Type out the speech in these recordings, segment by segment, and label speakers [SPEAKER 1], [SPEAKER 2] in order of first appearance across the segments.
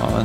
[SPEAKER 1] Ja,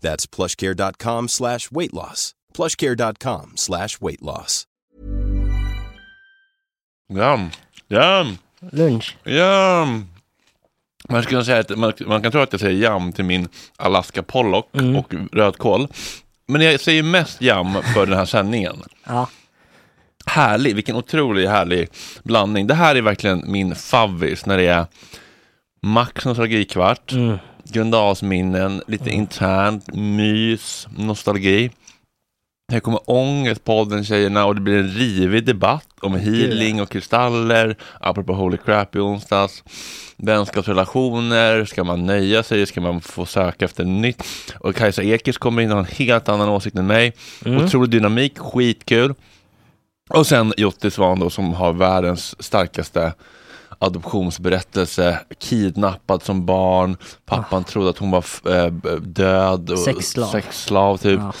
[SPEAKER 2] That's plushcare.com slash weight loss. plushcare.com slash weight loss.
[SPEAKER 1] Jam, jam,
[SPEAKER 3] Lunch.
[SPEAKER 1] jam. Man, skulle säga att, man, man kan tro att jag säger jam till min Alaska Pollock
[SPEAKER 3] Mm.
[SPEAKER 1] och rödkål. Men jag säger mest jam för den här sändningen.
[SPEAKER 3] Ja,
[SPEAKER 1] Härlig, vilken otrolig härlig blandning. Det här är verkligen min favvis när det är Max nostalgikvart, Gröndalsminnen, lite internt, mys, nostalgi. Här kommer Ångestpodden Tjejerna och det blir en rivig debatt om healing och kristaller, apropå Holy Crap i onsdags. Vänskapsrelationer, ska man nöja sig, ska man få söka efter nytt? Och Kajsa Ekis kommer in och har en helt annan åsikt än mig.
[SPEAKER 3] Mm.
[SPEAKER 1] Otrolig dynamik, skitkul. Och sen Jotte Svan då som har världens starkaste adoptionsberättelse, kidnappad som barn, pappan trodde att hon var f- eh, b- död och
[SPEAKER 3] Ah. Sexslav.
[SPEAKER 1] sexslav typ.
[SPEAKER 3] Ja.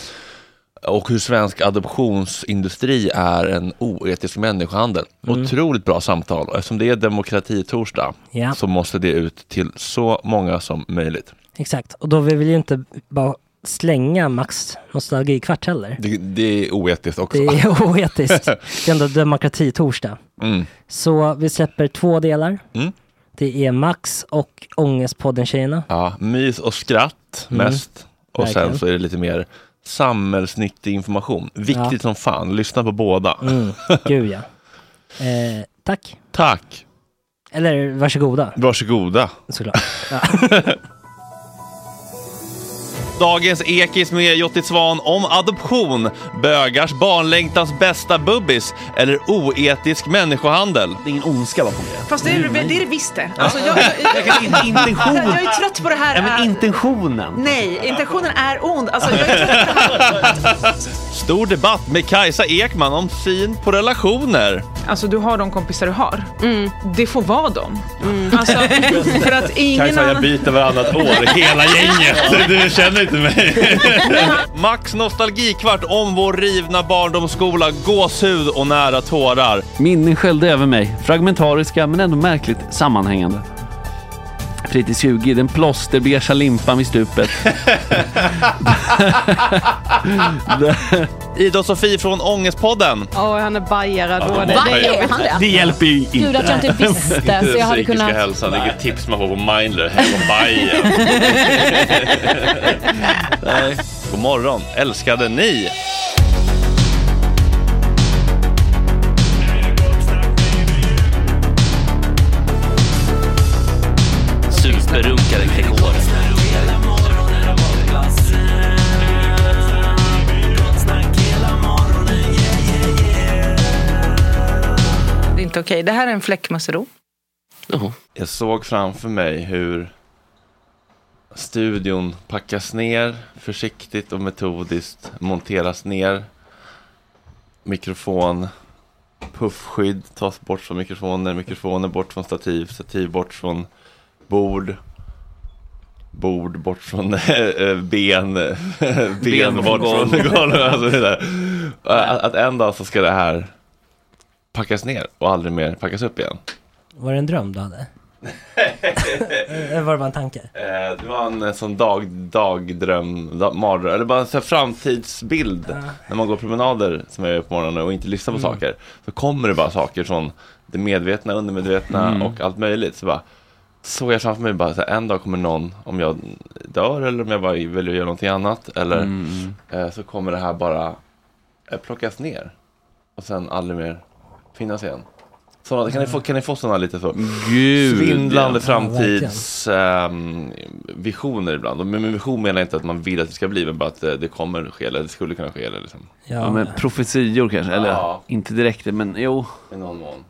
[SPEAKER 1] Och hur svensk adoptionsindustri är en oetisk människohandel.
[SPEAKER 3] Mm.
[SPEAKER 1] Otroligt bra samtal och eftersom det är demokratitorsdag
[SPEAKER 3] Ja.
[SPEAKER 1] så måste det ut till så många som möjligt.
[SPEAKER 3] Exakt, och då vill vi ju inte bara slänga Max nostalgikvart heller.
[SPEAKER 1] Det, det är oetiskt också.
[SPEAKER 3] Det är oetiskt. Det är ändå demokratitorsdag.
[SPEAKER 1] Mm.
[SPEAKER 3] Så vi släpper två delar.
[SPEAKER 1] Mm.
[SPEAKER 3] Det är Max och Ångestpodden-tjejerna.
[SPEAKER 1] Ja, mys och skratt mest. Och
[SPEAKER 3] Mm. Verkligen.
[SPEAKER 1] sen så är det lite mer samhällsnyttig information. Viktigt
[SPEAKER 3] Ja.
[SPEAKER 1] som fan, lyssna på båda.
[SPEAKER 3] Mm. Gud ja. Eh, tack.
[SPEAKER 1] Tack,
[SPEAKER 3] Eller varsågoda,
[SPEAKER 1] varsågoda.
[SPEAKER 3] såklart. Ja.
[SPEAKER 1] Dagens Ekis med Jotti Svan om adoption, bögars barnlängtans bästa bubbis eller oetisk människohandel.
[SPEAKER 4] Det är ingen ondska bakom det.
[SPEAKER 5] Fast det är det, det, är det visst det. Alltså, jag, jag, jag,
[SPEAKER 4] Kanske inte intention.
[SPEAKER 5] jag är trött på det här.
[SPEAKER 4] Nej, men
[SPEAKER 5] äh,
[SPEAKER 4] intentionen.
[SPEAKER 5] Nej, intentionen är ond. Alltså, jag är trött på det här.
[SPEAKER 1] Stor debatt med Kajsa Ekman om syn på relationer.
[SPEAKER 5] Alltså du har de kompisar du har.
[SPEAKER 6] Mm.
[SPEAKER 5] Det får vara dem. Alltså, för att ingen
[SPEAKER 1] Kajsa, jag
[SPEAKER 5] annan...
[SPEAKER 1] byter varannat år, hela gänget. Du känner inte mig. Max nostalgikvart om vår rivna barndomsskola, gåshud och nära tårar.
[SPEAKER 7] Minnen sköljde över mig, fragmentariska men ändå märkligt sammanhängande. Fritids 20, den plåsterbeiga limpan vid stupet.
[SPEAKER 1] Ida och Sofie från Ångestpodden.
[SPEAKER 8] Åh, han är bajare då. det,
[SPEAKER 1] Va?
[SPEAKER 8] det är jobbigt.
[SPEAKER 6] han det?
[SPEAKER 7] Det hjälper ju
[SPEAKER 6] Gud att jag inte visste så jag hade kunnat...
[SPEAKER 1] hälsan, vilket tips man får på Mindler, hem och Bajen. Nej. God morgon, älskade ni?
[SPEAKER 4] Superrunkaren Gregor.
[SPEAKER 5] Det är inte okej. Det här är en fläckmössero.
[SPEAKER 1] Jag såg framför mig hur studion packas ner försiktigt och metodiskt, monteras ner. Mikrofon, puffskydd tas bort från mikrofoner, mikrofoner bort från stativ, stativ bort från bord, bord bort från eh, ben, ben bort från golvet. Alltså det där. att, att en dag så ska det här packas ner och aldrig mer packas upp igen.
[SPEAKER 3] Var det en dröm du hade? Eller var det bara en tanke?
[SPEAKER 1] Eh, Det var en eh, sån dag, dagdröm, dag, mardröm, eller bara en sån här framtidsbild när man går promenader som jag gör på morgonen och inte lyssnar på saker. Så kommer det bara saker från det medvetna, undermedvetna och allt möjligt. Så bara, såg jag framför mig bara så här, en dag kommer någon, om jag dör eller om jag bara vill göra någonting annat, eller eh, så kommer det här bara eh, plockas ner och sen aldrig mer finnas igen. Såna, kan, ni få, kan ni få sådana lite så?
[SPEAKER 7] Gud.
[SPEAKER 1] svindlande
[SPEAKER 3] verkligen.
[SPEAKER 1] framtidsvisioner ibland. Och med med vision menar jag inte att man vill att det ska bli, men bara att eh, det kommer ske, eller det skulle kunna ske, eller liksom,
[SPEAKER 7] Ja, men profetior kanske, eller
[SPEAKER 1] Ja.
[SPEAKER 7] inte direkt men jo.
[SPEAKER 1] i någon mån.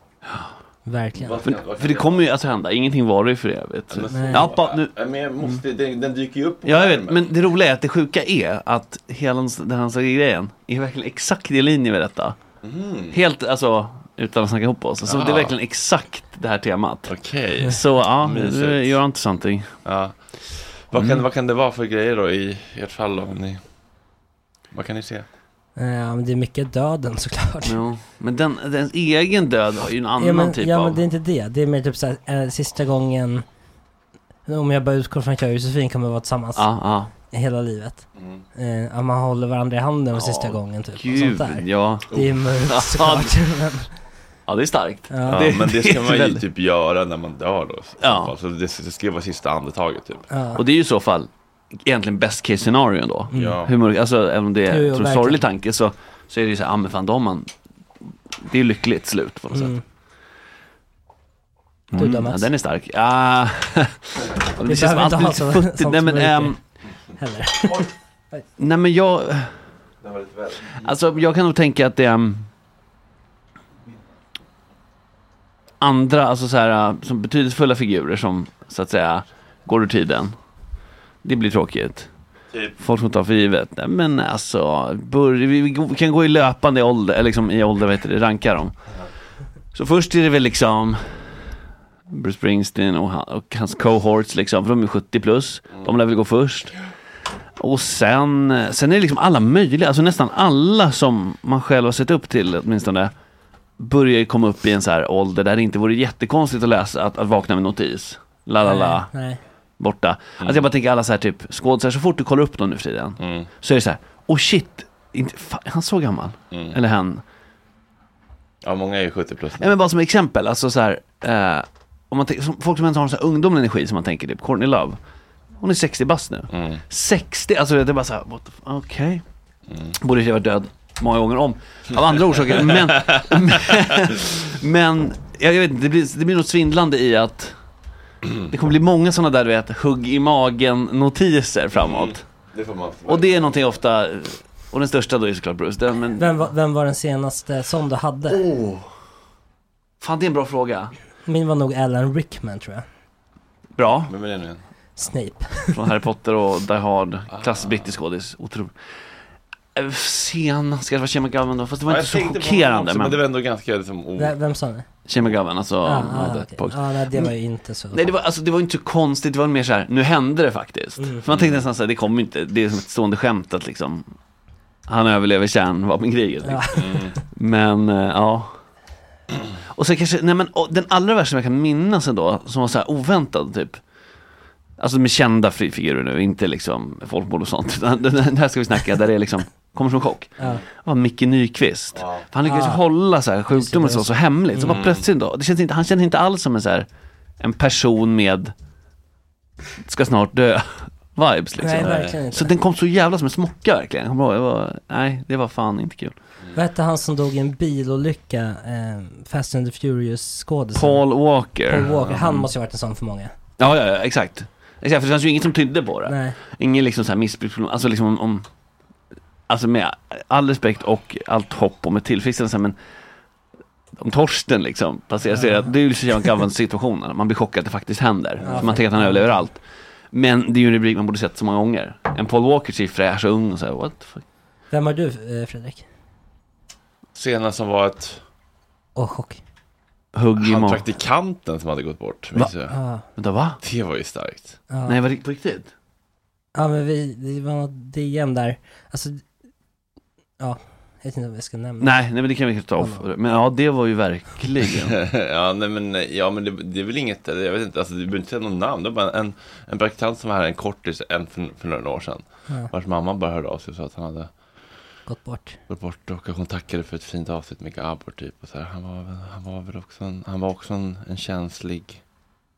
[SPEAKER 3] verkligen. Eh,
[SPEAKER 1] Vad ska-
[SPEAKER 7] För,
[SPEAKER 1] vad kan
[SPEAKER 7] för det
[SPEAKER 1] jag-
[SPEAKER 7] kommer ju alltså hända, ingenting varar ju för evigt.
[SPEAKER 1] men så-
[SPEAKER 7] Ja, pa, nu.
[SPEAKER 1] Nej, Men jag måste,
[SPEAKER 7] Mm.
[SPEAKER 1] den, den dyker ju upp. på
[SPEAKER 7] Ja, jag vet,
[SPEAKER 1] skärmen.
[SPEAKER 7] men det roliga är att det sjuka är att hela hans- den här grejen är verkligen exakt i linje med detta.
[SPEAKER 1] Mm.
[SPEAKER 7] Helt, alltså, utan att snacka ihop oss. Alltså, Det är
[SPEAKER 1] Ja.
[SPEAKER 7] verkligen exakt det här temat.
[SPEAKER 1] Okej.
[SPEAKER 7] Så ja,
[SPEAKER 1] Mysigt.
[SPEAKER 7] nu gör inte sånt. ting.
[SPEAKER 1] Ja. Vad,
[SPEAKER 7] Mm.
[SPEAKER 1] kan, vad kan det vara för grejer då i ert fall? då, Om ni, vad kan ni se?
[SPEAKER 3] Eh, men det är mycket döden såklart.
[SPEAKER 7] Ja. Men den, den egen död har ju en annan
[SPEAKER 3] ja, men,
[SPEAKER 7] typ
[SPEAKER 3] ja,
[SPEAKER 7] av...
[SPEAKER 3] men det är inte det. Det är mer typ såhär, eh, sista gången, om jag bara utgår från att jag och Josefin kommer vara tillsammans
[SPEAKER 7] Ja, ja.
[SPEAKER 3] hela livet. Eh, att man håller varandra i handen för sista
[SPEAKER 7] Ja,
[SPEAKER 3] gången typ. och
[SPEAKER 7] Gud,
[SPEAKER 3] sånt där.
[SPEAKER 7] ja.
[SPEAKER 3] Det är mörkt
[SPEAKER 7] Ja,
[SPEAKER 3] såklart. men,
[SPEAKER 7] Ja, det är starkt.
[SPEAKER 3] ja.
[SPEAKER 1] Ja,
[SPEAKER 7] det-
[SPEAKER 1] men det ska
[SPEAKER 7] det är
[SPEAKER 1] man ju
[SPEAKER 7] väldigt-
[SPEAKER 1] typ göra när man dör då. i
[SPEAKER 7] Ja.
[SPEAKER 1] så fall. Så det, det ska vara sista andetaget typ. Mm.
[SPEAKER 3] Ja.
[SPEAKER 7] Och det är ju i så fall egentligen best case scenario ändå.
[SPEAKER 1] Ja.
[SPEAKER 7] Hur mörk, alltså även om det
[SPEAKER 3] Jo, jo,
[SPEAKER 7] är en
[SPEAKER 3] verkligen.
[SPEAKER 7] sorglig tanke så, så är det ju så här, ah, men fan då har man, det är ju lyckligt slut på något
[SPEAKER 3] Mm.
[SPEAKER 7] sätt. Mm,
[SPEAKER 3] Du då, Mats?
[SPEAKER 7] ja, den är stark. Ah, det, känns som
[SPEAKER 3] behöver inte
[SPEAKER 7] allt
[SPEAKER 3] ha
[SPEAKER 7] är
[SPEAKER 3] så-
[SPEAKER 7] lite futtigt.
[SPEAKER 3] sånt
[SPEAKER 7] Nej
[SPEAKER 3] som
[SPEAKER 7] men,
[SPEAKER 3] är
[SPEAKER 7] ehm,
[SPEAKER 3] riktigt. Heller.
[SPEAKER 7] nej men jag,
[SPEAKER 1] Det var lite väl.
[SPEAKER 7] alltså jag kan nog tänka att det är ehm, andra, alltså så här, äh, som betydelsefulla figurer som så att säga går ur tiden. Det blir tråkigt.
[SPEAKER 1] Typ.
[SPEAKER 7] Folk som tar för givet. Nej, men alltså, bör, vi, vi kan gå i löpande eh, ålder, eller liksom i ålder, vad heter det, ranka dem. Så först är det väl liksom Bruce Springsteen och, han, och hans cohorts liksom, för de är 70 plus. De lär väl gå först. Och sen, sen är det liksom alla möjliga, alltså nästan alla som man själv har sett upp till åtminstone börjar ju komma upp i en så här ålder där det inte vore jättekonstigt att läsa, att, att vakna med notis. La la la
[SPEAKER 3] Nej, nej.
[SPEAKER 7] borta. Alltså jag bara tänker alla så här typ skådisar, så fort du kollar upp någon nu för tiden så är det så här, oh shit, inte, fan, är han så gammal? Eller han.
[SPEAKER 1] Ja, många är ju 70 plus
[SPEAKER 7] Nej men bara som exempel, alltså så här, eh, om man tänker, som, folk som ens har en sån här ungdomlig energi som man tänker typ, Courtney Love, hon är 60 bast nu. 60, alltså det är bara så här, what the f- okej. Borde ju ha varit död många gånger om, av andra orsaker. men, men jag, jag vet inte, det blir, det blir något svindlande i att det kommer bli många sådana där du vet, hugg i magen-notiser framåt.
[SPEAKER 1] Det får man
[SPEAKER 7] Och det är någonting ofta, och den största då är såklart Bruce. Den, men,
[SPEAKER 3] Vem, var- vem var den senaste som du hade?
[SPEAKER 7] Fan det är en bra fråga.
[SPEAKER 3] Min var nog Alan Rickman tror jag.
[SPEAKER 7] Bra.
[SPEAKER 1] Vem är det nu igen?
[SPEAKER 3] Snape.
[SPEAKER 7] Från Harry Potter och Die Hard. Klassisk brittisk skådis. Otroligt. Eh, Senast kanske var Shane McGowan då, fast det var
[SPEAKER 1] Ja,
[SPEAKER 7] inte så
[SPEAKER 1] jag tänkte på honom
[SPEAKER 7] chockerande.
[SPEAKER 1] också, men det
[SPEAKER 7] men
[SPEAKER 1] var ändå ganska liksom... Oh.
[SPEAKER 3] Vem, vem sa ni?
[SPEAKER 7] Shane McGowan, alltså.
[SPEAKER 3] Ja,
[SPEAKER 7] han
[SPEAKER 3] ah,
[SPEAKER 7] hade
[SPEAKER 3] okej.
[SPEAKER 7] ett pojk-
[SPEAKER 3] Ja, nej, det var ju inte så.
[SPEAKER 7] Nej det var, alltså, det var inte så konstigt, det var mer så här, nu hände det faktiskt.
[SPEAKER 1] Mm.
[SPEAKER 7] För man tänkte nästan såhär, det kommer inte, det är som ett stående skämt att liksom Han överlever kärnvapenkriget. liksom.
[SPEAKER 3] Ja.
[SPEAKER 7] Men eh, ja Och sen kanske, nej men och, den allra värsta som jag kan minnas ändå, som var så här oväntad typ Alltså med kända fri- figurer nu, inte liksom folkmord och sånt. Utan den, den här ska vi snacka, där det är liksom, kommer som chock.
[SPEAKER 3] Ja.
[SPEAKER 7] Det var Micke Nyqvist. För han lyckades
[SPEAKER 3] Ah.
[SPEAKER 7] hålla så här sjukdomar och så, så hemligt. Så
[SPEAKER 3] Mm.
[SPEAKER 7] bara plötsligt då, det känns inte, han kändes inte alls som en så här, en person med ska snart dö vibes liksom.
[SPEAKER 3] Nej, verkligen
[SPEAKER 7] så
[SPEAKER 3] inte.
[SPEAKER 7] den kom så jävla som en smocka verkligen. Jag kommer ihåg, det var, nej, det var fan inte kul.
[SPEAKER 3] Vad hette han som dog i en bilolycka? Eh, Fast and the Furious skådisen.
[SPEAKER 7] Paul Walker. Mm.
[SPEAKER 3] Paul Walker. Han måste ju ha varit en sån för många.
[SPEAKER 7] Ja, ja, ja, exakt. Exakt, för det fanns ju inget som tydde på det.
[SPEAKER 3] Nej.
[SPEAKER 7] Ingen liksom så här missbruksproblem, alltså liksom om, om Alltså med all respekt och allt hopp och med tillfrisknelse men om Torsten liksom passerar sig, det är ju så jävla gammal situationen, man blir chockad att det faktiskt händer.
[SPEAKER 3] Ja,
[SPEAKER 7] så man tänker att han överlever allt. Men det är ju en rubrik man borde sett så många gånger. En Paul Walker ser ju fräsch och ung och så här, what the fuck?
[SPEAKER 3] Vem har du eh, Fredrik?
[SPEAKER 1] Senast som var ett...
[SPEAKER 3] Åh, chock.
[SPEAKER 7] Hugg i
[SPEAKER 1] Han
[SPEAKER 7] magen.
[SPEAKER 1] praktikanten som hade gått bort.
[SPEAKER 7] Va?
[SPEAKER 1] minns jag.
[SPEAKER 3] Ja,
[SPEAKER 7] Vänta va?
[SPEAKER 1] Det var ju starkt.
[SPEAKER 3] ja.
[SPEAKER 7] Nej var det på riktigt?
[SPEAKER 3] ah. ja, men vi, det var något DM där. Alltså, ja, jag vet inte vad jag ska nämna.
[SPEAKER 7] Nej, nej men det kan vi kanske ta off. Men ja det var ju verkligen.
[SPEAKER 1] ja, nej, men, ja, men det, det är väl inget, eller jag vet inte, alltså, du behöver inte säga något namn. Det var bara en, en praktikant som var här, en kortis, en för, för några år sedan.
[SPEAKER 3] Ja.
[SPEAKER 1] Vars mamma bara hörde av sig och sa att han hade
[SPEAKER 3] Gått bort.
[SPEAKER 1] gått bort och hon tackade för ett fint avsnitt med Gabor typ. Och så här, han, var, väl- han var väl också en, han var också en, en känslig,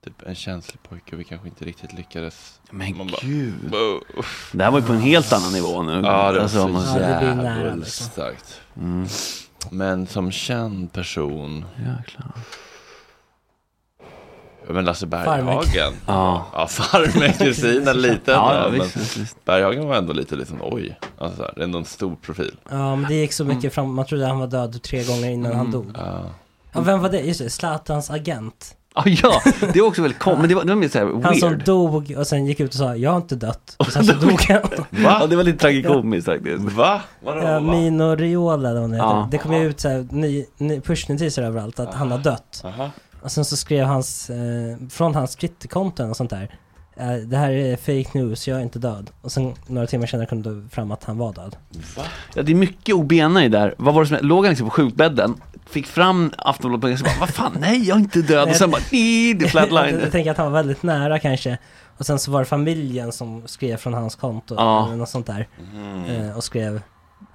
[SPEAKER 1] typ en känslig pojke. Vi kanske inte riktigt lyckades.
[SPEAKER 7] Men
[SPEAKER 1] Man bara-
[SPEAKER 7] gud.
[SPEAKER 1] Wow.
[SPEAKER 7] Det här var ju på en helt annan nivå nu.
[SPEAKER 1] Ja, det var
[SPEAKER 7] Alltså, om man-
[SPEAKER 1] så
[SPEAKER 3] Ja, det blir nära,
[SPEAKER 1] jävligt
[SPEAKER 3] liksom.
[SPEAKER 1] starkt.
[SPEAKER 7] mm.
[SPEAKER 1] Men som känd person,
[SPEAKER 7] Jäklar.
[SPEAKER 1] ja, men Lasse
[SPEAKER 3] Farmek.
[SPEAKER 1] Berghagen.
[SPEAKER 7] Ja.
[SPEAKER 1] Ja, Farmek, Kristina lite.
[SPEAKER 7] Ja, ja,
[SPEAKER 1] men
[SPEAKER 7] visst, visst, visst.
[SPEAKER 1] Berghagen var ändå lite liksom, oj, alltså, så här, ändå en stor profil.
[SPEAKER 3] Ja, men det gick så
[SPEAKER 7] Mm.
[SPEAKER 3] mycket fram. Man trodde han var död tre gånger innan han dog.
[SPEAKER 1] Ja.
[SPEAKER 3] Ja, vem var det? Just det, Zlatans agent.
[SPEAKER 7] Ah, ja, det var också väldigt kom, men det var, det var mer såhär
[SPEAKER 3] Han som
[SPEAKER 7] weird.
[SPEAKER 3] dog och sen gick ut och sa jag har inte dött. Och sen så dog han.
[SPEAKER 7] Va? Ja, det var lite tragikomiskt faktiskt.
[SPEAKER 1] Va? Vadå?
[SPEAKER 3] Ja,
[SPEAKER 1] va?
[SPEAKER 3] Mino Riola eller vad han heter.
[SPEAKER 7] Ja.
[SPEAKER 3] Det kom ju ut så här, ny, ny pushnotiser överallt att han har dött.
[SPEAKER 1] Aha.
[SPEAKER 3] Och sen så skrev hans, eh, från hans Twitterkonto och sånt där. Eh, det här är fake news, jag är inte död. Och sen några timmar senare kom det fram att han var död.
[SPEAKER 7] Ja, det är mycket obena i där. Vad var det som Låg han liksom på sjukbädden, fick fram Aftonbladet och bara, vad fan, nej, jag är inte död. Och sen bara, nej, det är
[SPEAKER 3] jag,
[SPEAKER 7] flatline.
[SPEAKER 3] tänker att han var väldigt nära kanske. Och sen så var det familjen som skrev från hans konto
[SPEAKER 7] Ja. Mhm.
[SPEAKER 3] eller något sånt där. Eh, och skrev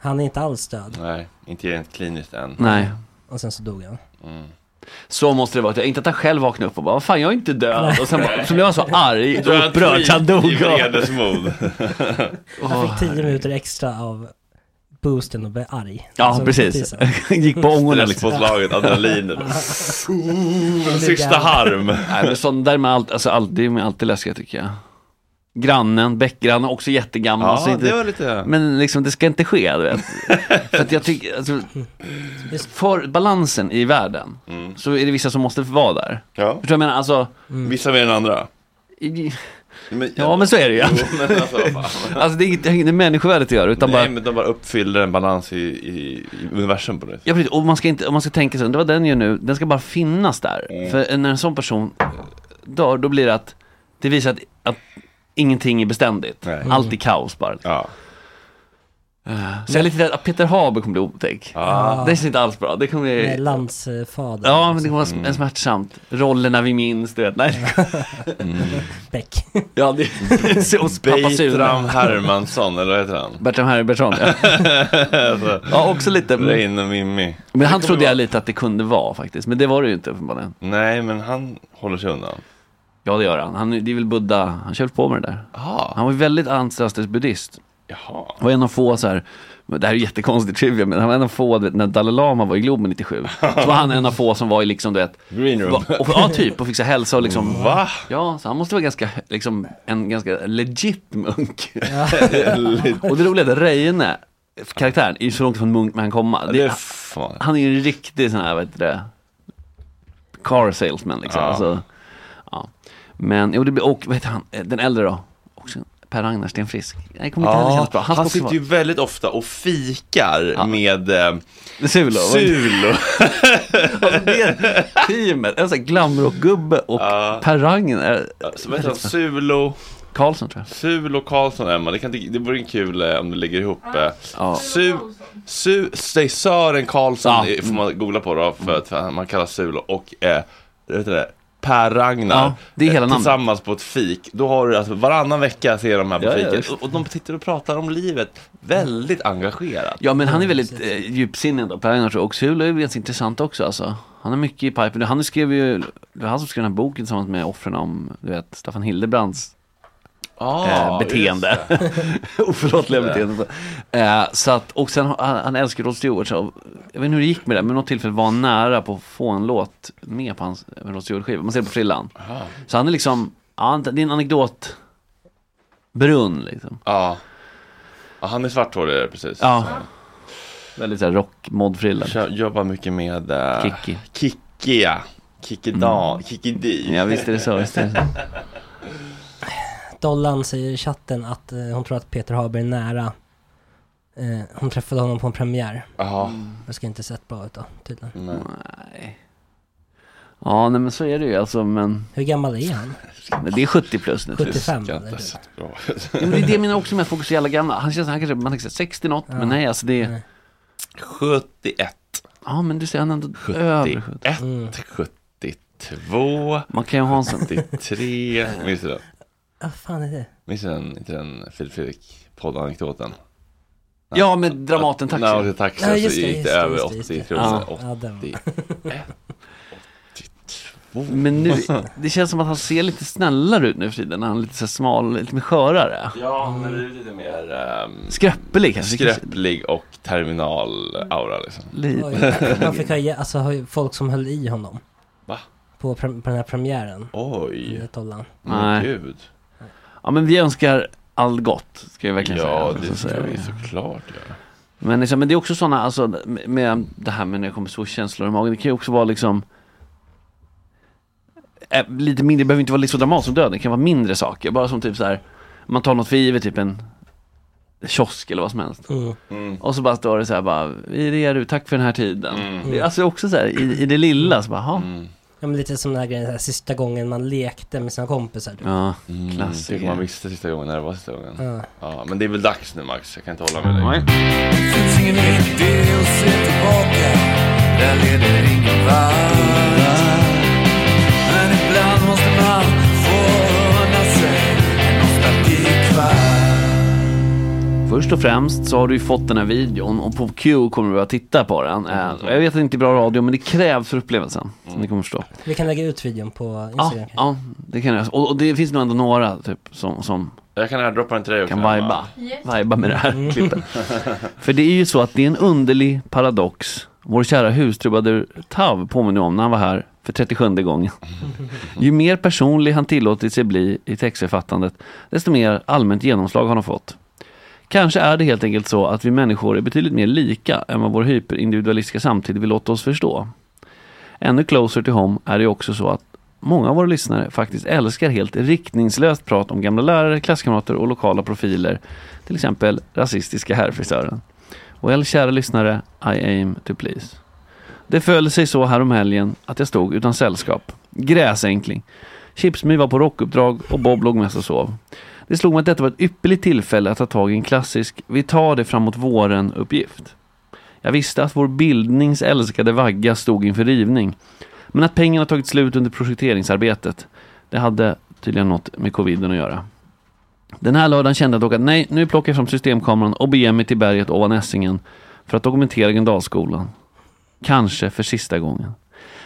[SPEAKER 3] han är inte alls död.
[SPEAKER 1] Nej, inte rent kliniskt än.
[SPEAKER 7] Nej.
[SPEAKER 3] Och sen så dog han.
[SPEAKER 7] Så måste det vara. Inte att han själv vaknade upp och bara, vad fan, jag är inte död. Och sen bara, så blev han så arg
[SPEAKER 1] Då är
[SPEAKER 7] och upprörd så han dog.
[SPEAKER 1] I vredesmod.
[SPEAKER 3] Han fick 10 minuter extra av boosten och blev arg.
[SPEAKER 7] Ja,
[SPEAKER 3] Alltså,
[SPEAKER 7] precis.
[SPEAKER 3] notisen.
[SPEAKER 7] Gick på ångorna liksom.
[SPEAKER 1] Stresspåslaget, adrenalinet. Sista harm.
[SPEAKER 7] Nej men sånt där med allt, alltså allt, det är med alltid läskiga tycker jag. Grannen, bäckgrannen, också jättegammal. alltså
[SPEAKER 1] Ja,
[SPEAKER 7] inte,
[SPEAKER 1] det var lite...
[SPEAKER 7] Men liksom det ska inte ske, du vet. För att jag tycker, alltså,
[SPEAKER 3] Just-
[SPEAKER 7] för balansen i världen
[SPEAKER 1] Mm.
[SPEAKER 7] så är det vissa som måste vara där.
[SPEAKER 1] Ja.
[SPEAKER 7] Förstår du vad jag menar? Alltså,
[SPEAKER 1] Vissa mer än andra.
[SPEAKER 7] i- Ja, men så är det ju.
[SPEAKER 1] Jo, men alltså, vad fan.
[SPEAKER 7] Alltså det är inget- det har inget med människovärdet att göra, utan
[SPEAKER 1] Nej,
[SPEAKER 7] bara...
[SPEAKER 1] men de bara uppfyller en balans i, i, i universum på det
[SPEAKER 7] Ja, precis. Och man ska, inte, och man ska tänka så, det var den ju nu, den ska bara finnas där.
[SPEAKER 1] Mm.
[SPEAKER 7] För när en sån person dör, då blir det att, det visar att, att ingenting är beständigt. Allt är kaos bara. Eh, Så jag är lite rädd att Peter Haber kommer bli otäck.
[SPEAKER 3] Ah.
[SPEAKER 7] Det ser inte alls bra. Det kommer
[SPEAKER 3] Med
[SPEAKER 7] bli...
[SPEAKER 3] landsfader.
[SPEAKER 7] Ja, men det kommer
[SPEAKER 1] Mm.
[SPEAKER 7] vara smärtsamt. Rollerna vi minns, du vet. Nej.
[SPEAKER 3] Beck.
[SPEAKER 7] Ja, det är pappa
[SPEAKER 1] Bertram
[SPEAKER 7] Sune.
[SPEAKER 1] Hermansson, eller vad heter han?
[SPEAKER 7] Bertram Harry Bertram, ja.
[SPEAKER 1] alltså,
[SPEAKER 7] ja, också lite.
[SPEAKER 1] Rein och Mimmi.
[SPEAKER 7] Men han
[SPEAKER 1] Det kommer
[SPEAKER 7] trodde
[SPEAKER 1] vara-
[SPEAKER 7] jag lite att det kunde vara faktiskt, men det var det ju inte uppenbarligen.
[SPEAKER 1] Nej, men han håller sig undan.
[SPEAKER 7] Ja, det gör han. han det är väl Buddha, han kör väl på med det där.
[SPEAKER 1] Ah.
[SPEAKER 7] Han var ju väldigt ancestors buddhist.
[SPEAKER 1] Jaha.
[SPEAKER 7] Han var en av få så här, men det här är ju jättekonstigt trivia, men han var en av få, du vet, när Dalai Lama var i Globen 97, så var han en av få som var i liksom, du vet,
[SPEAKER 1] Green room.
[SPEAKER 7] var- och, ja typ, och fick så här hälsa och liksom,
[SPEAKER 1] Va?
[SPEAKER 7] Ja, så han måste vara ganska, liksom, en ganska legit munk. och det roliga är att Reine, karaktären, är ju så långt från munk man kan komma.
[SPEAKER 1] Det är
[SPEAKER 7] Det,
[SPEAKER 1] fan.
[SPEAKER 7] han är ju en riktig sån här, vad heter det, car salesman liksom.
[SPEAKER 1] Ja.
[SPEAKER 7] Alltså, ja. Men, jo, det blir, och vad heter han, Eh, den äldre då? Också Per-Ragnar Stenfrisk. Nej, kommer inte heller kännas bra.
[SPEAKER 1] han
[SPEAKER 7] ska också
[SPEAKER 1] sitter
[SPEAKER 7] vara-
[SPEAKER 1] ju väldigt ofta och fikar med eh,
[SPEAKER 7] Sulo.
[SPEAKER 1] Sulo.
[SPEAKER 7] Alltså det teamet, en sån här glamrockgubbe och Per Ragnar
[SPEAKER 1] Så vad heter han? Sulo,
[SPEAKER 7] Karlsson tror jag.
[SPEAKER 1] Sulo Karlsson, Emma. Det, kan, inte- det vore en kul eh, om du lägger ihop. Eh,
[SPEAKER 7] Ja.
[SPEAKER 1] Su, su, nej, Sören Karlsson
[SPEAKER 7] Ja. Mm.
[SPEAKER 1] eh, får man googla på då, för att för han- man kallar Sulo. Och eh, vet du det, Per Ragnar.
[SPEAKER 7] Ja, det är hela
[SPEAKER 1] eh,
[SPEAKER 7] namnet.
[SPEAKER 1] Tillsammans på ett fik. Då har du alltså varannan vecka ser de här på
[SPEAKER 7] Ja, ja,
[SPEAKER 1] fiket.
[SPEAKER 7] visst.
[SPEAKER 1] och, och de sitter och pratar om livet väldigt engagerat.
[SPEAKER 7] Ja men han är väldigt eh, djupsinnig då, Per Ragnar tror jag. Och Sulo är ju ganska intressant också alltså. Han har mycket i pipen. Han skrev ju, det var han som skrev den här boken tillsammans med offren om, du vet, Staffan Hildebrands
[SPEAKER 1] Ah,
[SPEAKER 7] eh,
[SPEAKER 1] just
[SPEAKER 7] beteende.
[SPEAKER 1] det.
[SPEAKER 7] Oförlåtliga beteende. Eh, så att, och sen har- han, han älskar Rod Stewart. Så, jag vet inte hur det gick med det, men något tillfälle var han nära på att få en låt med på hans med Rod Stewart-skiva. Man ser det på frillan.
[SPEAKER 1] Aha.
[SPEAKER 7] Så han är liksom, ja, han- det är en anekdot brunn liksom.
[SPEAKER 1] Ja. ja, han är svarthårig precis.
[SPEAKER 7] Ja. Väldigt såhär rockmodfrilla.
[SPEAKER 1] Kö- Jobbar mycket med eh,
[SPEAKER 7] Kicki.
[SPEAKER 1] Kicki, ja. Kicki Dan, Kicki Di.
[SPEAKER 7] Mm. Ja visst är det så, visst är det så.
[SPEAKER 3] Dollan säger i chatten att eh, hon tror att Peter Haber är nära. Eh, hon träffade honom på en premiär.
[SPEAKER 1] Jaha.
[SPEAKER 3] Det ska inte sett bra ut då, tydligen.
[SPEAKER 7] Mm.
[SPEAKER 1] Nej.
[SPEAKER 7] Nej. Ja nej men så är det ju alltså men,
[SPEAKER 3] Hur gammal är han?
[SPEAKER 7] men det är 70 plus nu.
[SPEAKER 3] 75?
[SPEAKER 1] Ska
[SPEAKER 3] eller hur?
[SPEAKER 1] inte se bra ut.
[SPEAKER 7] Jo, men det är det jag menar också med att folk är så jävla gamla. Han känns, han kanske, man tänker så här, 60 något, men nej alltså det är,
[SPEAKER 3] Nej.
[SPEAKER 1] 71.
[SPEAKER 7] ja men du ser han är ändå över 70.
[SPEAKER 1] 71,
[SPEAKER 3] Mm.
[SPEAKER 1] 72,
[SPEAKER 7] Man kan ju ha en sån.
[SPEAKER 1] 73. Minns du den?
[SPEAKER 3] Vad fan är det?
[SPEAKER 1] Minns du den, inte den Filip Fredrik poddanekdoten?
[SPEAKER 7] Ja med Dramaten Taxi.
[SPEAKER 1] När åkte taxi
[SPEAKER 3] Ja,
[SPEAKER 1] så
[SPEAKER 3] just det,
[SPEAKER 1] gick
[SPEAKER 3] just
[SPEAKER 1] det
[SPEAKER 3] det,
[SPEAKER 1] över
[SPEAKER 3] just det, just
[SPEAKER 1] 80
[SPEAKER 3] det.
[SPEAKER 1] kronor.
[SPEAKER 3] Ja. Ja, Mm. den var-
[SPEAKER 1] 81, 82.
[SPEAKER 7] Men nu, det känns som att han ser lite snällare ut nu för tiden. Han är lite så här smal, lite mer skörare.
[SPEAKER 1] Ja, han har blivit lite mer ehm,
[SPEAKER 7] Skröppelig kanske.
[SPEAKER 1] skräpplig och terminal-aura liksom.
[SPEAKER 7] Lite.
[SPEAKER 3] Oj, man fick ha, ge- alltså, ha ju folk som höll i honom.
[SPEAKER 1] Va?
[SPEAKER 3] På, pre- på den här premiären.
[SPEAKER 1] Oj,
[SPEAKER 3] med Dollan.
[SPEAKER 1] men
[SPEAKER 7] Nej.
[SPEAKER 1] gud.
[SPEAKER 7] Ja men vi önskar allt gott, ska jag verkligen
[SPEAKER 1] Ja,
[SPEAKER 7] säga.
[SPEAKER 1] det
[SPEAKER 7] Så
[SPEAKER 1] ska
[SPEAKER 7] säger
[SPEAKER 1] vi
[SPEAKER 7] vi.
[SPEAKER 1] såklart göra.
[SPEAKER 7] Men, liksom, men det är också sådana, alltså med- med det här med när det kommer så känslor i magen, det kan ju också vara liksom eh, Lite mindre, det behöver inte vara lite så dramatiskt som döden, det kan vara mindre saker. Bara som typ så här, man tar något för givet, typ en kiosk eller vad som helst.
[SPEAKER 3] Mm.
[SPEAKER 7] Och så bara står det så här bara, vi är redo, tack för den här tiden.
[SPEAKER 1] Mm.
[SPEAKER 7] Det är alltså också så här, i, i det lilla, så bara, "Jaha."
[SPEAKER 3] Ja, men lite som den här grejen, den här sista gången man lekte med sina kompisar. typ.
[SPEAKER 7] Ja,
[SPEAKER 1] Mm,
[SPEAKER 7] klassiker.
[SPEAKER 1] tycker man visste sista gången när det var sista gången.
[SPEAKER 3] Ja.
[SPEAKER 1] Ja, men det är väl dags nu Max, jag kan inte hålla med dig.
[SPEAKER 7] Nej. Först och främst så har du ju fått den här videon och på Q kommer du att titta på
[SPEAKER 1] Mm.
[SPEAKER 7] den. Eh, Jag vet att det inte är bra radio men det krävs för upplevelsen. Som ni kommer förstå.
[SPEAKER 3] Vi kan lägga ut videon på Instagram.
[SPEAKER 7] Ja,
[SPEAKER 3] kanske.
[SPEAKER 7] ja, det kan jag. Och, och det finns nog ändå några typ som, som
[SPEAKER 1] Jag kan airdroppa den till dig också.
[SPEAKER 7] kan
[SPEAKER 1] Emma.
[SPEAKER 7] vibba. Vibba med det här klippet. För det är ju så att det är en underlig paradox. Vår kära hustrubadur Tav påminner om när han var här för 37 gången. Ju mer personlig han tillåtit sig bli i textförfattandet, desto mer allmänt genomslag har han fått. Kanske är det helt enkelt så att vi människor är betydligt mer lika än vad vår hyperindividualistiska samtid vill låta oss förstå. Ännu closer till home är det ju också så att många av våra lyssnare faktiskt älskar helt riktningslöst prat om gamla lärare, klasskamrater och lokala profiler. Till exempel rasistiska herrfrisören. Well, kära lyssnare, I aim to please. Det föll sig så här om helgen att jag stod utan sällskap. Gräsänkling. Chipsmy var på rockuppdrag och Bob låg mest och sov. Det slog mig att detta var ett ypperligt tillfälle att ta tag i en klassisk vi tar det framåt våren-uppgift. Jag visste att vår bildnings älskade vagga stod inför rivning. Men att pengarna tagit slut under projekteringsarbetet, det hade tydligen något med coviden att göra. Den här lördagen kände jag dock att nej, nu plockar jag fram systemkameran och beger mig till berget ovan Essingen för att dokumentera Gröndalsskolan. Kanske för sista gången.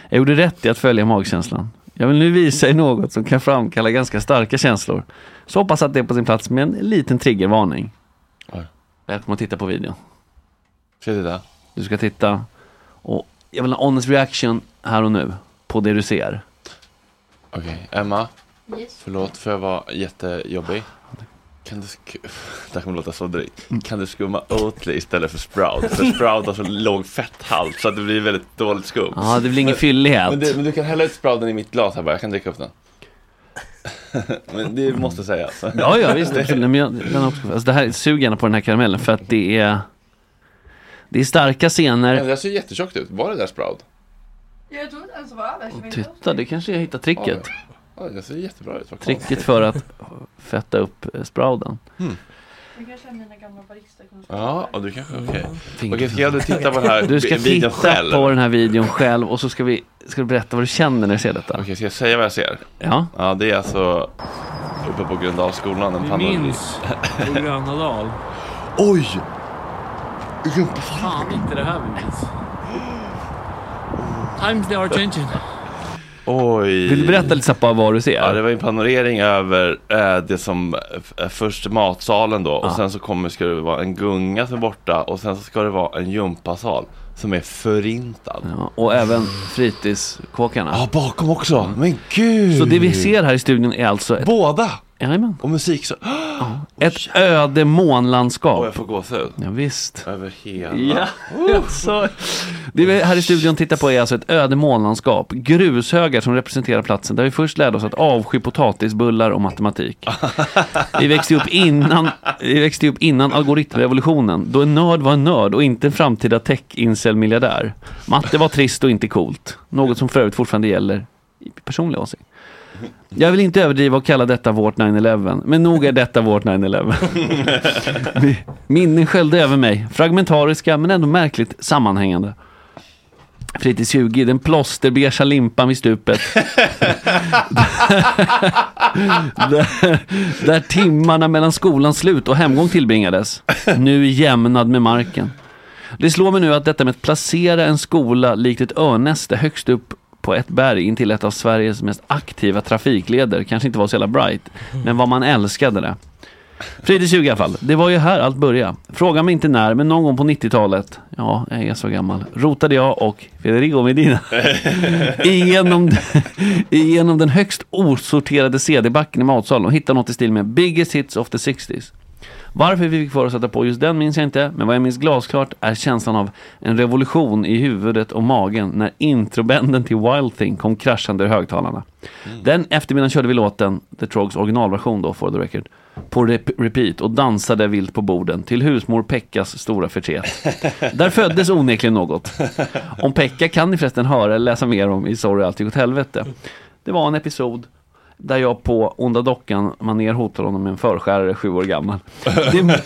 [SPEAKER 7] Jag gjorde rätt i att följa magkänslan. Jag vill nu visa er något som kan framkalla ganska starka känslor. Så hoppas att det är på sin plats med en liten triggervarning. Välkommen att titta på videon.
[SPEAKER 1] Ska jag titta?
[SPEAKER 7] Du ska titta. Och jag vill ha honest reaction här och nu på det du ser.
[SPEAKER 1] Okej, Emma. Förlåt för jag var jättejobbig. Kan du sk- det här kommer låta så drygt. Kan du skumma Oatly istället för Sprout? För Sprout har så låg fetthalt så att det blir väldigt dåligt skum.
[SPEAKER 7] Ja, det blir ingen
[SPEAKER 1] Men-
[SPEAKER 7] fyllighet.
[SPEAKER 1] Men, det, men du kan hälla ut Sprouten i mitt glas här bara, jag kan dricka upp den. men det måste alltså. sägas.
[SPEAKER 7] Ja, ja visst. absolut. Nej, Men jag, den har också, alltså det här, sug gärna på den här karamellen för att det är Det är starka
[SPEAKER 1] Men
[SPEAKER 7] scener.
[SPEAKER 1] det där ser jättetjockt ut. Var det där Sprout?
[SPEAKER 9] Jag trodde inte ens det var över.
[SPEAKER 7] Och titta, det kanske jag hittar tricket.
[SPEAKER 1] Ja, det ser jättebra ut. vad
[SPEAKER 7] Tricket
[SPEAKER 1] konstigt.
[SPEAKER 7] för att fetta upp eh, sprouden.
[SPEAKER 9] Jag kanske har mina gamla baristakunskaper.
[SPEAKER 1] Ja, och du kanske, okej.
[SPEAKER 7] Fint.
[SPEAKER 1] Okej, ska jag då titta på den här
[SPEAKER 7] Du ska
[SPEAKER 1] bi- videon
[SPEAKER 7] titta
[SPEAKER 1] själv?
[SPEAKER 7] på den här videon själv och så ska, vi, ska du berätta vad du känner när du ser detta.
[SPEAKER 1] Okej, ska jag säga vad jag ser?
[SPEAKER 7] Ja.
[SPEAKER 1] Ja, det är alltså uppe på Gröndalsskolan. En
[SPEAKER 10] Vi
[SPEAKER 1] pandemi.
[SPEAKER 10] minns på Gröna Dal.
[SPEAKER 1] Oj!
[SPEAKER 10] Fan, inte det här vi minns. Times they are changing.
[SPEAKER 1] Oj.
[SPEAKER 7] Vill du berätta lite snabbt bara vad du ser?
[SPEAKER 1] Ja, det var en panorering över eh, det som eh, först matsalen då
[SPEAKER 7] Ah.
[SPEAKER 1] och sen så kommer ska det vara en gunga som är borta och sen så ska det vara en gympasal som är förintad.
[SPEAKER 7] Ja, och även fritidskåkarna.
[SPEAKER 1] Ja, bakom också. Men gud!
[SPEAKER 7] Mm. Så det vi ser här i studion är alltså... Ett,
[SPEAKER 1] Båda!
[SPEAKER 7] Jajamän.
[SPEAKER 1] Och musik så...
[SPEAKER 7] Ett öde månlandskap.
[SPEAKER 1] Åh, jag får gåshud.
[SPEAKER 7] Ja, visst.
[SPEAKER 1] Över hela.
[SPEAKER 7] Ja, alltså. Det vi här i studion tittar på är alltså ett öde månlandskap. Grushögar som representerar platsen där vi först lärde oss att avsky potatisbullar och matematik. Vi växte upp innan, vi växte upp innan algoritmrevolutionen, då en nörd var en nörd och inte en framtida tech-incel-miljardär. Matte var trist och inte coolt, något som för övrigt fortfarande gäller i personlig åsikt. Jag vill inte överdriva och kalla detta vårt 9-11, men nog är detta vårt 9-11. Mi- Minnen sköljde över mig, fragmentariska men ändå märkligt sammanhängande. Fritids 20, den plåsterbeiga limpan vid stupet. där, där timmarna mellan skolans slut och hemgång tillbringades. Nu jämnad med marken. Det slår mig nu att detta med att placera en skola likt ett örnäste högst upp på ett berg intill ett av Sveriges mest aktiva trafikleder kanske inte var så jävla bright, men vad man älskade det. Fritids 20 i alla fall. Det var ju här allt började. Fråga mig inte när, men någon gång på 90-talet, ja, jag är så gammal, rotade jag och Federico Medina igenom, igenom den högst osorterade CD-backen i matsalen och hittade något i stil med Biggest Hits of the 60s. Varför vi fick för oss att sätta på just den minns jag inte, men vad jag minns glasklart är känslan av en revolution i huvudet och magen när introbänden till Wild Thing kom kraschande ur högtalarna. Den eftermiddagen körde vi låten, The Trogs originalversion då, for the record, på rep- repeat och dansade vilt på borden till husmor Pekkas stora förtret. Där föddes onekligen något. Om Pekka kan ni förresten höra eller läsa mer om i Sorry allt gick åt helvete. Det var en episod där jag på Onda Dockan maner hotade honom med en förskärare sju år gammal. Det,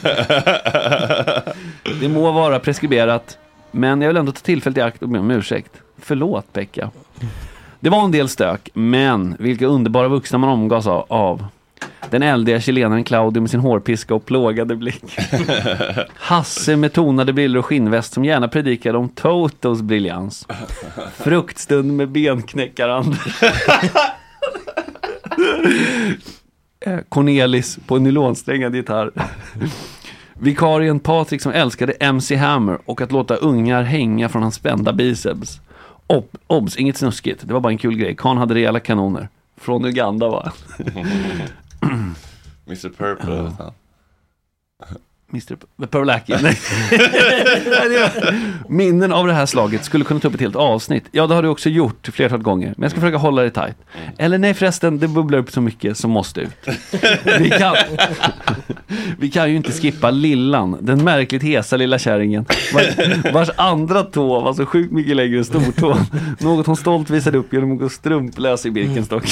[SPEAKER 7] det må vara preskriberat, men jag vill ändå ta tillfället i akt och be om ursäkt. Förlåt Pekka. Det var en del stök, men vilka underbara vuxna man omgavs av- av. Den eldiga chilenaren Claudio med sin hårpiska och plågade blick. Hasse med tonade briller och skinnväst som gärna predikade om Totos briljans. Fruktstund med benknäckaren. Eh, Cornelis på en nylonsträngad gitarr. Vikarien Patrik som älskade MC Hammer och att låta ungar hänga från hans spända biceps. Ob- Obs, inget snuskigt, det var bara en kul grej. Kan hade rejäla kanoner. Från Uganda va?
[SPEAKER 1] Mr Purple. vet han.
[SPEAKER 7] Mr. Purlacki. Nej. Nej, det var- Minnen av det här slaget skulle kunna ta upp ett helt avsnitt. Ja, det har du också gjort ett flertal gånger. Men jag ska försöka hålla det tajt. Eller nej förresten, det bubblar upp så mycket som måste ut. Vi kan, vi kan ju inte skippa Lillan, den märkligt hesa lilla kärringen. Vars, vars andra tå var så sjukt mycket längre än stortån. Något hon stolt visade upp genom att gå strumplös i Birkenstock.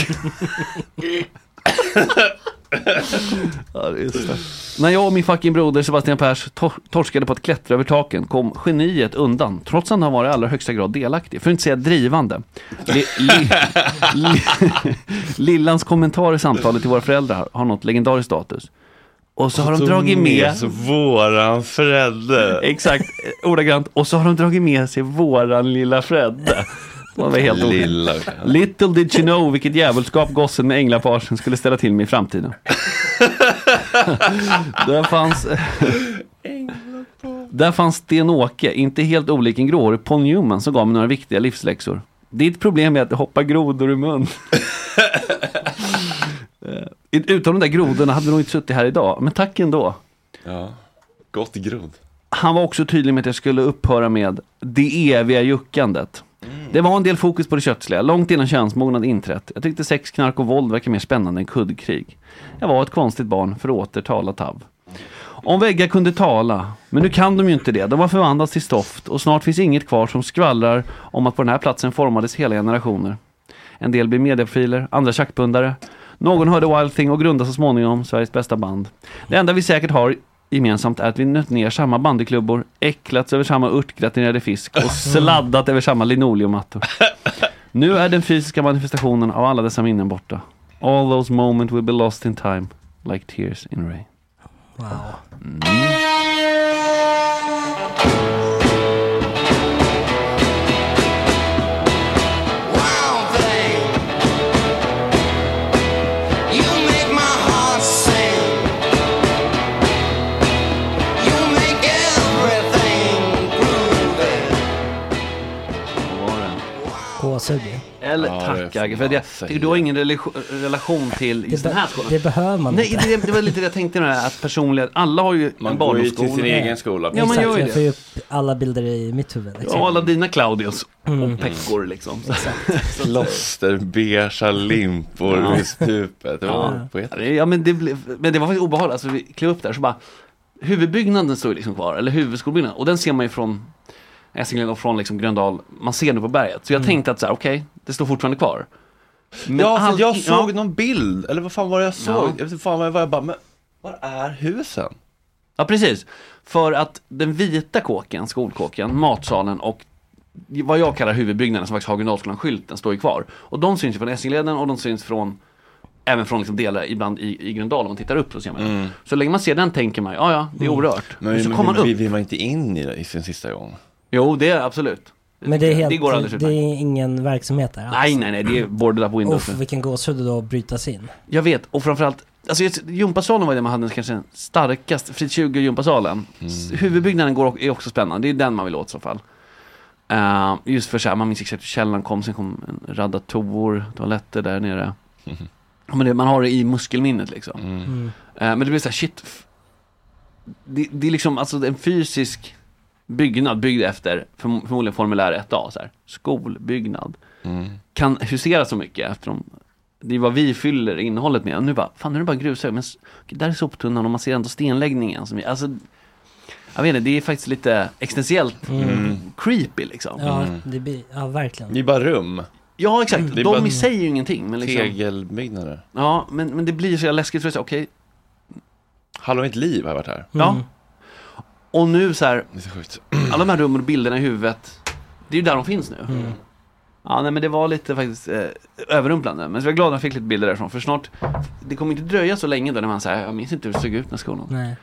[SPEAKER 7] Ja, det är så. När jag och min fucking broder Sebastian Pers tor- torskade på att klättra över taken kom geniet undan, trots att han var i allra högsta grad delaktig, för att inte säga drivande. Li- li- li- Lillans kommentar i samtalet till våra föräldrar har nått legendarisk status. Och så har de
[SPEAKER 1] Tog
[SPEAKER 7] dragit med...
[SPEAKER 1] våran förälder.
[SPEAKER 7] Exakt, eh, ordagrant. Och så har de dragit med sig våran lilla Fredde. Man var helt otroligt.
[SPEAKER 1] Lilla.
[SPEAKER 7] Little did you know vilket djävulskap gossen med änglaparsen skulle ställa till med i framtiden. Där fanns... Där fanns Sten-Åke, inte helt olik en gråhårig Paul Newman som gav mig några viktiga livsläxor. Ditt problem är att det hoppar grodor ur mun. Eh, Utan de där grodorna hade du nog inte suttit här idag, men tack ändå.
[SPEAKER 1] Ja, gott grod.
[SPEAKER 7] Han var också tydlig med att jag skulle upphöra med det eviga juckandet. Det var en del fokus på det köttsliga, långt innan könsmognad inträtt. Jag tyckte sex, knark och våld verkar mer spännande än kuddkrig. Jag var ett konstigt barn, för att återtala Tav. Om väggar kunde tala, men nu kan de ju inte det. De har förvandlats till stoft och snart finns inget kvar som skvallrar om att på den här platsen formades hela generationer. En del blir medieprofiler, andra tjackpundare. Någon hörde Wild Thing och grundade så småningom Sveriges bästa band. Det enda vi säkert har gemensamt är att vi nött ner samma bandyklubbor, äcklats över samma örtgratinerade fisk och sladdat över samma linoleummattor. Nu är den fysiska manifestationen av alla dessa minnen borta. All those moments will be lost in time, like tears in rain.
[SPEAKER 3] Wow. Gåshud ju.
[SPEAKER 7] Eller
[SPEAKER 3] Ja, det
[SPEAKER 7] tack
[SPEAKER 3] får
[SPEAKER 7] Agge, för att jag tycker du har ingen relation, relation till just den här skolan.
[SPEAKER 3] Det behöver man
[SPEAKER 7] Nej, det, det var lite det jag tänkte med det här, att personligen, alla har ju
[SPEAKER 1] Man
[SPEAKER 7] en
[SPEAKER 1] går ju
[SPEAKER 7] barndomsskola.
[SPEAKER 1] till sin egen skola.
[SPEAKER 7] Ja, man
[SPEAKER 3] Exakt,
[SPEAKER 7] gör ju
[SPEAKER 3] jag får
[SPEAKER 7] det.
[SPEAKER 3] ju upp alla bilder i mitt huvud. liksom.
[SPEAKER 7] Ja, alla dina Claudios
[SPEAKER 3] Mm.
[SPEAKER 7] och Peckor liksom.
[SPEAKER 1] Klosterbeiga limpor
[SPEAKER 7] Ja.
[SPEAKER 1] i stupet. Det var poetiskt.
[SPEAKER 7] Ja, ja men, det blev, men det var faktiskt obehagligt. Alltså, vi klev upp där så bara Huvudbyggnaden står ju liksom kvar, eller huvudskolbyggnaden. Och den ser man ju från Essingelund och från liksom Gröndal. Man ser den på berget. Så jag tänkte att så här, okej, det står fortfarande kvar. Men
[SPEAKER 1] Mm. ja, för
[SPEAKER 7] allt-
[SPEAKER 1] jag
[SPEAKER 7] ja.
[SPEAKER 1] såg någon bild, eller vad fan var det jag såg?
[SPEAKER 7] Ja.
[SPEAKER 1] Jag vet inte fan vad jag var, jag bara, men var är husen?
[SPEAKER 7] Ja, precis. För att den vita kåken, skolkåken, matsalen och vad jag kallar huvudbyggnaden, som faktiskt Hagendalsskolan-skylten, står ju kvar. Och de syns ju från Essingleden och de syns från Även från liksom delar ibland i, i Gröndal, om man tittar upp så ser man det. Så länge man ser den tänker man, ja ja, det är
[SPEAKER 1] Mm.
[SPEAKER 7] orört. Men,
[SPEAKER 1] Men,
[SPEAKER 7] så
[SPEAKER 1] men
[SPEAKER 7] kommer man
[SPEAKER 1] vi,
[SPEAKER 7] upp.
[SPEAKER 1] vi, vi var inte in i, det i sin sista gång.
[SPEAKER 7] Jo, det är absolut.
[SPEAKER 3] Men det är, helt,
[SPEAKER 7] det går alldeles
[SPEAKER 3] det
[SPEAKER 7] utmärkt.
[SPEAKER 3] är ingen verksamhet där.
[SPEAKER 7] Nej, nej, nej, det är borderlap windows.
[SPEAKER 3] Uff, vilken gåshud det då att bryta sig in.
[SPEAKER 7] Jag vet, och framförallt, alltså just gympasalen var ju den man hade kanske den starkaste, Frit 20 gympasalen. S- Huvudbyggnaden går, är också spännande, det är den man vill åt i så fall. Eh, just för så här, man minns exakt hur källaren kom, sen kom en radda toor, toaletter där nere. Ja, Men det, man har det i muskelminnet liksom.
[SPEAKER 1] Mm.
[SPEAKER 7] Eh, men det blir så här, shit. f- Det, det är liksom alltså en fysisk byggnad byggd efter, förm- förmodligen formulär 1A, så här, skolbyggnad
[SPEAKER 1] Mm.
[SPEAKER 7] kan husera så mycket eftersom det är vad vi fyller innehållet med. Och nu bara, fan nu är det bara grushög, men s- där är soptunnan och man ser ändå stenläggningen. Som, är- alltså, jag vet inte, det är faktiskt lite existentiellt
[SPEAKER 3] Mm.
[SPEAKER 7] creepy liksom.
[SPEAKER 3] Ja, det blir, ja verkligen.
[SPEAKER 1] Det är bara rum.
[SPEAKER 7] Ja, exakt.
[SPEAKER 1] Det är
[SPEAKER 7] De
[SPEAKER 1] bara
[SPEAKER 7] i sig är ju ingenting. Men liksom,
[SPEAKER 1] Tegelbyggnader.
[SPEAKER 7] ja, men, men det blir så jävla läskigt för sig. Okej,
[SPEAKER 1] Hallå mitt liv har jag varit här.
[SPEAKER 7] ja. Och nu så här,
[SPEAKER 1] Det är så sjukt.
[SPEAKER 7] alla de här rummen och bilderna i huvudet, det är ju där de finns nu. Ja, nej men det var lite faktiskt eh, överrumplande. Men så var jag glad att jag fick lite bilder därifrån. För snart, det kommer inte dröja så länge då när man säger jag minns inte hur det såg ut när skolan.
[SPEAKER 3] Nej.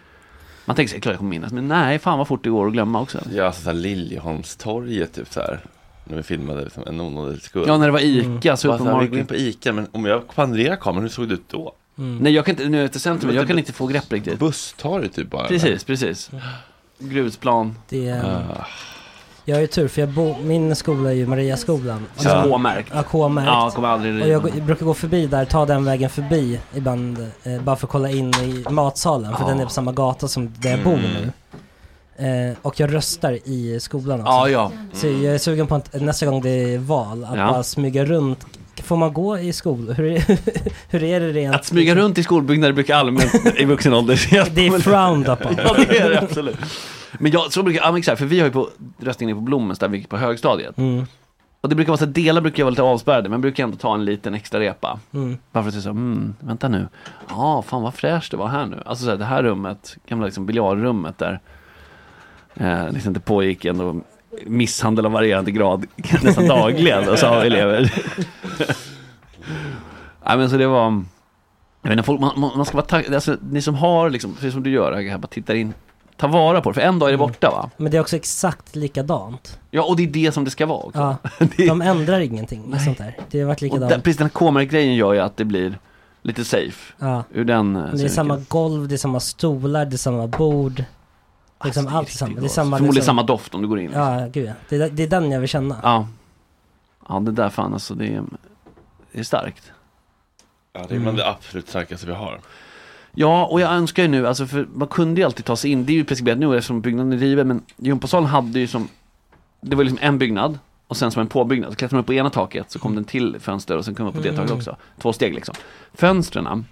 [SPEAKER 7] Man tänker sig, klart jag kommer minnas. Men nej, fan vad fort det går att glömma också.
[SPEAKER 1] Ja, alltså såhär Liljeholmstorget typ såhär. När vi filmade liksom, en onådig skuld.
[SPEAKER 7] Ja, när det var Ica,
[SPEAKER 1] Bara såhär, Vi
[SPEAKER 7] supermarket.
[SPEAKER 1] går in på Ica, men om jag kvadrerar kameran, hur såg det ut då?
[SPEAKER 7] Nej, jag kan inte, nu är jag ute i centrum, jag kan inte få grepp riktigt.
[SPEAKER 1] Busstorget typ bara.
[SPEAKER 7] Precis, precis. Grusplan.
[SPEAKER 3] Det är,
[SPEAKER 1] Ah.
[SPEAKER 3] Jag har ju tur för jag bo, min skola är ju Mariaskolan.
[SPEAKER 7] Så K-märkt.
[SPEAKER 3] Ja, K-märkt.
[SPEAKER 7] Ja, kommer aldrig-
[SPEAKER 3] Och jag, går- jag brukar gå förbi där, ta den vägen förbi ibland, eh, bara för att kolla in i matsalen, för
[SPEAKER 7] Ja.
[SPEAKER 3] den är på samma gata som där jag bor
[SPEAKER 7] Mm.
[SPEAKER 3] nu. Eh, och jag röstar i skolan också.
[SPEAKER 7] Ja, ja.
[SPEAKER 3] Så jag är sugen på att nästa gång det är val, att
[SPEAKER 7] Ja.
[SPEAKER 3] bara smyga runt. Får man gå i skolan? Hur, är- hur är det rent?
[SPEAKER 7] Att smyga runt i skolbyggnader brukar allmänt i vuxen ålder
[SPEAKER 3] Det är frowned upon.
[SPEAKER 7] Ja, det är det absolut. Men jag, så brukar, ja men exakt, för vi har ju på röstningen på Blommens där vi gick på högstadiet.
[SPEAKER 3] Mm.
[SPEAKER 7] Och det brukar vara så att delar brukar vara lite avspärrade, men brukar ändå ta en liten extra repa.
[SPEAKER 3] Mm.
[SPEAKER 7] Bara för att säga så, mm, vänta nu, ja fan vad fräscht det var här nu. Alltså så här, det här rummet, gamla liksom biljardrummet där, eh, liksom det pågick ändå misshandel av varierande grad nästan dagligen, och så har elever. Nej men så det var, jag vet inte, folk, man, man man ska vara tack, alltså ni som har liksom, precis som du gör, här, bara tittar in, ta vara på det, för en dag är det
[SPEAKER 3] Mm.
[SPEAKER 7] borta va?
[SPEAKER 3] Men det är också exakt likadant.
[SPEAKER 7] Ja och det är det som det ska vara också.
[SPEAKER 3] Ja, de ändrar ingenting med sånt där. Det har varit
[SPEAKER 7] Och
[SPEAKER 3] likadant.
[SPEAKER 7] där, precis den här K-grejen gör ju att det blir lite safe.
[SPEAKER 3] Ja.
[SPEAKER 7] Ur den
[SPEAKER 3] Men
[SPEAKER 7] eh,
[SPEAKER 3] det är
[SPEAKER 7] synvinkeln.
[SPEAKER 3] samma golv, det är samma stolar, det är samma bord.
[SPEAKER 7] Ah,
[SPEAKER 3] Liksom allt är samma. Det är samma
[SPEAKER 7] Förmodligen
[SPEAKER 3] liksom-
[SPEAKER 7] samma doft om du går in. liksom.
[SPEAKER 3] Ja, gud ja. Det är, det är den jag vill känna.
[SPEAKER 7] Ja. Ja, det där fan alltså, det är, det är starkt.
[SPEAKER 1] Ja, det är bland det absolut starkaste vi har.
[SPEAKER 7] Ja, och jag önskar ju nu, alltså för man kunde ju alltid ta sig in, det är ju preskriberat nu eftersom byggnaden är riven, men gympasalen hade ju som, det var liksom en byggnad och sen som en påbyggnad, så klättrade man upp på ena taket så kom den till fönster och sen kom man upp på det
[SPEAKER 10] Mm.
[SPEAKER 7] taket också. Två steg liksom. Fönstren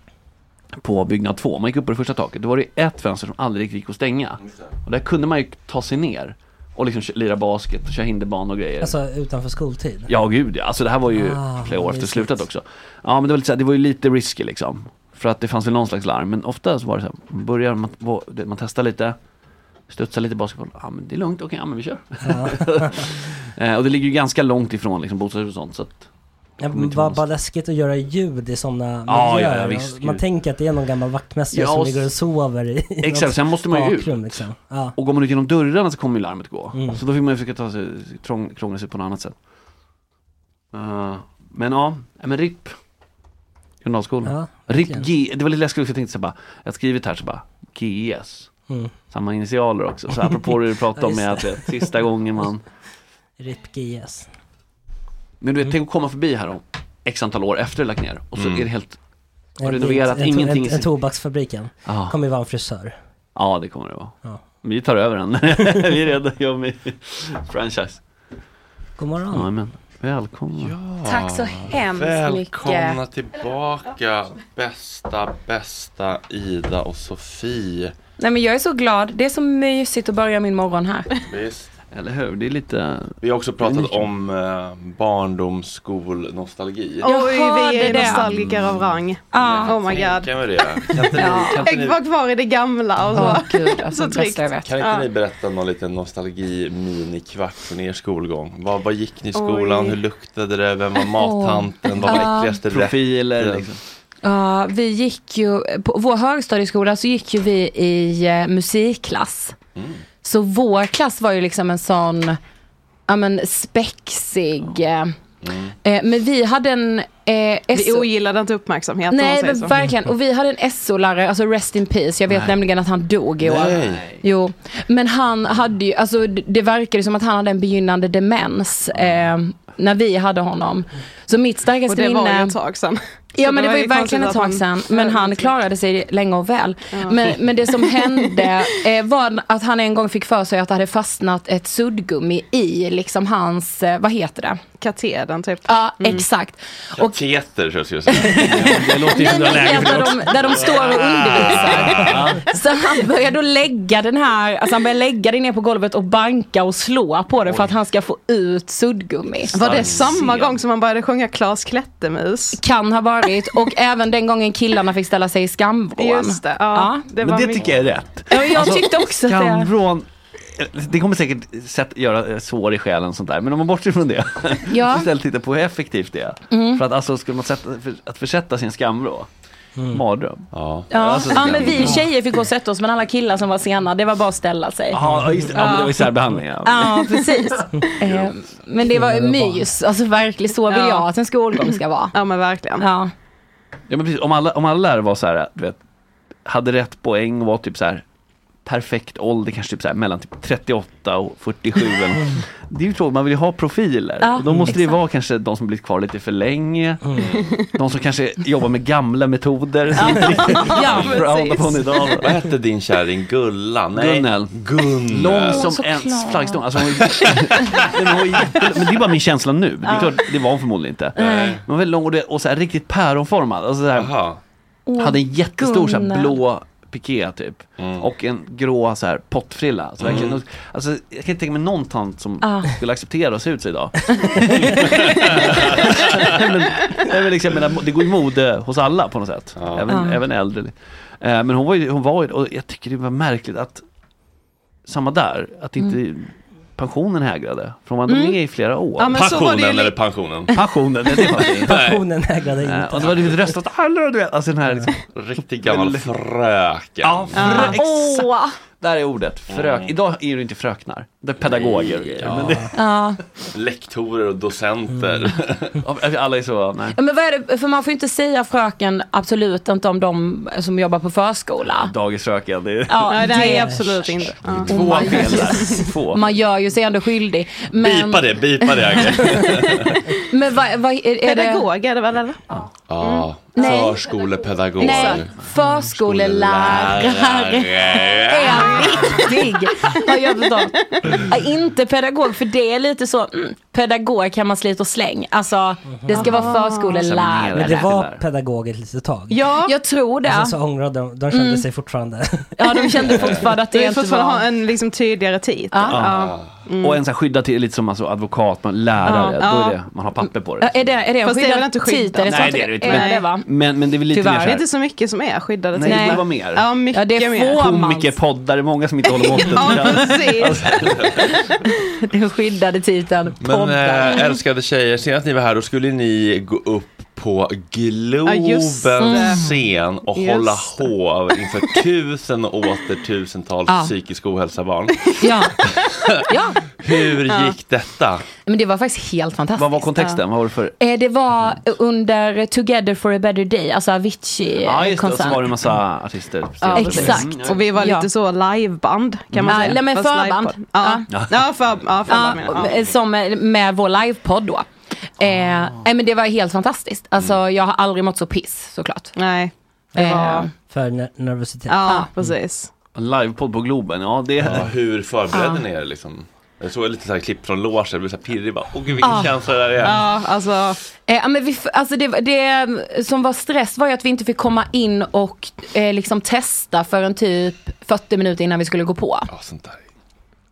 [SPEAKER 7] på byggnad två, man gick upp på det första taket, då var det ju ett fönster som aldrig riktigt gick att stänga. Och där kunde man ju ta sig ner och liksom kö- lira basket och köra hinderbana och grejer.
[SPEAKER 3] Alltså utanför skoltid.
[SPEAKER 7] Ja, gud ja. Alltså det här var ju
[SPEAKER 3] Ah,
[SPEAKER 7] flera år efter
[SPEAKER 3] mysigt.
[SPEAKER 7] slutet också. Ja, men det var, lite, så här, det var ju lite risky liksom. För att det fanns väl någon slags larm. Men ofta så var det så här, man börjar man, vå- det- man testar lite, studsar lite basketboll. Ja, men det är lugnt, okej, ja men vi kör. Eh, och det ligger ju ganska långt ifrån liksom bostadshus och sånt. Så att,
[SPEAKER 3] Ja,
[SPEAKER 7] kommer inte
[SPEAKER 3] bara, bara läskigt att göra ljud i sådana
[SPEAKER 7] Ja,
[SPEAKER 3] miljöer.
[SPEAKER 7] ja, ja, visst,
[SPEAKER 3] man
[SPEAKER 7] gud.
[SPEAKER 3] tänker att det är någon gammal vaktmästare
[SPEAKER 7] Ja,
[SPEAKER 3] som
[SPEAKER 7] och
[SPEAKER 3] ligger och
[SPEAKER 7] s-
[SPEAKER 3] sover i i något
[SPEAKER 7] Exakt, sen måste man ju ut.
[SPEAKER 3] bakrum, Liksom. Ja.
[SPEAKER 7] Och går man ut genom dörrarna så kommer ju larmet gå.
[SPEAKER 3] Mm.
[SPEAKER 7] Så då fick man ju försöka ta sig, trång, krångla sig på något annat sätt. Eh, men ja, ja, men RIP. Grundalsskolan.
[SPEAKER 3] Ja,
[SPEAKER 7] RIP G, det var lite läskigt också, jag tänkte så här bara, jag har skrivit här så bara, GS.
[SPEAKER 3] Mm.
[SPEAKER 7] Samma initialer också, så apropå det du pratade om
[SPEAKER 3] Ja,
[SPEAKER 7] med
[SPEAKER 3] just
[SPEAKER 7] att
[SPEAKER 3] det. Mm.
[SPEAKER 7] det, sista gången man
[SPEAKER 3] RIP GS.
[SPEAKER 7] Men du vet, tänk att komma förbi här om x antal år efter det lagt ner och så
[SPEAKER 3] Mm.
[SPEAKER 7] är det helt
[SPEAKER 3] En-
[SPEAKER 7] renoverat,
[SPEAKER 3] en-
[SPEAKER 7] ingenting i
[SPEAKER 3] En, en
[SPEAKER 7] sin...
[SPEAKER 3] tobaksfabriken.
[SPEAKER 7] Ja.
[SPEAKER 3] Kommer ju vara en frisör.
[SPEAKER 7] Ja, det kommer det vara.
[SPEAKER 3] Ja.
[SPEAKER 7] Vi tar över den. vi är redo, jag och min franchise.
[SPEAKER 3] God morgon.
[SPEAKER 7] Ja, men välkomna.
[SPEAKER 6] Tack så hemskt
[SPEAKER 1] Välkomna
[SPEAKER 6] mycket.
[SPEAKER 1] tillbaka bästa, bästa Ida och Sofie.
[SPEAKER 6] Nej men jag är så glad. Det är så mysigt att börja min morgon här.
[SPEAKER 1] Visst.
[SPEAKER 7] Eller hur, det är lite...
[SPEAKER 1] Vi har också pratat
[SPEAKER 7] Uniken.
[SPEAKER 1] om eh, barndomsskolnostalgi.
[SPEAKER 6] Jag
[SPEAKER 8] Oj, vi
[SPEAKER 6] hörde
[SPEAKER 8] är
[SPEAKER 6] det. Mm.
[SPEAKER 8] nostalgiker av rang. Oh my god.
[SPEAKER 1] Kan vi det? Kan inte ni, kan inte
[SPEAKER 8] Jag
[SPEAKER 1] ni,
[SPEAKER 8] var kvar i det gamla och så.
[SPEAKER 6] Åh, gud, alltså, det
[SPEAKER 8] så
[SPEAKER 6] bästa
[SPEAKER 8] tryggt.
[SPEAKER 6] jag vet.
[SPEAKER 1] kan inte
[SPEAKER 8] Ja.
[SPEAKER 1] ni berätta någon liten nostalgi-minikvart från er skolgång? Vad, vad gick ni i skolan?
[SPEAKER 6] Oj.
[SPEAKER 1] Hur luktade det? Vem var mattanten? Vad var
[SPEAKER 6] Ja.
[SPEAKER 1] äckligaste
[SPEAKER 7] Profiler, liksom.
[SPEAKER 6] Ja, vi gick ju, på vår högstadieskola så gick ju vi i eh, musikklass.
[SPEAKER 8] Mm.
[SPEAKER 6] Så vår klass var ju liksom en sån, ja men spexig. eh,
[SPEAKER 8] Mm.
[SPEAKER 6] Eh, men vi hade en eh,
[SPEAKER 8] Vi
[SPEAKER 6] SO
[SPEAKER 8] ogillade inte uppmärksamhet om man
[SPEAKER 6] Nej
[SPEAKER 8] säger
[SPEAKER 6] men
[SPEAKER 8] så.
[SPEAKER 6] verkligen, och vi hade en SO-lärare, alltså rest in peace, jag vet
[SPEAKER 8] Nej.
[SPEAKER 6] nämligen att han dog i år.
[SPEAKER 8] Nej.
[SPEAKER 6] Jo, men han hade ju, alltså d- det verkade som att han hade en begynnande demens eh, när vi hade honom. Så mitt
[SPEAKER 8] Och
[SPEAKER 6] starkaste
[SPEAKER 8] det
[SPEAKER 6] minne...
[SPEAKER 8] var ju ett tag sedan.
[SPEAKER 6] Ja
[SPEAKER 8] Så
[SPEAKER 6] men det var ju verkligen ett
[SPEAKER 8] konstigt
[SPEAKER 6] tag
[SPEAKER 8] att han-
[SPEAKER 6] sedan. Men han klarade sig länge och väl. Men, men det som hände eh, var att han en gång fick för sig att det hade fastnat ett suddgummi i liksom hans, eh, vad heter det?
[SPEAKER 8] Katedern typ.
[SPEAKER 6] Ja exakt.
[SPEAKER 1] Kateter, så jag skulle säga.
[SPEAKER 7] Det låter ju som det var läge för
[SPEAKER 6] Där
[SPEAKER 7] det också.
[SPEAKER 6] de, där de står och undervisar. Så han börjar då lägga den här, alltså han börjar lägga den ner på golvet och banka och slå på den för att han ska få ut suddgummi.
[SPEAKER 8] Var det samma gång som man började sjunga Klas Klättemus?
[SPEAKER 6] Kan ha varit och även den gången killarna fick ställa sig i skamvrån.
[SPEAKER 8] Just det, ja. Det
[SPEAKER 7] Men det tycker jag är rätt.
[SPEAKER 6] Ja, jag tyckte också att det-
[SPEAKER 7] Alltså, skamvrån, det kommer säkert sätt, göra eh, sår i själen och sånt där, men om man bortser från det.
[SPEAKER 6] Ja.
[SPEAKER 7] så Istället titta på hur effektivt det är.
[SPEAKER 6] Mm.
[SPEAKER 7] För att alltså, skulle man sätta, för, att försätta sin skamvrå, Mm. mardröm.
[SPEAKER 1] Ja,
[SPEAKER 6] Ja, ja men vi tjejer fick gå och sätta oss men alla killar som var sena, det var bara att ställa sig.
[SPEAKER 7] Jaha, just det. Ja, men det var ju särbehandling. Ja.
[SPEAKER 6] Ja, precis. Eh, Men det var mys, alltså verkligen så vill
[SPEAKER 8] Ja.
[SPEAKER 6] jag att en skolgång ska vara.
[SPEAKER 8] Ja men verkligen.
[SPEAKER 6] Ja.
[SPEAKER 7] Ja men precis, om alla, om alla lärare var så här, du vet, hade rätt poäng och var typ så här perfekt ålder, kanske typ så här, mellan typ 38 och 47. Eller. något. Det är ju tråkigt, man vill ju ha profiler.
[SPEAKER 11] Ja,
[SPEAKER 7] Då måste det ju
[SPEAKER 11] exakt. Mm.
[SPEAKER 7] vara kanske de som blivit kvar lite för länge, de som kanske jobbar med gamla metoder. som inte riktigt
[SPEAKER 11] Ja,
[SPEAKER 7] frowned upon
[SPEAKER 11] precis.
[SPEAKER 7] idag.
[SPEAKER 1] Vad hette din kärring? Gulla? Nej.
[SPEAKER 7] Gunnel.
[SPEAKER 1] Gunnel.
[SPEAKER 7] Lång som en flaggstång. Alltså, hon var ju- Nej, men hon var jättelång. men det är bara min känsla nu. Det, är
[SPEAKER 6] Ja.
[SPEAKER 7] klart, det var hon förmodligen inte.
[SPEAKER 11] Mm.
[SPEAKER 6] Nej.
[SPEAKER 7] Men hon var väldigt lång och, det, och så här, riktigt päronformad. Alltså, så här,
[SPEAKER 6] Åh,
[SPEAKER 7] hade en jättestor så här,
[SPEAKER 6] Gunnar.
[SPEAKER 7] blå piké typ.
[SPEAKER 1] Mm.
[SPEAKER 7] Och en grå så här, pottfrilla. Så verkligen, alltså, jag kan inte tänka mig någon tant som
[SPEAKER 6] Ja.
[SPEAKER 7] skulle acceptera att se ut så idag. men, nej, men liksom, jag menar, det går ju mode hos alla på något sätt. Även,
[SPEAKER 6] Ja.
[SPEAKER 7] även äldre. Eh, Men hon var ju, hon var ju, och jag tycker det var märkligt att samma där, att inte pensionen hägrade. För hon var ändå
[SPEAKER 5] Mm.
[SPEAKER 7] med i flera år.
[SPEAKER 5] Ja, men så var det ju Passionen li- eller
[SPEAKER 1] pensionen?
[SPEAKER 7] Passionen, det var det.
[SPEAKER 3] Passionen hägrade
[SPEAKER 7] Nej.
[SPEAKER 3] inte.
[SPEAKER 7] Eh, Och det var ju röstat alla, du vet. Alltså den här liksom.
[SPEAKER 1] Riktigt gammal fröken.
[SPEAKER 7] Ja, frö, exakt.
[SPEAKER 6] Åh.
[SPEAKER 7] Där är ordet, frök.
[SPEAKER 1] Mm.
[SPEAKER 7] Idag är det inte fröknar, det är pedagoger. och grejer, men det-
[SPEAKER 6] Ja.
[SPEAKER 1] Lektorer och docenter.
[SPEAKER 7] Ja, Alla är så, nej.
[SPEAKER 6] Ja, men vad är det, för man får ju inte säga fröken absolut inte om de som jobbar på förskola.
[SPEAKER 7] Dagisfröken, det är...
[SPEAKER 6] Ja,
[SPEAKER 8] Nej, det här
[SPEAKER 6] det-
[SPEAKER 8] är absolut inte. Ja.
[SPEAKER 7] Två
[SPEAKER 6] Oh my
[SPEAKER 7] fel där.
[SPEAKER 6] Jesus.
[SPEAKER 7] Två.
[SPEAKER 6] Man gör ju sig ändå skyldig. Men, Mm.
[SPEAKER 1] Bipa det, bipa det Agge.
[SPEAKER 6] men vad, vad är, är
[SPEAKER 8] Pedagog är det väl eller?
[SPEAKER 1] Ja,
[SPEAKER 6] Nej.
[SPEAKER 1] förskolepedagog.
[SPEAKER 6] det? Nej, förskollärare
[SPEAKER 1] Äh.
[SPEAKER 6] är viktig. Har jag förstått. Ja, Inte pedagog, för det är lite så, mm, pedagog kan man slita och släng. Alltså, det ska vara
[SPEAKER 7] Alltså,
[SPEAKER 6] förskollärare.
[SPEAKER 3] Men det var pedagoger ett litet tag.
[SPEAKER 6] Ja, jag tror det.
[SPEAKER 7] Alltså,
[SPEAKER 3] Och sen så ångrade de, de kände
[SPEAKER 6] Mm.
[SPEAKER 3] sig fortfarande.
[SPEAKER 6] Ja, de kände fortfarande att det
[SPEAKER 8] Du
[SPEAKER 6] inte
[SPEAKER 8] får
[SPEAKER 6] var-
[SPEAKER 8] ha en liksom tydligare titel.
[SPEAKER 7] Ja. Och en sån här skyddad till, lite som alltså advokat, man, lärare,
[SPEAKER 8] Mm. Ja.
[SPEAKER 7] då är
[SPEAKER 8] Ja.
[SPEAKER 7] det, man har papper på
[SPEAKER 6] Ja,
[SPEAKER 7] det.
[SPEAKER 6] Är det, är det en
[SPEAKER 8] Fast det är väl inte
[SPEAKER 6] skyddad
[SPEAKER 8] skyddat?
[SPEAKER 6] titel?
[SPEAKER 7] Nej, det är det inte.
[SPEAKER 6] inte.
[SPEAKER 7] men-
[SPEAKER 6] det va?
[SPEAKER 7] Men, men det är väl lite
[SPEAKER 8] Tyvärr
[SPEAKER 7] mer så
[SPEAKER 8] det är
[SPEAKER 7] här,
[SPEAKER 8] inte så mycket som är skyddade
[SPEAKER 7] Nej, det borde vara mer.
[SPEAKER 8] Ja, mycket
[SPEAKER 6] Ja, det
[SPEAKER 8] mer.
[SPEAKER 6] får man.
[SPEAKER 7] komikerpoddar, det är många som inte håller måttet.
[SPEAKER 8] Ja, precis.
[SPEAKER 6] Den skyddade titeln.
[SPEAKER 7] eh,
[SPEAKER 1] Men
[SPEAKER 6] poddar.
[SPEAKER 1] äh, älskade tjejer, senast ni var här då skulle ni gå upp på
[SPEAKER 6] Ja,
[SPEAKER 1] Globens
[SPEAKER 6] just det.
[SPEAKER 1] scen och
[SPEAKER 6] Just
[SPEAKER 1] hålla
[SPEAKER 6] det.
[SPEAKER 1] hov inför tusen och åter tusentals
[SPEAKER 6] Ja.
[SPEAKER 1] psykisk ohälsa-barn.
[SPEAKER 6] Ja. ja,
[SPEAKER 1] Hur
[SPEAKER 6] Ja.
[SPEAKER 1] gick detta?
[SPEAKER 6] men det var faktiskt helt fantastiskt.
[SPEAKER 7] Vad var kontexten? Vad var det för...
[SPEAKER 6] Eh, Det var under Together for a better day, alltså
[SPEAKER 7] Ja, just det. Och så
[SPEAKER 6] Avicii-konsert.
[SPEAKER 7] var det en massa artister.
[SPEAKER 6] Ja,
[SPEAKER 7] Mm,
[SPEAKER 6] exakt.
[SPEAKER 7] ja.
[SPEAKER 8] Och vi var
[SPEAKER 6] Ja.
[SPEAKER 8] lite så liveband kan man
[SPEAKER 6] Ja,
[SPEAKER 8] säga.
[SPEAKER 6] nej, men
[SPEAKER 8] Fast
[SPEAKER 6] förband.
[SPEAKER 8] livepodd. Ja,
[SPEAKER 7] Ja.
[SPEAKER 8] ja. för, ja, förband menar jag.
[SPEAKER 6] Ja,
[SPEAKER 8] ja.
[SPEAKER 6] som eh, med vår livepodd då. Eh, nej, men det var helt fantastiskt. Alltså jag har aldrig mått så piss såklart. Eh,
[SPEAKER 8] Nej,
[SPEAKER 6] det
[SPEAKER 8] var-
[SPEAKER 3] För ner- nervositet.
[SPEAKER 8] Ja, precis.
[SPEAKER 7] Livepodd på Globen, ja det...
[SPEAKER 1] Ja, hur förberedde
[SPEAKER 8] Ja.
[SPEAKER 1] ni er liksom? Jag såg lite så här klipp från logen, det blev så här pirrig bara, åh gud vilken
[SPEAKER 6] Ja.
[SPEAKER 1] känsla det där är.
[SPEAKER 8] Ja, alltså.
[SPEAKER 6] Eh, ja, men vi, f- alltså det, det som var stress var ju att vi inte fick komma in och eh, liksom testa förrän typ 40 minuter innan vi skulle gå på.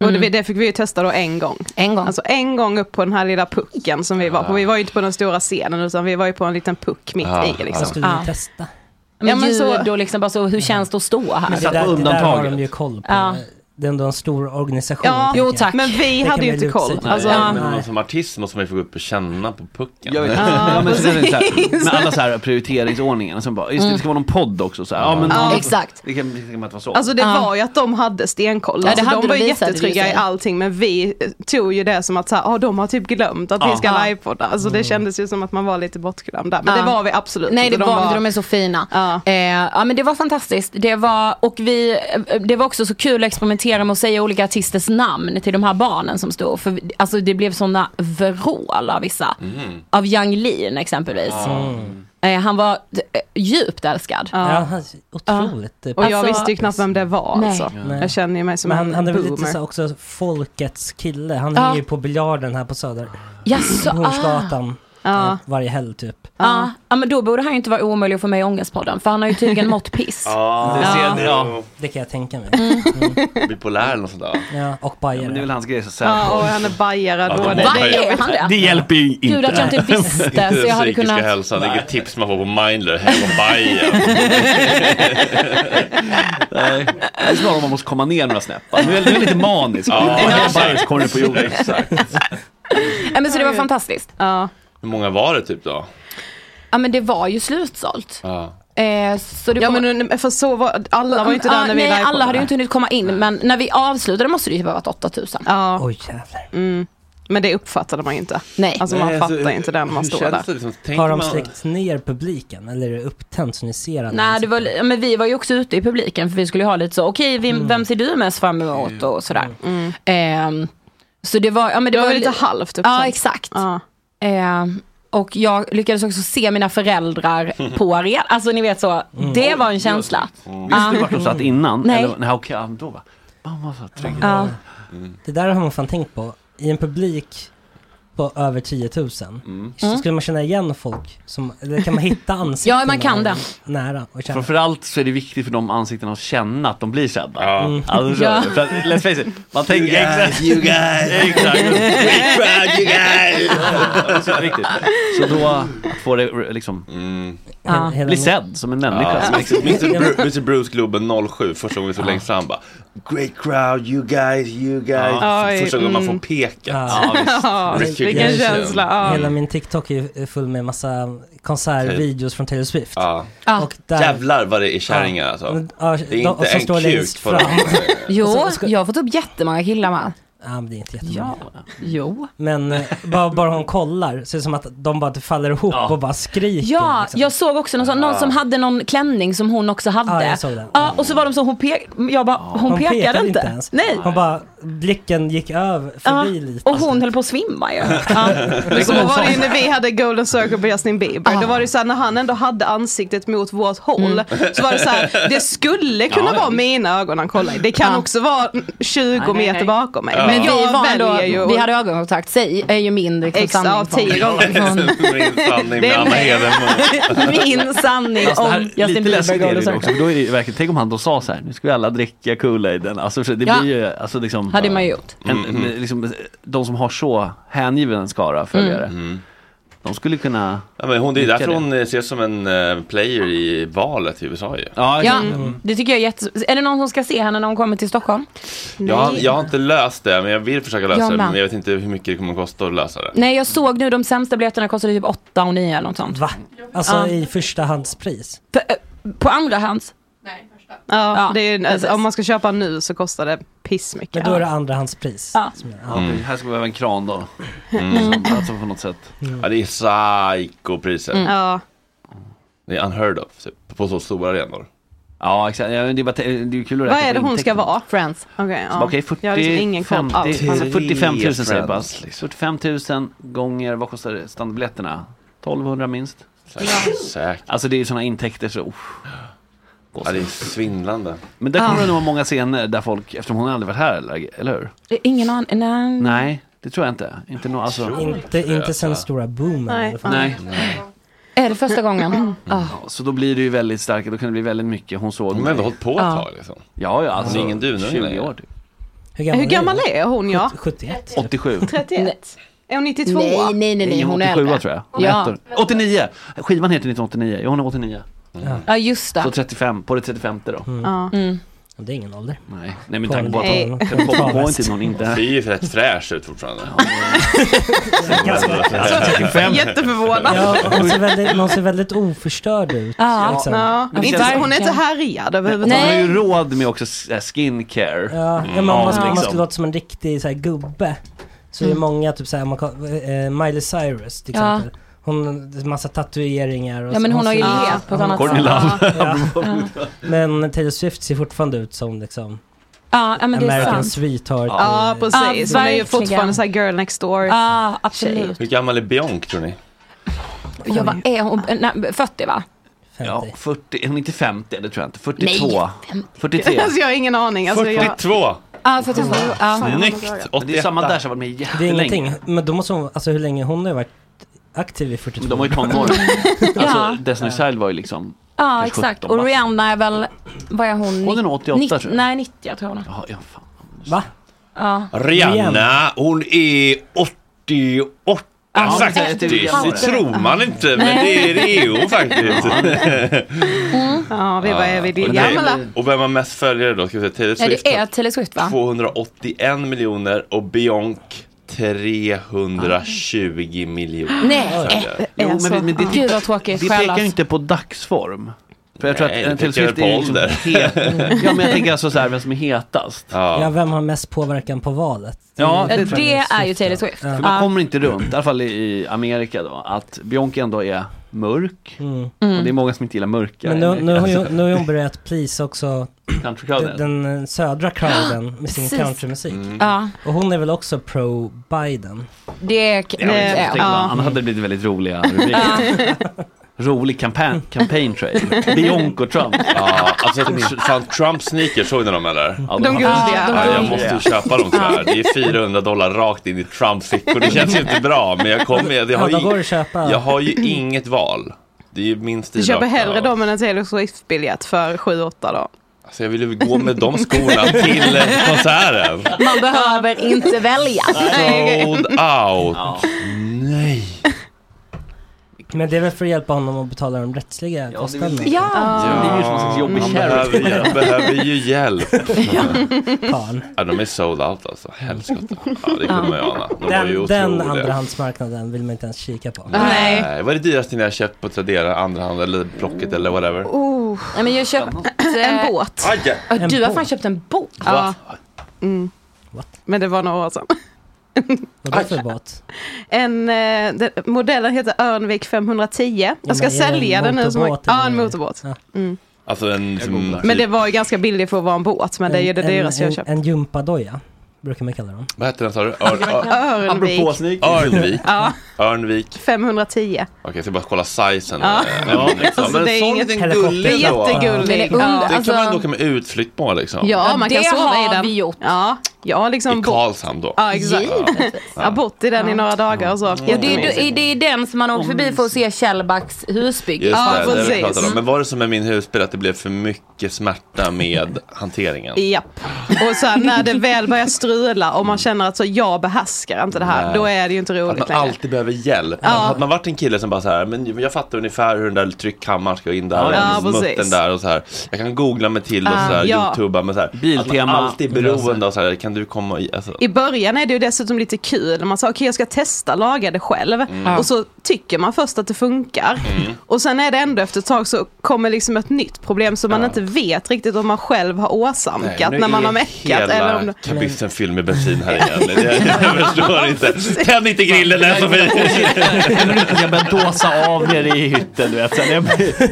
[SPEAKER 6] Mm.
[SPEAKER 8] Och det, det fick vi ju testa då en gång.
[SPEAKER 6] En gång.
[SPEAKER 8] Alltså en gång upp på den här lilla pucken som vi var på. Vi var ju inte på den stora scenen utan vi var ju på en liten puck mitt
[SPEAKER 1] Ja,
[SPEAKER 8] i. Liksom.
[SPEAKER 3] Vad skulle
[SPEAKER 6] Ja.
[SPEAKER 3] ni testa?
[SPEAKER 6] Men
[SPEAKER 8] Ja, men
[SPEAKER 6] ljud
[SPEAKER 8] så-
[SPEAKER 6] och liksom bara så, hur känns det att stå här?
[SPEAKER 3] Men det, där, det där har de ju koll på.
[SPEAKER 6] Ja.
[SPEAKER 3] Det är ändå en stor organisation.
[SPEAKER 8] Ja,
[SPEAKER 3] tänker
[SPEAKER 8] jo
[SPEAKER 3] jag.
[SPEAKER 8] tack. Men vi
[SPEAKER 3] Det kan
[SPEAKER 8] hade ju
[SPEAKER 3] man
[SPEAKER 8] inte
[SPEAKER 3] luta sig
[SPEAKER 8] koll.
[SPEAKER 3] till.
[SPEAKER 1] Nej,
[SPEAKER 8] Alltså,
[SPEAKER 1] men man som artist måste man ju få gå upp och känna på pucken.
[SPEAKER 7] Jag vet.
[SPEAKER 8] Ja,
[SPEAKER 7] Ja, men så är det så här,
[SPEAKER 8] precis.
[SPEAKER 7] med alla så här prioriteringsordningar. Och sen bara, just det, det ska vara någon podd också. Så här. Ja, men,
[SPEAKER 8] Ja,
[SPEAKER 6] exakt.
[SPEAKER 7] Det kan, det kan inte vara så.
[SPEAKER 8] Alltså det
[SPEAKER 6] Ja.
[SPEAKER 8] var ju att de hade stenkoll.
[SPEAKER 6] Ja, det
[SPEAKER 8] alltså,
[SPEAKER 6] hade
[SPEAKER 8] de var
[SPEAKER 6] de
[SPEAKER 8] ju
[SPEAKER 6] visade, det
[SPEAKER 8] jättetrygga i
[SPEAKER 6] visade.
[SPEAKER 8] allting men vi eh, tog ju det som att så här, "Ah, de har typ glömt att
[SPEAKER 7] Ja.
[SPEAKER 8] vi ska
[SPEAKER 7] Ja.
[SPEAKER 8] livepodda. Alltså
[SPEAKER 3] Mm.
[SPEAKER 8] det kändes ju som att man var lite bortglömd där. Men
[SPEAKER 6] Ja.
[SPEAKER 8] det var vi absolut
[SPEAKER 6] Nej
[SPEAKER 8] inte.
[SPEAKER 6] det var vi inte, de är så fina. Ja. Eh, ja men det var fantastiskt. Det var, och vi, eh, det var också så kul att experimentera med att säga olika artisters namn till de här barnen som stod. För vi- alltså det blev sådana vrål av vissa.
[SPEAKER 11] Mm.
[SPEAKER 6] Av Yang Lean exempelvis.
[SPEAKER 11] Mm.
[SPEAKER 6] Eh, han var eh, djupt älskad.
[SPEAKER 3] Ja, han- otroligt.
[SPEAKER 8] Och jag visste ju knappt vem det var
[SPEAKER 6] Alltså- Nej.
[SPEAKER 8] alltså.
[SPEAKER 3] Nej.
[SPEAKER 8] Jag känner ju mig som
[SPEAKER 3] Men han,
[SPEAKER 8] en
[SPEAKER 3] han är väl
[SPEAKER 8] boomer.
[SPEAKER 3] lite så här också folkets kille. Han
[SPEAKER 6] Ja.
[SPEAKER 3] hänger ju på biljarden här på Söder.
[SPEAKER 6] Jaså,
[SPEAKER 3] På Hornsgatan.
[SPEAKER 6] Ja.
[SPEAKER 3] eh, Varje helg typ.
[SPEAKER 6] Ja. ja men då borde han ju inte vara omöjlig att få med i Ångestpodden. För han har ju tydligen mått piss.
[SPEAKER 1] det ser ni. Ja.
[SPEAKER 3] Det kan jag tänka mig.
[SPEAKER 1] Bipolär eller något sånt där.
[SPEAKER 3] Ja, och
[SPEAKER 7] Ja,
[SPEAKER 3] bajare.
[SPEAKER 7] men det är väl hans grej. Så så här,
[SPEAKER 8] Ja, och han är bajare
[SPEAKER 1] Ja,
[SPEAKER 8] då.
[SPEAKER 1] de
[SPEAKER 8] Det,
[SPEAKER 1] var-
[SPEAKER 8] det,
[SPEAKER 6] Är han det?
[SPEAKER 7] Det hjälper ju inte.
[SPEAKER 6] Gud att jag inte visste så jag hade
[SPEAKER 1] psykiska
[SPEAKER 6] kunnat
[SPEAKER 1] hälsan, det är inget tips man får på Mindler, hem och Bajen.
[SPEAKER 7] Nej. Det är snarare om man måste komma ner några snäpp. va? Nu är du lite manisk.
[SPEAKER 1] Ja,
[SPEAKER 7] Ja,
[SPEAKER 1] exakt.
[SPEAKER 7] så kommer du på jorden.
[SPEAKER 1] Exakt.
[SPEAKER 6] Ja, men så det var fantastiskt.
[SPEAKER 8] Ja.
[SPEAKER 1] Hur många var det typ då?
[SPEAKER 6] ja men det var ju slutsålt.
[SPEAKER 1] Ja.
[SPEAKER 6] Eh, så det
[SPEAKER 8] ja
[SPEAKER 6] var...
[SPEAKER 8] men nu- för så var, alla var ju inte där
[SPEAKER 6] Ja,
[SPEAKER 8] när vi
[SPEAKER 6] Nej
[SPEAKER 8] livepoddade.
[SPEAKER 6] alla hade ju inte hunnit komma in men när vi avslutade måste det ju ha varit 8000.
[SPEAKER 8] Ja.
[SPEAKER 3] Oj jävlar.
[SPEAKER 8] Mm. Men det uppfattade man ju inte.
[SPEAKER 6] Nej.
[SPEAKER 8] Alltså man fattar inte det när man står där.
[SPEAKER 1] liksom?
[SPEAKER 3] Har de släckt ner publiken eller är det upptänt så ni ser alla?
[SPEAKER 6] Nej, det var, ja, men vi var ju också ute i publiken för vi skulle ju ha lite så, okej, vem,
[SPEAKER 3] Mm.
[SPEAKER 6] vem ser du mest fram emot och sådär. Ehm, så det var, ja, men det,
[SPEAKER 8] Mm. Det var
[SPEAKER 6] var
[SPEAKER 8] väl lite
[SPEAKER 6] li-
[SPEAKER 8] halvt uppsatt.
[SPEAKER 6] Ja, exakt. Ehm, och jag lyckades också se mina föräldrar på arenan. Alltså ni vet så,
[SPEAKER 8] Mm.
[SPEAKER 6] det var en känsla.
[SPEAKER 7] Visste du vart de satt innan?
[SPEAKER 6] Nej.
[SPEAKER 7] Eller, nej okej, ja, då va. Man var så trygg.
[SPEAKER 6] Ja.
[SPEAKER 7] Mm.
[SPEAKER 3] Det där har man fan tänkt på. I en publik på över 10 000 så
[SPEAKER 6] Mm.
[SPEAKER 3] skulle man känna igen folk. Som, eller kan man hitta ansikten?
[SPEAKER 6] Ja, man kan det.
[SPEAKER 3] Nära och känna.
[SPEAKER 7] Framförallt så är det viktigt för de ansiktena att känna att de blir sedda.
[SPEAKER 3] Mm.
[SPEAKER 7] Alltså, så-
[SPEAKER 3] Ja.
[SPEAKER 7] för att, let's face it, man tänker
[SPEAKER 4] You guys,
[SPEAKER 7] exakt.
[SPEAKER 4] you guys.
[SPEAKER 7] Exakt.
[SPEAKER 4] Big crowd, you guys.
[SPEAKER 7] Så är det riktigt. Så då, att få det liksom,
[SPEAKER 4] Ja.
[SPEAKER 7] bli sedd som en människa.
[SPEAKER 1] Ja. Mr. Bru- Mr. Bruce-klubben 07, första gången vi stod längst fram bara Great crowd, you guys, you guys
[SPEAKER 8] Ja. Oj,
[SPEAKER 1] Första gången man
[SPEAKER 8] mm.
[SPEAKER 1] får peket
[SPEAKER 8] Ja. Ja, visst. Vilken
[SPEAKER 1] Recognition.
[SPEAKER 8] känsla, ja.
[SPEAKER 3] Hela min TikTok är full med massa konsertvideos från Taylor Swift.
[SPEAKER 1] Ja.
[SPEAKER 6] Ja.
[SPEAKER 3] Och där-
[SPEAKER 1] Jävlar vad det är kärringar alltså
[SPEAKER 3] Men, ja,
[SPEAKER 1] Det är
[SPEAKER 3] de- och
[SPEAKER 1] inte
[SPEAKER 3] som
[SPEAKER 1] en
[SPEAKER 3] står längst
[SPEAKER 1] kuk på dem
[SPEAKER 3] fram.
[SPEAKER 8] Alltså,
[SPEAKER 6] Jo, jag har fått upp jättemånga killar med.
[SPEAKER 3] Ja, men det är inte jättemånga.
[SPEAKER 6] Jo.
[SPEAKER 3] Men eh, bara, bara hon kollar så är det som att de bara faller ihop och bara skriker. liksom.
[SPEAKER 6] Ja, jag såg också någon, sån, någon
[SPEAKER 3] Ah.
[SPEAKER 6] som hade någon klänning som hon också hade.
[SPEAKER 3] Ja, jag såg den.
[SPEAKER 6] Ja, och så var de så, hon, pek, jag bara, hon, pekade, inte.
[SPEAKER 3] ens.
[SPEAKER 6] Nej.
[SPEAKER 3] Hon bara, blicken gick över,
[SPEAKER 6] Ja,
[SPEAKER 3] förbi lite.
[SPEAKER 6] och hon höll på att svimma ju. Ja.
[SPEAKER 8] Men
[SPEAKER 6] Alltså,
[SPEAKER 8] så var det ju när vi hade Golden Circle på Justin Bieber.
[SPEAKER 6] Ah.
[SPEAKER 8] Då var det ju såhär när han ändå hade ansiktet mot vårt håll.
[SPEAKER 6] Mm.
[SPEAKER 8] Så var det såhär, det skulle kunna
[SPEAKER 6] Ja, ja.
[SPEAKER 8] vara mina ögon han kollade i. Det kan
[SPEAKER 6] Ja.
[SPEAKER 8] också vara 20
[SPEAKER 6] Nej, nej,
[SPEAKER 8] meter
[SPEAKER 6] nej.
[SPEAKER 8] bakom mig.
[SPEAKER 6] Men vi,
[SPEAKER 8] jag
[SPEAKER 6] var ändå,
[SPEAKER 8] väljer ju
[SPEAKER 6] vi
[SPEAKER 8] att-
[SPEAKER 6] hade ögonkontakt, säg är ju min liksom,
[SPEAKER 8] Exakt,
[SPEAKER 6] sanning.
[SPEAKER 8] ja, tio gånger.
[SPEAKER 1] Min sanning
[SPEAKER 6] Det
[SPEAKER 1] med
[SPEAKER 6] är
[SPEAKER 1] Anna
[SPEAKER 6] mig.
[SPEAKER 1] Hedenmo
[SPEAKER 6] Min sanning
[SPEAKER 7] Fast
[SPEAKER 6] Alltså,
[SPEAKER 7] Alltså, det här-
[SPEAKER 6] om Justin
[SPEAKER 7] lite
[SPEAKER 6] Bieber
[SPEAKER 7] läskigt är det
[SPEAKER 6] Golden
[SPEAKER 7] ju också,
[SPEAKER 6] Circle.
[SPEAKER 7] för då är det ju verkligen, tänk om han då sa så här, nu ska vi alla dricka Kool-Aiden. Alltså, så det
[SPEAKER 6] Ja.
[SPEAKER 7] blir ju, alltså liksom.
[SPEAKER 6] Hade man ju gjort.
[SPEAKER 7] En,
[SPEAKER 1] Mm,
[SPEAKER 7] en, liksom, de som har så hängiven skara följare.
[SPEAKER 1] Mm.
[SPEAKER 7] De skulle kunna...
[SPEAKER 1] Ja, men hon, det är
[SPEAKER 7] Lyckade.
[SPEAKER 1] därför hon eh, ses som en eh, player i valet i USA ju.
[SPEAKER 7] Ja,
[SPEAKER 6] Ja, det tycker jag är jättes... Är det någon som ska se henne när hon kommer till Stockholm?
[SPEAKER 1] Jag, har- jag har inte löst det, men jag vill försöka lösa
[SPEAKER 6] Jag
[SPEAKER 1] det.
[SPEAKER 6] med.
[SPEAKER 1] Men jag vet inte hur mycket det kommer att kosta att lösa det.
[SPEAKER 6] Nej, jag såg nu de sämsta biljetterna kostade typ 8 och 9 eller något sånt.
[SPEAKER 3] Va? Alltså
[SPEAKER 6] Ja.
[SPEAKER 3] i första handspris.
[SPEAKER 6] På andra hands?
[SPEAKER 8] Ja,
[SPEAKER 6] Ja,
[SPEAKER 8] det är, ju- alltså,
[SPEAKER 6] precis.
[SPEAKER 8] om man ska köpa nu så kostar det pissmycket.
[SPEAKER 3] Men då är det andrahandspris.
[SPEAKER 8] Ja.
[SPEAKER 7] Ja, Här ska vi behöva en kran då.
[SPEAKER 1] Mm.
[SPEAKER 7] Som, alltså på något sätt.
[SPEAKER 1] Ja, det är psykopriser.
[SPEAKER 8] Mm. Ja.
[SPEAKER 1] Det är unheard of, typ, på så stora arenor.
[SPEAKER 7] Ja, exakt. Ja, men det, är bara, det är ju kul att
[SPEAKER 8] Vad
[SPEAKER 7] räkna
[SPEAKER 8] är det
[SPEAKER 7] på
[SPEAKER 8] hon ska
[SPEAKER 7] intäkterna.
[SPEAKER 8] vara?
[SPEAKER 6] Friends.
[SPEAKER 8] Okej,
[SPEAKER 7] Så bara,
[SPEAKER 8] ja.
[SPEAKER 7] Okej,
[SPEAKER 8] jag har
[SPEAKER 7] 40,
[SPEAKER 8] liksom ingen koll
[SPEAKER 7] 50,
[SPEAKER 8] alls.
[SPEAKER 7] alltså 45 000 säger jag bara.
[SPEAKER 1] Friends, liksom.
[SPEAKER 7] 45 000 gånger, vad kostar standardbiljetterna? 1200 minst.
[SPEAKER 1] Säkert.
[SPEAKER 7] Alltså det är ju sådana intäkter så... uff.
[SPEAKER 1] Ja, det är svindlande.
[SPEAKER 7] Men där
[SPEAKER 6] Ah. Mm.
[SPEAKER 7] kommer det nog vara många scener där folk, eftersom hon aldrig varit här, eller, eller hur?
[SPEAKER 6] Ingen aning. Nej.
[SPEAKER 7] Nej, det tror jag inte. Inte nå, alltså.
[SPEAKER 3] Inte, inte sen stora boomen i alla fall.
[SPEAKER 7] Nej.
[SPEAKER 6] Är det första gången? Ah. Ja.
[SPEAKER 7] Ja, Så då blir det ju väldigt starkt, då kan det bli väldigt mycket. Hon såg Hon har
[SPEAKER 1] ändå hållit på ett
[SPEAKER 6] Ja.
[SPEAKER 1] tag, liksom.
[SPEAKER 7] Ja, ja, alltså.
[SPEAKER 1] Hon är ingen dununge
[SPEAKER 7] 20
[SPEAKER 1] längre.
[SPEAKER 7] år typ.
[SPEAKER 8] Hur gammal är hon ja?
[SPEAKER 3] 71.
[SPEAKER 7] 87.
[SPEAKER 8] 31? Är hon 92?
[SPEAKER 6] Nej, nej, nej, nej, hon är
[SPEAKER 7] 87
[SPEAKER 6] äldre.
[SPEAKER 7] tror jag. Hon är
[SPEAKER 6] Ja.
[SPEAKER 7] ett år- 89! Skivan heter 1989, ja, hon är 89.
[SPEAKER 6] ja, just
[SPEAKER 7] Så
[SPEAKER 6] det.
[SPEAKER 7] 35, på det 35 då.
[SPEAKER 6] Ja. Mm.
[SPEAKER 3] Det är ingen ålder.
[SPEAKER 7] Nej, nej men
[SPEAKER 3] På
[SPEAKER 7] tanke på att hon
[SPEAKER 3] Nej.
[SPEAKER 7] kan komma på en tid när hon inte
[SPEAKER 1] Hon
[SPEAKER 7] är.
[SPEAKER 1] ser ju rätt fräsch ut fortfarande.
[SPEAKER 8] Jätteförvånad.
[SPEAKER 3] Ja, hon ser väldigt, hon ser väldigt oförstörd ut.
[SPEAKER 8] Ja.
[SPEAKER 3] liksom.
[SPEAKER 8] Ja.
[SPEAKER 3] Det
[SPEAKER 8] Inte,
[SPEAKER 3] känns-
[SPEAKER 8] hon är inte härjad
[SPEAKER 7] Hon har
[SPEAKER 8] överhuvudtaget.
[SPEAKER 7] ju råd med också så här, skincare.
[SPEAKER 3] Ja, ja, men om man, skulle- om man skulle låta som en riktig så här, gubbe så är det
[SPEAKER 7] Mm.
[SPEAKER 3] många, typ så här, om man, koll- eh, Miley Cyrus till
[SPEAKER 6] Ja.
[SPEAKER 3] exempel. Hon har en massa tatueringar. Och
[SPEAKER 6] Ja, men
[SPEAKER 3] så-
[SPEAKER 6] hon har ju
[SPEAKER 3] ser-
[SPEAKER 6] levt på ett
[SPEAKER 3] Ja.
[SPEAKER 6] annat Courtney sätt. Love.
[SPEAKER 3] Ja.
[SPEAKER 6] Ja.
[SPEAKER 3] Men Taylor Swift ser fortfarande ut som liksom
[SPEAKER 6] Ja, ja, men det är
[SPEAKER 3] American
[SPEAKER 6] sant.
[SPEAKER 3] Sweetheart.
[SPEAKER 8] Ja,
[SPEAKER 3] eh,
[SPEAKER 8] precis.
[SPEAKER 6] Ja,
[SPEAKER 8] hon är ju
[SPEAKER 6] verkligen.
[SPEAKER 8] fortfarande såhär girl next door.
[SPEAKER 6] Ja, absolut.
[SPEAKER 1] Hur gammal är Björk tror ni?
[SPEAKER 6] Ja, vad är hon? Nej, 40 va?
[SPEAKER 7] Ja, 40, hon är inte 50, det tror jag inte. 42.
[SPEAKER 6] Nej,
[SPEAKER 7] 43.
[SPEAKER 8] Alltså jag har ingen aning. Alltså, jag...
[SPEAKER 1] 42!
[SPEAKER 6] Ja, 42. Ja.
[SPEAKER 7] Men Det är samma där som har varit med
[SPEAKER 3] Det är
[SPEAKER 7] jättelänge.
[SPEAKER 3] ingenting. Men då måste hon, alltså hur länge hon har varit aktiv i 42
[SPEAKER 7] Men de var ju tonåringar. alltså Destiny's Child var ju liksom
[SPEAKER 6] Ja,
[SPEAKER 7] kanske
[SPEAKER 6] exakt.
[SPEAKER 7] 17
[SPEAKER 6] Och
[SPEAKER 7] bast.
[SPEAKER 6] Rihanna är väl, vad är hon?
[SPEAKER 7] Hon är nog 88,
[SPEAKER 6] Nitt-
[SPEAKER 7] tror jag.
[SPEAKER 6] Nej, 90 tror jag hon är.
[SPEAKER 7] Ja, ja,
[SPEAKER 3] Va?
[SPEAKER 6] Ja.
[SPEAKER 1] Rihanna, hon är 88!
[SPEAKER 6] Ja, hon är
[SPEAKER 1] faktiskt!
[SPEAKER 6] inte
[SPEAKER 1] Det
[SPEAKER 6] gammal.
[SPEAKER 1] tror man inte, men det
[SPEAKER 6] Nej.
[SPEAKER 1] är, det är hon faktiskt.
[SPEAKER 8] Ja, vi bara, är vi
[SPEAKER 1] Ja,
[SPEAKER 8] din
[SPEAKER 1] och
[SPEAKER 8] gamla?
[SPEAKER 1] det- Och vem har mest följare då? Ska vi se, Taylor
[SPEAKER 6] Nej,
[SPEAKER 1] Swift
[SPEAKER 6] det är
[SPEAKER 1] har
[SPEAKER 6] Taylor Swift va?
[SPEAKER 1] 281 miljoner och Björk 320 miljoner.
[SPEAKER 6] Nej.
[SPEAKER 1] följare.
[SPEAKER 8] Ah.
[SPEAKER 7] Jo, men, men det,
[SPEAKER 6] alltså- Gud vad tråkigt. alltså.
[SPEAKER 7] det pekar
[SPEAKER 6] Själas.
[SPEAKER 7] ju inte på dagsform. För jag tror att
[SPEAKER 1] Nej, det
[SPEAKER 7] en till
[SPEAKER 1] tänker
[SPEAKER 7] Swift
[SPEAKER 1] jag
[SPEAKER 7] är
[SPEAKER 1] på
[SPEAKER 7] liksom
[SPEAKER 1] ålder.
[SPEAKER 7] het. Ja, men jag tänker alltså så här, vem som är hetast.
[SPEAKER 3] Ja, vem har mest påverkan på valet?
[SPEAKER 7] Ja,
[SPEAKER 3] är-
[SPEAKER 6] Eh, Det är ju Taylor Swift.
[SPEAKER 7] För man kommer inte runt, i alla fall i- i Amerika då, att Bianca ändå är mörk.
[SPEAKER 3] Mm.
[SPEAKER 7] Och det är många som inte gillar mörka.
[SPEAKER 3] Men nu, nu, har ju,
[SPEAKER 7] Alltså,
[SPEAKER 3] nu har ju hon börjat please också
[SPEAKER 7] Countrycrowden.
[SPEAKER 3] den, den eh, södra crowden med sin
[SPEAKER 6] Precis. Mm.
[SPEAKER 3] countrymusik.
[SPEAKER 6] Ja.
[SPEAKER 3] Och hon är väl också pro-Biden?
[SPEAKER 6] Det
[SPEAKER 7] det
[SPEAKER 8] Eh,
[SPEAKER 7] har jag inte tänkt på. Annars hade det blivit väldigt roliga rubriker. Rolig campaign, campaign trail. Bianca Trump.
[SPEAKER 1] Ja, alltså fan Trump sneakers, såg ni dem eller?
[SPEAKER 7] Ja, de- De guldiga.
[SPEAKER 1] Ja, jag
[SPEAKER 7] De
[SPEAKER 1] måste ju
[SPEAKER 7] guldiga.
[SPEAKER 1] köpa dem tyvärr. Det är 400 dollar rakt in i Trumps fickor. Det känns ju inte bra, men jag kommer jag, har
[SPEAKER 3] Ja, de går
[SPEAKER 1] ju,
[SPEAKER 3] att köpa.
[SPEAKER 1] jag har ju inget val. Det är ju min stil.
[SPEAKER 8] Du köper
[SPEAKER 1] rakt
[SPEAKER 8] hellre
[SPEAKER 1] av.
[SPEAKER 8] dem än en Taylor Swift-biljett för 7-8 då.
[SPEAKER 1] Alltså jag vill ju gå med de skorna till eh, konserten.
[SPEAKER 6] Man behöver inte välja.
[SPEAKER 1] Sold out. Nej.
[SPEAKER 3] Men det är väl för att hjälpa honom att betala de rättsliga kostnaderna?
[SPEAKER 6] det. Ja.
[SPEAKER 1] Ja,
[SPEAKER 6] Det
[SPEAKER 3] är ju som en slags jobbig
[SPEAKER 1] han
[SPEAKER 3] charity.
[SPEAKER 1] behöver, ju- han behöver ju hjälp.
[SPEAKER 3] Fan.
[SPEAKER 1] Ja, de är sold out alltså. Helskotta. Ja, det
[SPEAKER 3] Ja.
[SPEAKER 1] kunde man ju ana. De var ju
[SPEAKER 3] Den, den
[SPEAKER 1] otroliga.
[SPEAKER 3] andrahandsmarknaden vill man inte ens kika på.
[SPEAKER 1] Nej. Vad är det dyraste ni har köpt på Tradera, andrahand eller Blocket eller whatever?
[SPEAKER 6] Oh. Nej, men jag köpte en båt.
[SPEAKER 1] Aj!
[SPEAKER 6] Ja, Du har fan köpt en båt.
[SPEAKER 8] Eh, Ja. Mm. Men det var några år sedan.
[SPEAKER 3] Vad är det för båt?
[SPEAKER 8] En, eh, den, modellen heter Örnvik 510.
[SPEAKER 3] men
[SPEAKER 8] Jag ska
[SPEAKER 3] är det en
[SPEAKER 8] sälja den nu. Som,
[SPEAKER 3] motorbåt
[SPEAKER 8] ja, en motorbåt. Mm.
[SPEAKER 1] Alltså en... Som,
[SPEAKER 8] Men det var ju ganska billigt för att vara en båt, men det är ju det
[SPEAKER 3] En-
[SPEAKER 8] dyraste
[SPEAKER 3] en,
[SPEAKER 8] jag köpt.
[SPEAKER 3] En gympadoja, brukar man kalla dem.
[SPEAKER 1] Vad hette den sa du? Ör,
[SPEAKER 8] Örnvik. Apropå sneakers.
[SPEAKER 1] Örnvik.
[SPEAKER 8] Ja.
[SPEAKER 1] Örnvik.
[SPEAKER 8] 510.
[SPEAKER 1] Okej, jag ska bara kolla sizen.
[SPEAKER 8] Ja. Ja, exakt.
[SPEAKER 1] men
[SPEAKER 8] det är
[SPEAKER 1] en sån
[SPEAKER 8] inget-
[SPEAKER 1] liten
[SPEAKER 8] Helikopter.
[SPEAKER 1] gullig
[SPEAKER 8] Det är
[SPEAKER 1] då.
[SPEAKER 8] jättegullig.
[SPEAKER 1] Det kan
[SPEAKER 8] Men det är
[SPEAKER 1] man-
[SPEAKER 8] under-
[SPEAKER 1] det kan man
[SPEAKER 8] alltså-
[SPEAKER 1] åka med utflykt på liksom.
[SPEAKER 8] Ja, man kan
[SPEAKER 6] det
[SPEAKER 8] sova i
[SPEAKER 6] har
[SPEAKER 8] den.
[SPEAKER 6] vi gjort.
[SPEAKER 8] Ja, jag har liksom
[SPEAKER 1] I Karlshamn då.
[SPEAKER 8] Ja, exakt.
[SPEAKER 1] Ja.
[SPEAKER 8] Jag har bott i den i några dagar och så.
[SPEAKER 6] Och det, är, det är- det är den som man åker förbi för att se Kjellbacks husbygge.
[SPEAKER 1] Just det, det är det vi pratade
[SPEAKER 8] Mm.
[SPEAKER 1] om. Men var det som med min husbil, att det blev för mycket smärta med hanteringen?
[SPEAKER 8] Japp. Och sen när det väl börjar strula och man känner att så jag behärskar inte det här,
[SPEAKER 1] Nej. Alltså,
[SPEAKER 8] då är det ju inte
[SPEAKER 1] Att
[SPEAKER 8] roligt
[SPEAKER 1] man
[SPEAKER 8] längre.
[SPEAKER 1] alltid behöver hjälp.
[SPEAKER 8] Ja.
[SPEAKER 1] Hade man varit en kille som bara så här, men jag fattar ungefär hur den där tryckkammaren ska in där,
[SPEAKER 8] Ja,
[SPEAKER 1] och
[SPEAKER 8] ja,
[SPEAKER 1] den smutten
[SPEAKER 8] precis.
[SPEAKER 1] där och så här. Jag kan googla mig till och
[SPEAKER 8] Ja,
[SPEAKER 1] så här,
[SPEAKER 8] ja.
[SPEAKER 1] youtuba med så här. Biltema. Att man alltid är beroende av så här, kan du komma i, alltså.
[SPEAKER 8] I början är det ju dessutom lite kul. Man sa okej jag ska testa laga det själv.
[SPEAKER 1] Mm.
[SPEAKER 8] Och så tycker man först att det funkar.
[SPEAKER 1] Mm.
[SPEAKER 8] Och sen är det ändå efter ett tag så kommer liksom ett nytt problem som man inte vet riktigt om man själv har åsamkat
[SPEAKER 1] nu
[SPEAKER 8] när man
[SPEAKER 1] är
[SPEAKER 8] har meckat.
[SPEAKER 1] Hela
[SPEAKER 8] Eller om det...
[SPEAKER 1] kabyssen fylld med bensin här igen. Det, jag, jag förstår inte. Tänd inte grillen där Sofie.
[SPEAKER 7] Jag börjar dåsa av nere i hytten du vet. Sen jag,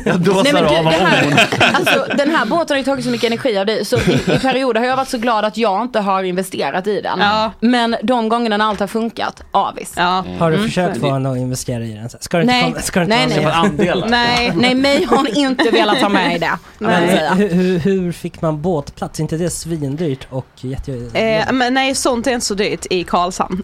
[SPEAKER 7] jag dåsar
[SPEAKER 6] Nej, men du,
[SPEAKER 7] av
[SPEAKER 6] det
[SPEAKER 7] av
[SPEAKER 6] här-
[SPEAKER 7] oron.
[SPEAKER 6] Alltså, den här båten har ju tagit så mycket energi av dig så i, i perioder har jag varit så glad att jag inte har investerat i den. Men de gångerna när allt har funkat, avis.
[SPEAKER 3] Har du
[SPEAKER 6] Mm.
[SPEAKER 3] försökt få henne att investera i den? Ska du inte
[SPEAKER 6] Nej,
[SPEAKER 3] komma, ska du inte
[SPEAKER 6] nej,
[SPEAKER 3] vara
[SPEAKER 6] nej.
[SPEAKER 3] med?
[SPEAKER 6] nej. nej, mig har ni inte velat ha med i det.
[SPEAKER 3] Men
[SPEAKER 6] Nej.
[SPEAKER 3] hur, hur, hur fick man båtplats? Inte det svindyrt och jätte...
[SPEAKER 8] Eh, men nej, sånt är inte så dyrt i Karlshamn.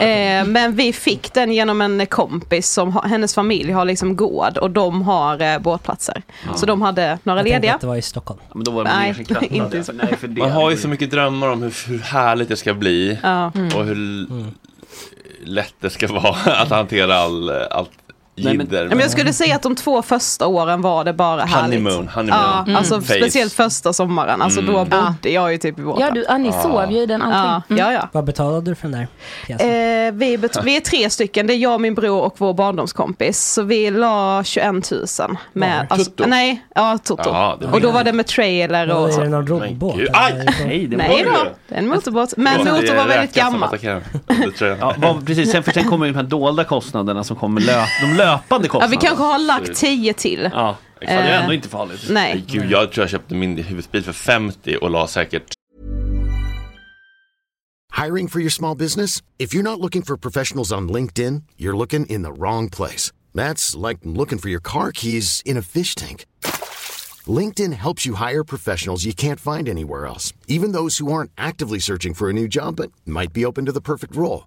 [SPEAKER 8] eh, men vi fick den genom en kompis som har, hennes familj har liksom gård och de har eh, båtplatser.
[SPEAKER 1] Ja.
[SPEAKER 8] Så de hade några
[SPEAKER 3] Jag tänkte
[SPEAKER 8] lediga.
[SPEAKER 3] att det var i Stockholm.
[SPEAKER 1] Men då var
[SPEAKER 8] det Nej, mer skrattat. inte så.
[SPEAKER 7] Nej, för det-
[SPEAKER 1] Man har ju så mycket drömmar om hur, hur härligt det ska bli
[SPEAKER 8] Ja. Mm.
[SPEAKER 1] och hur l- lätt det ska vara att hantera all, allt jidder.
[SPEAKER 8] Men jag skulle säga att de två första åren var det bara härligt.
[SPEAKER 1] Honeymoon, honeymoon.
[SPEAKER 8] Ja,
[SPEAKER 1] Mm.
[SPEAKER 8] alltså
[SPEAKER 1] Face.
[SPEAKER 8] speciellt första sommaren. Alltså
[SPEAKER 1] Mm.
[SPEAKER 8] då bodde jag ju typ i båten.
[SPEAKER 6] Ja, du, Mm. ja, ni
[SPEAKER 7] Ah.
[SPEAKER 3] Ja. sov ju i
[SPEAKER 6] den
[SPEAKER 8] ja,
[SPEAKER 6] allting.
[SPEAKER 8] ja, ja.
[SPEAKER 3] Vad betalade du för den där pjäsen?
[SPEAKER 8] Eh, vi, bet- vi är tre stycken, det är jag, min bror och vår barndomskompis. Så vi la 21 000. Med,
[SPEAKER 3] Var det
[SPEAKER 8] alltså,
[SPEAKER 3] Toto?
[SPEAKER 8] nej, ja, Toto.
[SPEAKER 3] Jaha, det var
[SPEAKER 8] och då
[SPEAKER 3] det.
[SPEAKER 8] var det med trailer
[SPEAKER 3] Var
[SPEAKER 8] och så.
[SPEAKER 3] det någon roddbåt?
[SPEAKER 1] gud.
[SPEAKER 3] eller?
[SPEAKER 1] Aj! Nej, det var
[SPEAKER 8] Nej
[SPEAKER 1] det.
[SPEAKER 8] då, det är en motorbåt. Men
[SPEAKER 1] Förlåt, Alltså, det
[SPEAKER 8] motorn
[SPEAKER 1] är
[SPEAKER 8] var väldigt
[SPEAKER 1] räkan som
[SPEAKER 8] gammal.
[SPEAKER 1] attackerar. Det tror jag.
[SPEAKER 7] Ja, vad, precis, sen, för sen kommer ju de här dolda kostnaderna som kommer löp, de löpande
[SPEAKER 8] Ja,
[SPEAKER 7] kostnaderna.
[SPEAKER 8] vi kanske har lagt 10 till.
[SPEAKER 7] Ja,
[SPEAKER 8] exakt. Det är ändå
[SPEAKER 7] inte farligt.
[SPEAKER 8] nej.
[SPEAKER 1] Gud, jag tror jag köpte min husbil för 50 och la säkert
[SPEAKER 12] Hiring for your small business? If you're not looking for professionals on LinkedIn, you're looking in the wrong place. That's like looking for your car keys in a fish tank. LinkedIn helps you hire professionals you can't find anywhere else, even those who aren't actively searching for a new job but might be open to the perfect role.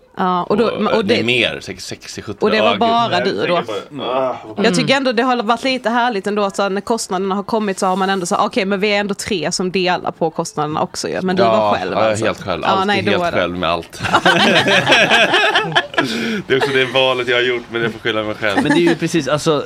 [SPEAKER 8] Ja, och, då,
[SPEAKER 1] på-
[SPEAKER 8] och,
[SPEAKER 1] det, är
[SPEAKER 8] det,
[SPEAKER 1] mer, säkert 60, 70.
[SPEAKER 8] och det
[SPEAKER 1] Ja,
[SPEAKER 8] var
[SPEAKER 1] gud,
[SPEAKER 8] bara
[SPEAKER 1] jag
[SPEAKER 8] du
[SPEAKER 1] tänker
[SPEAKER 8] då.
[SPEAKER 1] på det.
[SPEAKER 7] Mm.
[SPEAKER 1] Ah, vad
[SPEAKER 8] Jag tycker
[SPEAKER 1] sjukt.
[SPEAKER 8] ändå det har varit lite härligt ändå att så här, när kostnaderna har kommit så har man ändå så här, okej men vi är ändå tre som delar på kostnaderna också ju. Men du var själv
[SPEAKER 1] ja,
[SPEAKER 8] alltså.
[SPEAKER 1] helt själv.
[SPEAKER 8] Ja,
[SPEAKER 1] Alltid
[SPEAKER 8] nej, då
[SPEAKER 1] helt
[SPEAKER 8] var det.
[SPEAKER 1] själv med allt. det är också det valet jag har gjort, men jag får skylla mig själv.
[SPEAKER 7] Men det är ju precis, alltså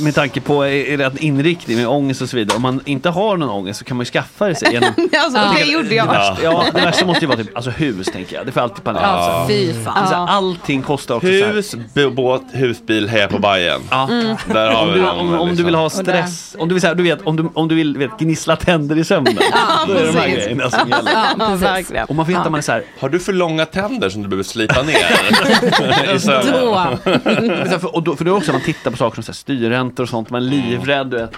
[SPEAKER 7] med tanke på er er inriktning med ångest och så vidare. Om man inte har någon ångest så kan man ju skaffa det sig genom...
[SPEAKER 8] alltså,
[SPEAKER 7] Jag
[SPEAKER 8] det
[SPEAKER 7] tycker-
[SPEAKER 8] gjorde jag.
[SPEAKER 7] Det värsta, ja, det värsta måste ju vara typ, alltså hus tänker jag. Det får alltid panik.
[SPEAKER 1] Ja,
[SPEAKER 7] alltså.
[SPEAKER 1] fy
[SPEAKER 7] Det är
[SPEAKER 1] fan.
[SPEAKER 7] så här, Allting kostar också så här.
[SPEAKER 1] Hus, bo- båt, husbil, heja på Bajen.
[SPEAKER 7] Mm.
[SPEAKER 1] Där har
[SPEAKER 7] om,
[SPEAKER 1] vi
[SPEAKER 7] du,
[SPEAKER 1] dem,
[SPEAKER 7] om, om du
[SPEAKER 1] liksom.
[SPEAKER 7] vill ha stress, om du vill, så här, du vet, om du, om du vill vet, gnissla tänder i sömnen.
[SPEAKER 1] Ja,
[SPEAKER 7] då är det de här
[SPEAKER 1] precis.
[SPEAKER 7] grejerna som gäller.
[SPEAKER 1] Ja,
[SPEAKER 8] precis. verkligen.
[SPEAKER 7] Och man vet
[SPEAKER 8] Ja.
[SPEAKER 7] att man är så här,
[SPEAKER 1] Har du för långa tänder som du behöver slipa ner i sömnen?
[SPEAKER 7] Men så för, och då, för då är det också man tittar på saker som så här, styrräntor och sånt, man är livrädd. Du vet.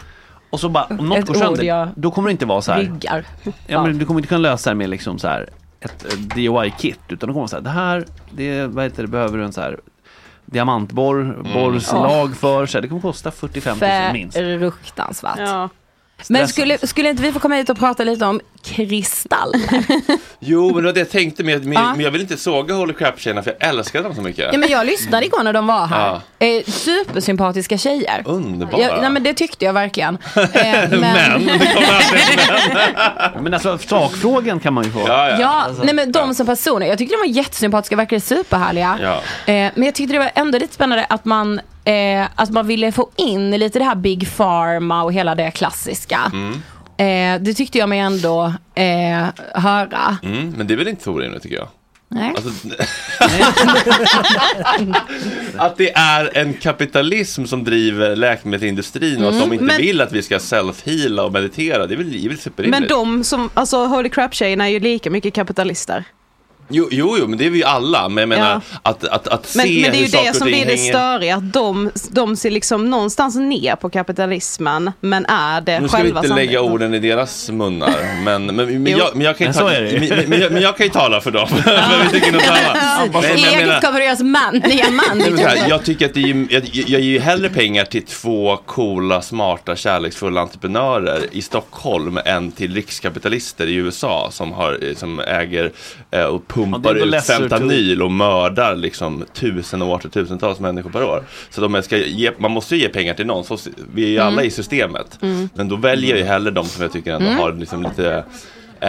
[SPEAKER 7] Och så bara, om något
[SPEAKER 6] Ett
[SPEAKER 7] går
[SPEAKER 6] ord
[SPEAKER 7] sönder,
[SPEAKER 6] jag
[SPEAKER 7] då kommer det inte vara så här.
[SPEAKER 6] Ryggar.
[SPEAKER 7] Ja, men du kommer inte kunna lösa det med liksom så här, ett eh, DIY-kit, utan då kommer man så här, det här, det, vad heter det, behöver du en så här diamantborr,
[SPEAKER 8] Mm.
[SPEAKER 7] borrslag för, så här, det kommer kosta 45 000 minst.
[SPEAKER 6] Fruktansvärt. Men skulle, skulle inte vi få komma hit och prata lite om kristaller?
[SPEAKER 1] Jo, men det var det jag tänkte, men jag, men,
[SPEAKER 6] Ja.
[SPEAKER 1] men jag vill inte såga Holy Crap-tjejerna för jag älskar dem så mycket.
[SPEAKER 6] Ja, men jag lyssnade igår när de var här.
[SPEAKER 1] Ja.
[SPEAKER 6] Eh, supersympatiska tjejer.
[SPEAKER 1] Underbara.
[SPEAKER 6] Jag, nej, men det tyckte jag verkligen. Eh,
[SPEAKER 7] Men, men alltså sakfrågan kan man ju få.
[SPEAKER 6] Ja,
[SPEAKER 1] Alltså,
[SPEAKER 6] nej men de som personer. Jag tyckte de var jättesympatiska, verkade superhärliga.
[SPEAKER 7] Ja.
[SPEAKER 6] Eh, men jag tyckte det var ändå lite spännande att man, eh, att man ville få in lite det här Big Pharma och hela det klassiska.
[SPEAKER 1] Mm.
[SPEAKER 6] Eh, det tyckte jag mig ändå eh, höra.
[SPEAKER 1] Mm, men det är väl inte så orimligt tycker jag.
[SPEAKER 6] Nej.
[SPEAKER 1] Alltså, att det är en kapitalism som driver läkemedelsindustrin och att
[SPEAKER 8] Mm,
[SPEAKER 1] de inte
[SPEAKER 8] men-
[SPEAKER 1] vill att vi ska self-heala och meditera. Det är väl, det är väl superrimligt.
[SPEAKER 8] Men de som, alltså holy crap tjejerna är ju lika mycket kapitalister.
[SPEAKER 1] Jo, jo, jo, men det är vi ju alla. Men jag menar att, att, att se
[SPEAKER 8] Men, men det är
[SPEAKER 1] hur
[SPEAKER 8] ju
[SPEAKER 1] saker
[SPEAKER 8] det
[SPEAKER 1] och
[SPEAKER 8] som
[SPEAKER 1] ting
[SPEAKER 8] blir det
[SPEAKER 1] hänger-
[SPEAKER 8] störiga, att de, de ser liksom någonstans ner på kapitalismen men är det
[SPEAKER 1] Nu ska vi
[SPEAKER 8] själva
[SPEAKER 1] inte lägga orden i deras munnar, men, men, men,
[SPEAKER 8] Jo.
[SPEAKER 1] jag, men, jag, kan ju
[SPEAKER 7] Men så
[SPEAKER 1] tala,
[SPEAKER 7] är det ju.
[SPEAKER 1] men, men, men, jag, men jag kan ju tala för dem. men vi tycker något annat. Alltså, Nej, men
[SPEAKER 6] I
[SPEAKER 1] jag menar-
[SPEAKER 6] egenskap av deras man, nya man.
[SPEAKER 1] Nej, men så här, jag tycker att det är, ju- jag, jag ger ju hellre pengar till två coola, smarta, kärleksfulla entreprenörer i Stockholm än till rikskapitalister i USA som, har, som äger eh, och
[SPEAKER 7] Ja,
[SPEAKER 1] pumpar
[SPEAKER 7] det är ändå
[SPEAKER 1] ut
[SPEAKER 7] lesser to-
[SPEAKER 1] fentanyl och mördar liksom tusen och åter tusentals människor per år. Så de ska ge, man måste ju ge pengar till någon, så s- vi är ju alla
[SPEAKER 7] Mm.
[SPEAKER 1] i systemet.
[SPEAKER 7] Mm.
[SPEAKER 1] Men då väljer jag ju hellre de som jag tycker ändå
[SPEAKER 7] Mm.
[SPEAKER 1] har liksom lite Eh,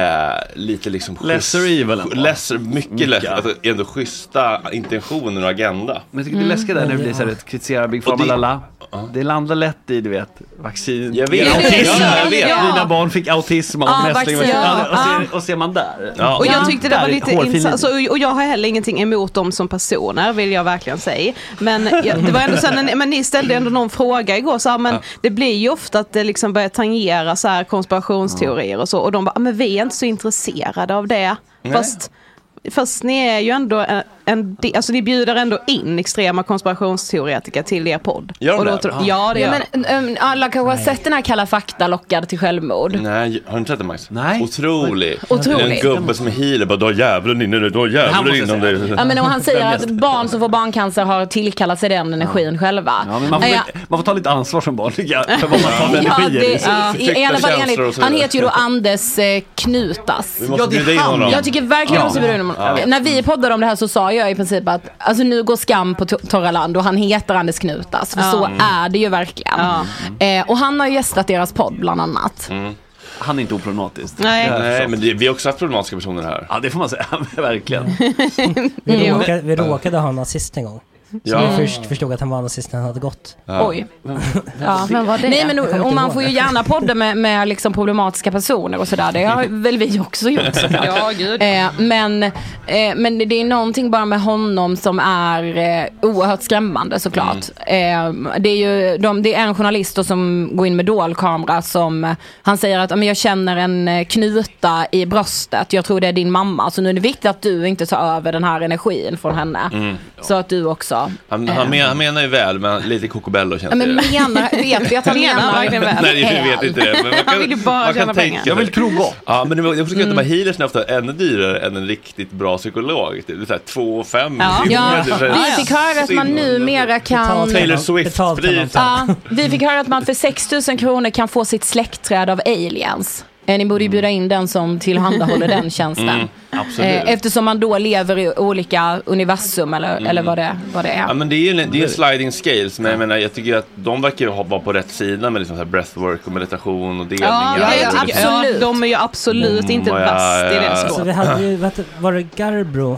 [SPEAKER 1] lite liksom
[SPEAKER 7] Lesser
[SPEAKER 1] schysst-
[SPEAKER 7] evil ändå.
[SPEAKER 1] lesser, mycket
[SPEAKER 7] Mycket.
[SPEAKER 1] lesser, alltså ändå schyssta intentioner och agenda.
[SPEAKER 7] Men jag tycker det är läskigt där när
[SPEAKER 8] Mm.
[SPEAKER 7] det blir så här, ett kritisera Big Pharma,
[SPEAKER 1] Och det-
[SPEAKER 7] lala. Det landar lätt i, du vet, vaccin.
[SPEAKER 1] Jag vet.
[SPEAKER 7] Autism.
[SPEAKER 1] Ja, jag vet. Ja.
[SPEAKER 7] Mina barn fick autism av
[SPEAKER 8] Ja,
[SPEAKER 7] mässling.
[SPEAKER 8] vaccin.
[SPEAKER 7] Ja, och,
[SPEAKER 8] Ja.
[SPEAKER 7] ser, och ser man där.
[SPEAKER 8] Och jag tyckte det
[SPEAKER 7] Där är
[SPEAKER 8] var
[SPEAKER 7] ett
[SPEAKER 8] lite
[SPEAKER 7] hårfin
[SPEAKER 8] intressant,
[SPEAKER 7] linje.
[SPEAKER 8] alltså, och jag har heller ingenting emot dem som personer vill jag verkligen säga. Men jag, det var ändå sen, men ni ställde ändå någon fråga igår, så här, men
[SPEAKER 6] Ja.
[SPEAKER 8] det blir ju ofta att det liksom börjar tangera så här, konspirationsteorier och så och de bara, "Ah, men vi är inte så intresserade av det.
[SPEAKER 6] Nej.
[SPEAKER 8] Fast, fast ni är ju ändå en, en del- alltså ni bjuder ändå in extrema konspirationsteoretiker till er podd.
[SPEAKER 1] Gör de
[SPEAKER 8] och
[SPEAKER 1] det? Ah.
[SPEAKER 8] tror- Ja det gör de.
[SPEAKER 6] men, um, Alla kanske har sett den här Kalla fakta lockad till självmord.
[SPEAKER 1] Nej, har du inte sett den Max? Nej. Otrolig.
[SPEAKER 6] Otrolig.
[SPEAKER 1] En gubbe som är healer bara, du har djävulen inne nu, du har
[SPEAKER 7] Han
[SPEAKER 1] djävulen
[SPEAKER 7] måste
[SPEAKER 1] inom
[SPEAKER 7] säga.
[SPEAKER 1] dig.
[SPEAKER 6] Ja, men och han säger att barn som får barncancer har tillkallat sig den energin själva.
[SPEAKER 7] Ja, men man, får,
[SPEAKER 6] Eh,
[SPEAKER 7] väl- man får ta lite ansvar som barn, tycker jag, för vad man tar för
[SPEAKER 6] ja,
[SPEAKER 7] energier
[SPEAKER 6] det-
[SPEAKER 7] i.
[SPEAKER 6] ja, i- i alla fall enligt, han heter ju då Anders eh, Knutas.
[SPEAKER 7] Vi måste Ja, det är bjuda in han. honom.
[SPEAKER 6] Jag tycker verkligen
[SPEAKER 7] Ja.
[SPEAKER 6] vi måste bjuda in honom.
[SPEAKER 7] Ja.
[SPEAKER 6] När vi poddade om det här så sa jag i princip att alltså, nu går skam på to- torra land och han heter Anders Knutas. För
[SPEAKER 8] Ja.
[SPEAKER 6] så
[SPEAKER 1] Mm.
[SPEAKER 6] är det ju verkligen. Eh, och han har ju gästat deras podd bland annat.
[SPEAKER 1] Mm.
[SPEAKER 7] han är inte oproblematisk.
[SPEAKER 8] Nej.
[SPEAKER 1] Nej, men det, vi har också haft problematiska personer här.
[SPEAKER 7] Ja, det får man säga. Verkligen.
[SPEAKER 3] Vi,
[SPEAKER 8] Jo. Mm.
[SPEAKER 3] råkade, vi råkade ha en nazist en gång. Så
[SPEAKER 1] Ja.
[SPEAKER 6] Mm.
[SPEAKER 3] vi först förstod att han var nazist när han hade gått.
[SPEAKER 1] Ja.
[SPEAKER 6] Oj.
[SPEAKER 8] Ja, men vad det?
[SPEAKER 6] Nej men
[SPEAKER 8] Jag kommer
[SPEAKER 6] och,
[SPEAKER 8] inte
[SPEAKER 6] och man
[SPEAKER 8] ihåg.
[SPEAKER 6] får ju gärna podda med, med liksom problematiska personer och sådär. Det har väl vi också gjort såklart.
[SPEAKER 8] Ja, gud.
[SPEAKER 6] Eh, men, eh, men det är någonting bara med honom som är eh, oerhört skrämmande såklart.
[SPEAKER 8] Mm.
[SPEAKER 6] Eh, det, är ju, de, det är en journalist då som går in med dold kamera som eh, han säger att "Ja, men jag känner en eh, knuta i bröstet. Jag tror det är din mamma. Så nu är det viktigt att du inte tar över den här energin från henne.
[SPEAKER 1] Mm.
[SPEAKER 6] Så att du också.
[SPEAKER 1] Han,
[SPEAKER 6] eh,
[SPEAKER 1] han, men, han menar ju väl, men lite kokobello känns
[SPEAKER 6] Ja, men
[SPEAKER 1] det.
[SPEAKER 6] menar, vet vi att han menar Eh, verkligen väl?
[SPEAKER 1] Nej, vi vet inte det. Men man kan,
[SPEAKER 6] Han vill ju bara
[SPEAKER 1] man kan
[SPEAKER 6] tjäna
[SPEAKER 1] tänka
[SPEAKER 6] pengar.
[SPEAKER 1] sig.
[SPEAKER 6] Jag vill
[SPEAKER 7] tro gott.
[SPEAKER 1] Ja, men jag försöker
[SPEAKER 6] Mm.
[SPEAKER 1] mm. att de här healers är ofta ännu dyrare än en riktigt bra psykolog. Typ. Det är så här två och fem.
[SPEAKER 6] Ja.
[SPEAKER 1] Det är
[SPEAKER 6] Ja.
[SPEAKER 1] ju- det är
[SPEAKER 6] Vi fick höra att man
[SPEAKER 1] synd.
[SPEAKER 6] numera
[SPEAKER 8] Ah.
[SPEAKER 6] kan...
[SPEAKER 1] Betalt- Taylor Swift blir
[SPEAKER 6] Ja, vi fick höra att man för 6 000 kronor kan få sitt släktträd av aliens. Eh, Ni borde ju bjuda in den som tillhandahåller den tjänsten.
[SPEAKER 1] Mm, absolut.
[SPEAKER 6] Eh, Eftersom man då lever i olika universum eller, eller vad, det, vad det är.
[SPEAKER 1] Mm. Ja, men det är ju en, det är en sliding scales, men jag menar, jag tycker att de verkar ju ha- vara på rätt sida med liksom så här breathwork och meditation och delningar.
[SPEAKER 8] Ja, ja, ja, absolut. de är ju absolut inte
[SPEAKER 1] Mamma, Mm, ja,
[SPEAKER 8] bäst i det
[SPEAKER 1] ja.
[SPEAKER 3] Alltså,
[SPEAKER 8] språket.
[SPEAKER 3] vi hade ju, vet, du, var det Garbro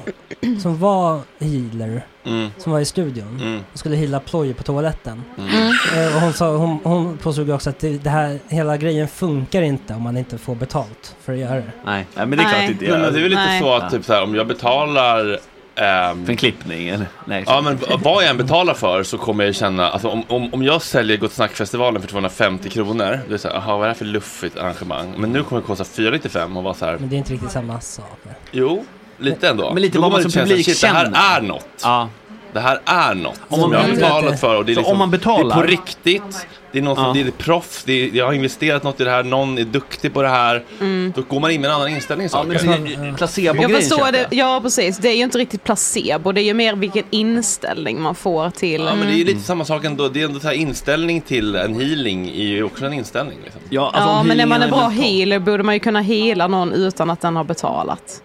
[SPEAKER 3] som var healer?
[SPEAKER 1] Mm.
[SPEAKER 3] Som var i studion
[SPEAKER 1] Mm.
[SPEAKER 3] och skulle heala ploj på toaletten.
[SPEAKER 1] Mm.
[SPEAKER 3] Eh, Och hon, sa, hon, hon påstod ju också att det, det här, hela grejen funkar inte om man inte får betalt för att göra det.
[SPEAKER 7] Nej, ja, men det är klart
[SPEAKER 3] Nej.
[SPEAKER 7] inte
[SPEAKER 1] Men, men det är väl lite
[SPEAKER 3] Nej.
[SPEAKER 1] så att typ, så här, om jag betalar ehm,
[SPEAKER 7] För en klippning eller? Nej,
[SPEAKER 1] Ja men vad jag än betalar för så kommer jag känna, alltså om, om, om jag säljer Gott Snack-festivalen för 250 kronor, då är det såhär, jaha vad är det här för luffigt arrangemang? Men nu kommer det kosta 495 och vara såhär,
[SPEAKER 3] Men det är inte riktigt samma sak.
[SPEAKER 1] jo, lite ändå.
[SPEAKER 7] Men lite
[SPEAKER 1] Då
[SPEAKER 7] vad
[SPEAKER 1] kommer
[SPEAKER 7] man
[SPEAKER 1] det
[SPEAKER 7] som
[SPEAKER 1] kännas,
[SPEAKER 7] publik
[SPEAKER 1] shit, Det här
[SPEAKER 7] känner.
[SPEAKER 1] är något. Det här är något som
[SPEAKER 7] Om man-
[SPEAKER 1] jag har
[SPEAKER 7] Mm.
[SPEAKER 1] betalat för och det är,
[SPEAKER 7] Så
[SPEAKER 1] liksom,
[SPEAKER 7] om man betalar-
[SPEAKER 1] det är på riktigt. Det är någon som,
[SPEAKER 7] Ja.
[SPEAKER 1] det är ett proffs, det är, jag har investerat något i det här, någon är duktig på det här.
[SPEAKER 8] Mm.
[SPEAKER 1] Då går man in med en annan inställning i saker.
[SPEAKER 7] men det är- Ja. placebo-grejen
[SPEAKER 8] Jag förstår det. Ja, precis. Det är ju inte riktigt placebo. Det är ju mer vilken inställning man får till...
[SPEAKER 1] Ja, men det är ju lite samma sak ändå. Det är ändå så här inställning till en healing är ju också en inställning. Liksom.
[SPEAKER 7] Ja,
[SPEAKER 8] ja, men när man är bra healer borde man ju kunna hela någon utan att den har betalat.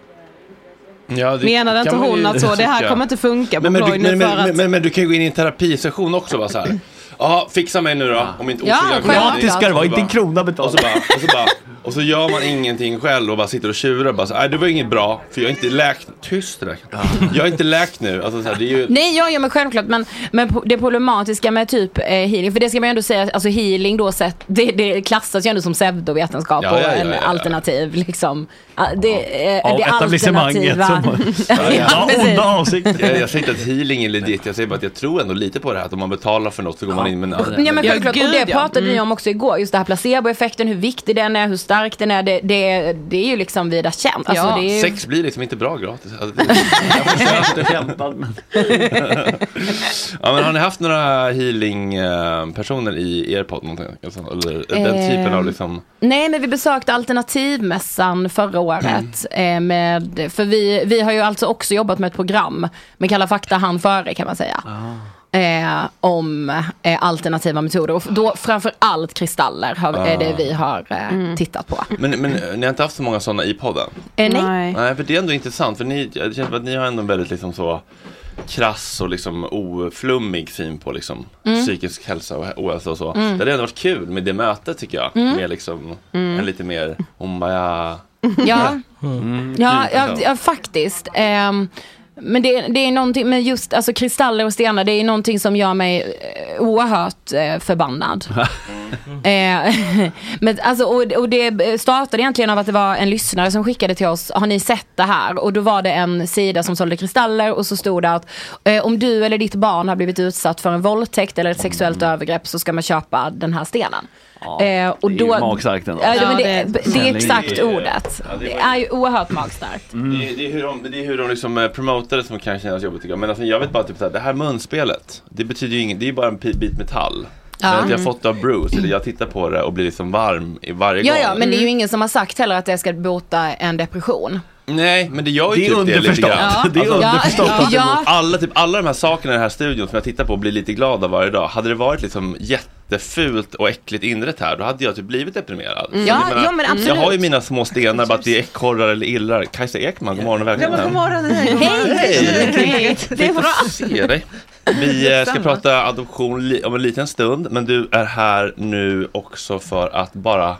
[SPEAKER 1] Ja, det
[SPEAKER 8] Menade inte
[SPEAKER 1] kan man
[SPEAKER 8] hon
[SPEAKER 1] ju
[SPEAKER 8] att så, det här
[SPEAKER 1] tycka.
[SPEAKER 8] kommer inte funka på
[SPEAKER 1] men, men, du,
[SPEAKER 8] ploj nu
[SPEAKER 1] men,
[SPEAKER 8] för
[SPEAKER 1] men,
[SPEAKER 8] att...
[SPEAKER 1] men, men du kan ju gå in i en terapisession också va så här. Ja, fixa mig nu då. Om inte
[SPEAKER 8] Ja,
[SPEAKER 1] ofrivillig
[SPEAKER 8] självklart.
[SPEAKER 1] övergivning.
[SPEAKER 8] Det ska det vara,
[SPEAKER 1] Och så
[SPEAKER 8] inte en
[SPEAKER 1] bara-
[SPEAKER 7] Alltså,
[SPEAKER 1] Och så, bara, och, så bara, och så gör man ingenting själv och bara sitter och tjurar. Bara så, Nej, det var inget bra för jag är inte läkt. Tyst det där. Jag är inte läkt nu. Alltså, så här, det är ju...
[SPEAKER 6] Nej, ja, ja men självklart. Men, men po- det problematiska med typ eh, healing, för det ska man ju ändå säga, alltså healing då sett, det, det klassas ju ändå som pseudovetenskap
[SPEAKER 1] Ja,
[SPEAKER 6] och
[SPEAKER 1] ja, ja,
[SPEAKER 6] en
[SPEAKER 1] ja, ja.
[SPEAKER 6] alternativ liksom. Ah, Det, eh,
[SPEAKER 1] Av
[SPEAKER 6] det
[SPEAKER 1] etablissemanget som-
[SPEAKER 6] alternativa. ja, precis.
[SPEAKER 1] Jag, jag säger inte att healing är legit, jag säger bara att jag tror ändå lite på det här att om man betalar för något så går man in med en annan.
[SPEAKER 6] Ja men självklart, och det pratade
[SPEAKER 1] Mm.
[SPEAKER 6] ni om också igår, just det här placeboeffekten, hur viktig den är, hur stark den är, det, det, det är ju liksom vida känt. Alltså, det är ju...
[SPEAKER 1] Sex blir liksom inte bra gratis. Alltså, det, jag försökte
[SPEAKER 7] kämpa.
[SPEAKER 1] ja, men har ni haft några healing-personer i er podd? Någonting, alltså, eller den
[SPEAKER 6] Eh,
[SPEAKER 1] typen av liksom...
[SPEAKER 6] Nej men vi besökte alternativmässan förra året. Eh, med, för vi, vi har ju alltså också jobbat med ett program med Kalla fakta han före kan man säga. Eh, om eh, alternativa metoder och f- då framför allt kristaller har, är det
[SPEAKER 1] Ah.
[SPEAKER 6] vi har eh, tittat på.
[SPEAKER 1] Men, men ni har inte haft så många sådana i podden?
[SPEAKER 6] Eh, nej. Nej.
[SPEAKER 1] för det är ändå intressant, för ni, jag känner att ni har ändå en väldigt liksom så krass och liksom oflummig syn på liksom
[SPEAKER 6] Mm.
[SPEAKER 1] psykisk hälsa och hä- ohälsa och så.
[SPEAKER 6] Mm.
[SPEAKER 1] Det hade ändå varit kul med det mötet tycker jag,
[SPEAKER 6] Mm.
[SPEAKER 1] med liksom
[SPEAKER 6] Mm.
[SPEAKER 1] en lite mer ombaya...
[SPEAKER 6] Ja.
[SPEAKER 1] Mm.
[SPEAKER 6] Ja, ja, ja faktiskt. Ehm, men det, det är någonting, men just alltså, kristaller och stenar, det är någonting som gör mig eh, oerhört eh, förbannad. Eh, men alltså, och, och det startade egentligen av att det var en lyssnare som skickade till oss, har ni sett det här? Och då var det en sida som sålde kristaller och så stod det att eh, om du eller ditt barn har blivit utsatt för en våldtäkt eller ett sexuellt övergrepp så ska man köpa den här stenen. Eh, och
[SPEAKER 7] det är ju magstarkt ändå.
[SPEAKER 6] Ja, ja, men
[SPEAKER 7] Ja,
[SPEAKER 6] det,
[SPEAKER 7] det-
[SPEAKER 6] det är exakt
[SPEAKER 1] Ja, det-
[SPEAKER 6] ordet.
[SPEAKER 1] ja, det var- Mm.
[SPEAKER 6] Det är ju oerhört magstarkt.
[SPEAKER 7] Mm.
[SPEAKER 1] Det, är- det är hur de, det är hur de liksom eh, promotar det som kan kännas jobbigt tycker jag. Men alltså, jag vet bara typ såhär, det här munspelet, det betyder ju inget, det är ju bara en pi- bit metall.
[SPEAKER 6] Ja.
[SPEAKER 1] Men att jag har
[SPEAKER 6] Mm.
[SPEAKER 1] fått det av Bruce, eller jag tittar på det och blir liksom varm i varje
[SPEAKER 6] Ja,
[SPEAKER 1] gång.
[SPEAKER 6] ja, men det är ju ingen som har sagt heller att det ska bota en depression.
[SPEAKER 1] Nej, men det gör ju
[SPEAKER 7] Det är
[SPEAKER 1] typ det lite
[SPEAKER 7] underförstått.
[SPEAKER 1] grann.
[SPEAKER 5] Alltså,
[SPEAKER 7] Ja. Det är underförstått
[SPEAKER 6] att det Ja. mot-
[SPEAKER 1] Alla, typ, alla de här sakerna i den här studion som jag tittar på och blir lite glad av varje dag. Hade det varit liksom jättefult och äckligt inrett här, då hade jag typ blivit deprimerad.
[SPEAKER 6] Mm.
[SPEAKER 1] Så
[SPEAKER 6] Ja,
[SPEAKER 1] jag
[SPEAKER 6] ja, men
[SPEAKER 1] Jag
[SPEAKER 6] absolut.
[SPEAKER 1] har ju mina små stenar, bara att det är ekorrar eller illrar. Kajsa Ekman, god morgon och
[SPEAKER 5] Ja,
[SPEAKER 1] välkommen.
[SPEAKER 5] men god morgon. Hej!
[SPEAKER 1] Hej!
[SPEAKER 5] Det är bra.
[SPEAKER 1] se dig. Vi eh, ska
[SPEAKER 5] Detsamma.
[SPEAKER 1] prata adoption li- om en liten stund, men du är här nu också för att bara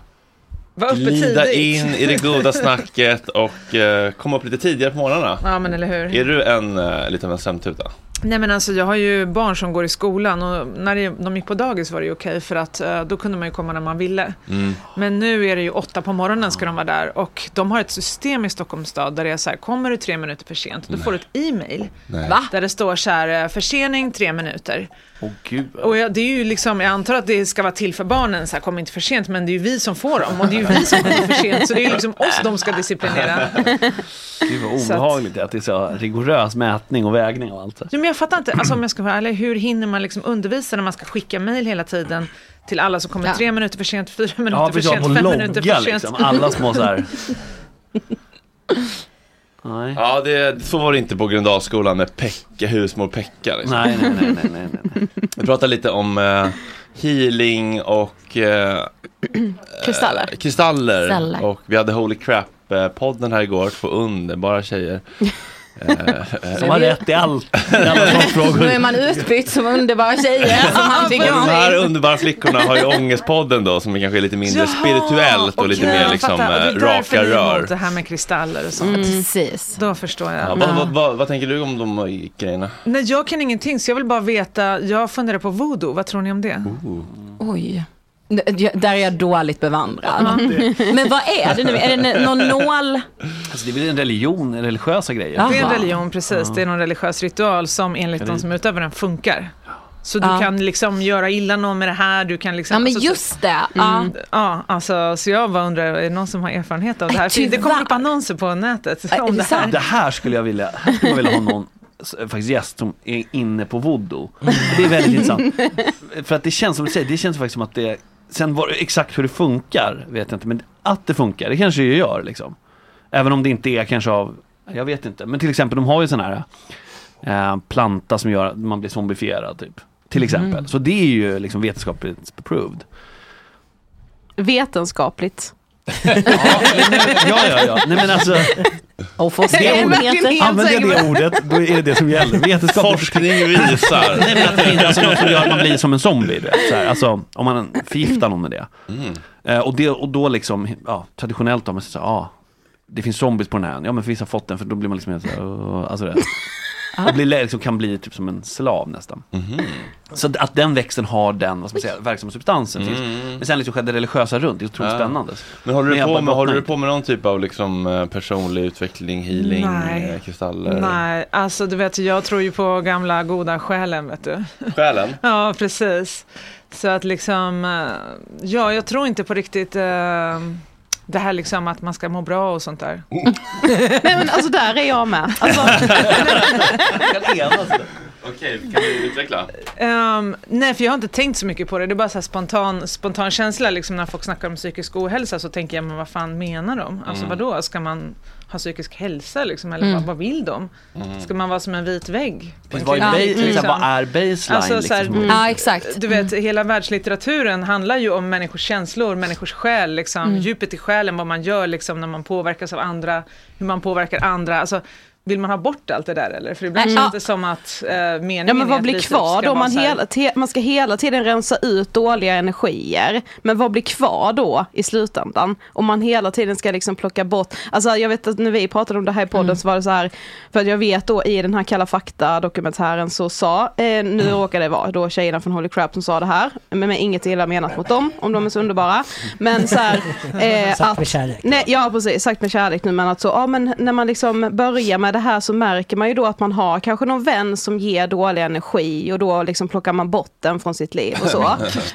[SPEAKER 5] Var uppe
[SPEAKER 1] glida
[SPEAKER 5] tidigt.
[SPEAKER 1] in i det goda snacket och eh, komma upp lite tidigare på morgnarna.
[SPEAKER 5] Ja, men eller hur.
[SPEAKER 1] Är du en eh, lite av en sömntuta?
[SPEAKER 5] Nej men alltså jag har ju barn som går i skolan och när det- de gick på dagis var det ju okej för att eh, då kunde man ju komma när man ville.
[SPEAKER 1] Mm.
[SPEAKER 5] Men nu är det ju åtta på morgonen ska de vara där och de har ett system i Stockholms stad där det är så här, kommer du tre minuter för sent, då får du ett e-mail
[SPEAKER 7] Nej. Va?
[SPEAKER 5] där det står så här, eh, försening tre minuter.
[SPEAKER 7] Åh gud. alltså,
[SPEAKER 5] Och jag, det är ju liksom, jag antar att det ska vara till för barnen, så här, kom inte för sent, men det är ju vi som får dem och det är ju vi som kommer för sent, så det är ju liksom oss de ska disciplinera.
[SPEAKER 7] Gud vad obehagligt att det är så rigorös mätning och vägning av allt.
[SPEAKER 5] Jo, men jag fattar inte, alltså, om jag ska vara ärlig, hur hinner man liksom undervisa när man ska skicka mejl hela tiden till alla som kommer
[SPEAKER 7] Ja.
[SPEAKER 5] tre minuter för sent, fyra minuter
[SPEAKER 7] Ja,
[SPEAKER 5] för
[SPEAKER 7] precis,
[SPEAKER 5] sent,
[SPEAKER 7] och
[SPEAKER 5] fem
[SPEAKER 7] logga,
[SPEAKER 5] minuter för sent.
[SPEAKER 7] liksom, alla små så här. Nej.
[SPEAKER 1] Ja, det, så var det inte på Gröndalsskolan med Pekka, husmor Pekka. Liksom.
[SPEAKER 7] Nej, nej, nej, nej, nej,
[SPEAKER 1] Vi pratar lite om eh, healing och eh,
[SPEAKER 6] Kristaller.
[SPEAKER 1] eh, kristaller.
[SPEAKER 6] Kristaller.
[SPEAKER 1] Och vi hade Holy Crap-podden här igår, två underbara tjejer.
[SPEAKER 6] Som har rätt
[SPEAKER 1] i allt.
[SPEAKER 6] Nu är man utbytt som underbara tjejer som han
[SPEAKER 1] De
[SPEAKER 6] tycker om.
[SPEAKER 1] här underbara flickorna har ju Ångestpodden då, som kanske är lite mindre spirituellt och lite
[SPEAKER 5] okej.
[SPEAKER 1] mer
[SPEAKER 5] Jag
[SPEAKER 1] liksom
[SPEAKER 5] fattar. Och
[SPEAKER 1] eh,
[SPEAKER 5] det är därför
[SPEAKER 1] raka
[SPEAKER 5] ni är emot
[SPEAKER 1] rör.
[SPEAKER 5] Det här med kristaller och sånt.
[SPEAKER 6] Precis.
[SPEAKER 5] Då förstår jag.
[SPEAKER 1] Ja, vad,
[SPEAKER 5] Men-
[SPEAKER 1] vad, vad, vad tänker du om de grejerna?
[SPEAKER 5] Nej, jag kan ingenting, så jag vill bara veta, jag funderar på voodoo, vad tror ni om det?
[SPEAKER 6] Oj. N- jag- Där är jag dåligt bevandrad.
[SPEAKER 5] Ja, det-
[SPEAKER 6] Men vad är det nu? Är det n- någon nål?
[SPEAKER 7] Alltså, det blir en religion, religiösa grejer.
[SPEAKER 5] Det är en religion, precis. Det är någon religiös ritual som enligt
[SPEAKER 7] Kan
[SPEAKER 5] de
[SPEAKER 7] vi-
[SPEAKER 5] som utövar den funkar. Så
[SPEAKER 6] Ja.
[SPEAKER 5] du kan liksom göra illa någon med det här, du kan liksom...
[SPEAKER 6] Ja, men
[SPEAKER 5] alltså, så-
[SPEAKER 6] just det, ja.
[SPEAKER 5] Mm. Ja, alltså, så jag bara undrar, är det någon som har erfarenhet av det här? För det kommer
[SPEAKER 6] Tyvärr.
[SPEAKER 5] upp annonser på nätet
[SPEAKER 8] Äh,
[SPEAKER 5] om det här.
[SPEAKER 7] Det här skulle jag vilja, här skulle jag vilja ha någon s- faktiskt gäst som är inne på voodoo. Det är väldigt intressant. För att det känns som du säger, det känns faktiskt som att det, sen var, exakt hur det funkar vet jag inte, men att det funkar, det kanske det gör liksom. Även om det inte är kanske av, jag vet inte, men till exempel de har ju sån här eh, planta som gör att man blir zombifierad typ. Till exempel.
[SPEAKER 8] Mm.
[SPEAKER 7] Så det är ju liksom vetenskapligt approved.
[SPEAKER 8] Vetenskapligt.
[SPEAKER 7] Ja, ja, ja. Nej men alltså.
[SPEAKER 6] Och forskning.
[SPEAKER 7] Det ordet-
[SPEAKER 6] Det är verkligen helt
[SPEAKER 7] Använder jag
[SPEAKER 6] säkert.
[SPEAKER 7] det ordet, då är det det som gäller. Vetenskap och
[SPEAKER 1] Forskning visar.
[SPEAKER 7] Nej, men att det finns alltså något som gör att man blir som en zombie. Du vet, så här. Alltså, om man förgiftar någon med det. Eh, och, det och då liksom, ja, traditionellt då, man säger så här, ja, det finns zombies på den här ön. Ja, men för vissa har fått den, för då blir man liksom helt så här, "Åh", alltså det. Och blir, liksom, kan bli typ som en slav nästan. Så att- att den växten har den, vad ska man säga, verksamma substansen finns. Men sen liksom det religiösa runt, det är otroligt
[SPEAKER 1] Ja.
[SPEAKER 7] spännande.
[SPEAKER 1] Men håller du,
[SPEAKER 7] jag
[SPEAKER 1] på
[SPEAKER 7] bara
[SPEAKER 1] med, håller du
[SPEAKER 7] bottnar
[SPEAKER 1] på med någon typ av liksom, eh, personlig utveckling, healing,
[SPEAKER 5] Nej.
[SPEAKER 1] eh, kristaller?
[SPEAKER 5] Nej, alltså du vet, jag tror ju på gamla goda själen, vet du.
[SPEAKER 1] Själen?
[SPEAKER 5] Ja, precis. Så att liksom, eh, ja, jag tror inte på riktigt eh, det här liksom att man ska må bra och sånt där.
[SPEAKER 8] Nej men alltså där är jag med. Alltså,
[SPEAKER 1] Okej, kan du utveckla?
[SPEAKER 5] Ehm, nej, för jag har inte tänkt så mycket på det. Det är bara så här spontan, spontan känsla. Liksom när folk snackar om psykisk ohälsa så tänker jag, men vad fan menar de? Alltså
[SPEAKER 9] Mm.
[SPEAKER 5] vadå, ska man ha psykisk hälsa liksom? Eller
[SPEAKER 7] Mm.
[SPEAKER 5] vad, vad vill de?
[SPEAKER 7] Mm.
[SPEAKER 5] Ska man vara som en vit vägg?
[SPEAKER 7] Fast vad är ba- liksom, vad är baseline,
[SPEAKER 5] Alltså, så här,
[SPEAKER 7] liksom? Mm. Ja,
[SPEAKER 5] Du vet, hela världslitteraturen handlar ju om människors känslor, människors själ, liksom,
[SPEAKER 7] Mm.
[SPEAKER 5] djupet i själen, vad man gör liksom, när man påverkas av andra, hur man påverkar andra. Alltså, vill man ha bort allt det där eller? För ibland
[SPEAKER 8] Nej,
[SPEAKER 5] känns
[SPEAKER 8] ja.
[SPEAKER 5] det som att eh, meningen
[SPEAKER 8] ja, men
[SPEAKER 5] är
[SPEAKER 8] vad
[SPEAKER 5] att
[SPEAKER 8] blir
[SPEAKER 5] vi typ
[SPEAKER 8] kvar
[SPEAKER 5] ska
[SPEAKER 8] då?
[SPEAKER 5] vara
[SPEAKER 8] Man,
[SPEAKER 5] så här-
[SPEAKER 8] hela, te, man ska hela tiden rensa ut dåliga energier. Men vad blir kvar då i slutändan? Om man hela tiden ska liksom plocka bort. Alltså jag vet att när vi pratade om det här i podden
[SPEAKER 5] Mm.
[SPEAKER 8] så var det så här. För att jag vet då i den här Kalla fakta-dokumentären så sa, eh,
[SPEAKER 5] Mm.
[SPEAKER 8] nu råkar det vara då tjejerna från Holy Crap som sa det här. Men med inget illa menat mot dem, om de är så underbara. Men så här, eh,
[SPEAKER 3] Sagt
[SPEAKER 8] att,
[SPEAKER 3] med kärlek.
[SPEAKER 8] Nej, ja precis, sagt med kärlek nu men att så, ja men när man liksom börjar med det här så märker man ju då att man har kanske någon vän som ger dålig energi och då liksom plockar man bort den från sitt liv och så.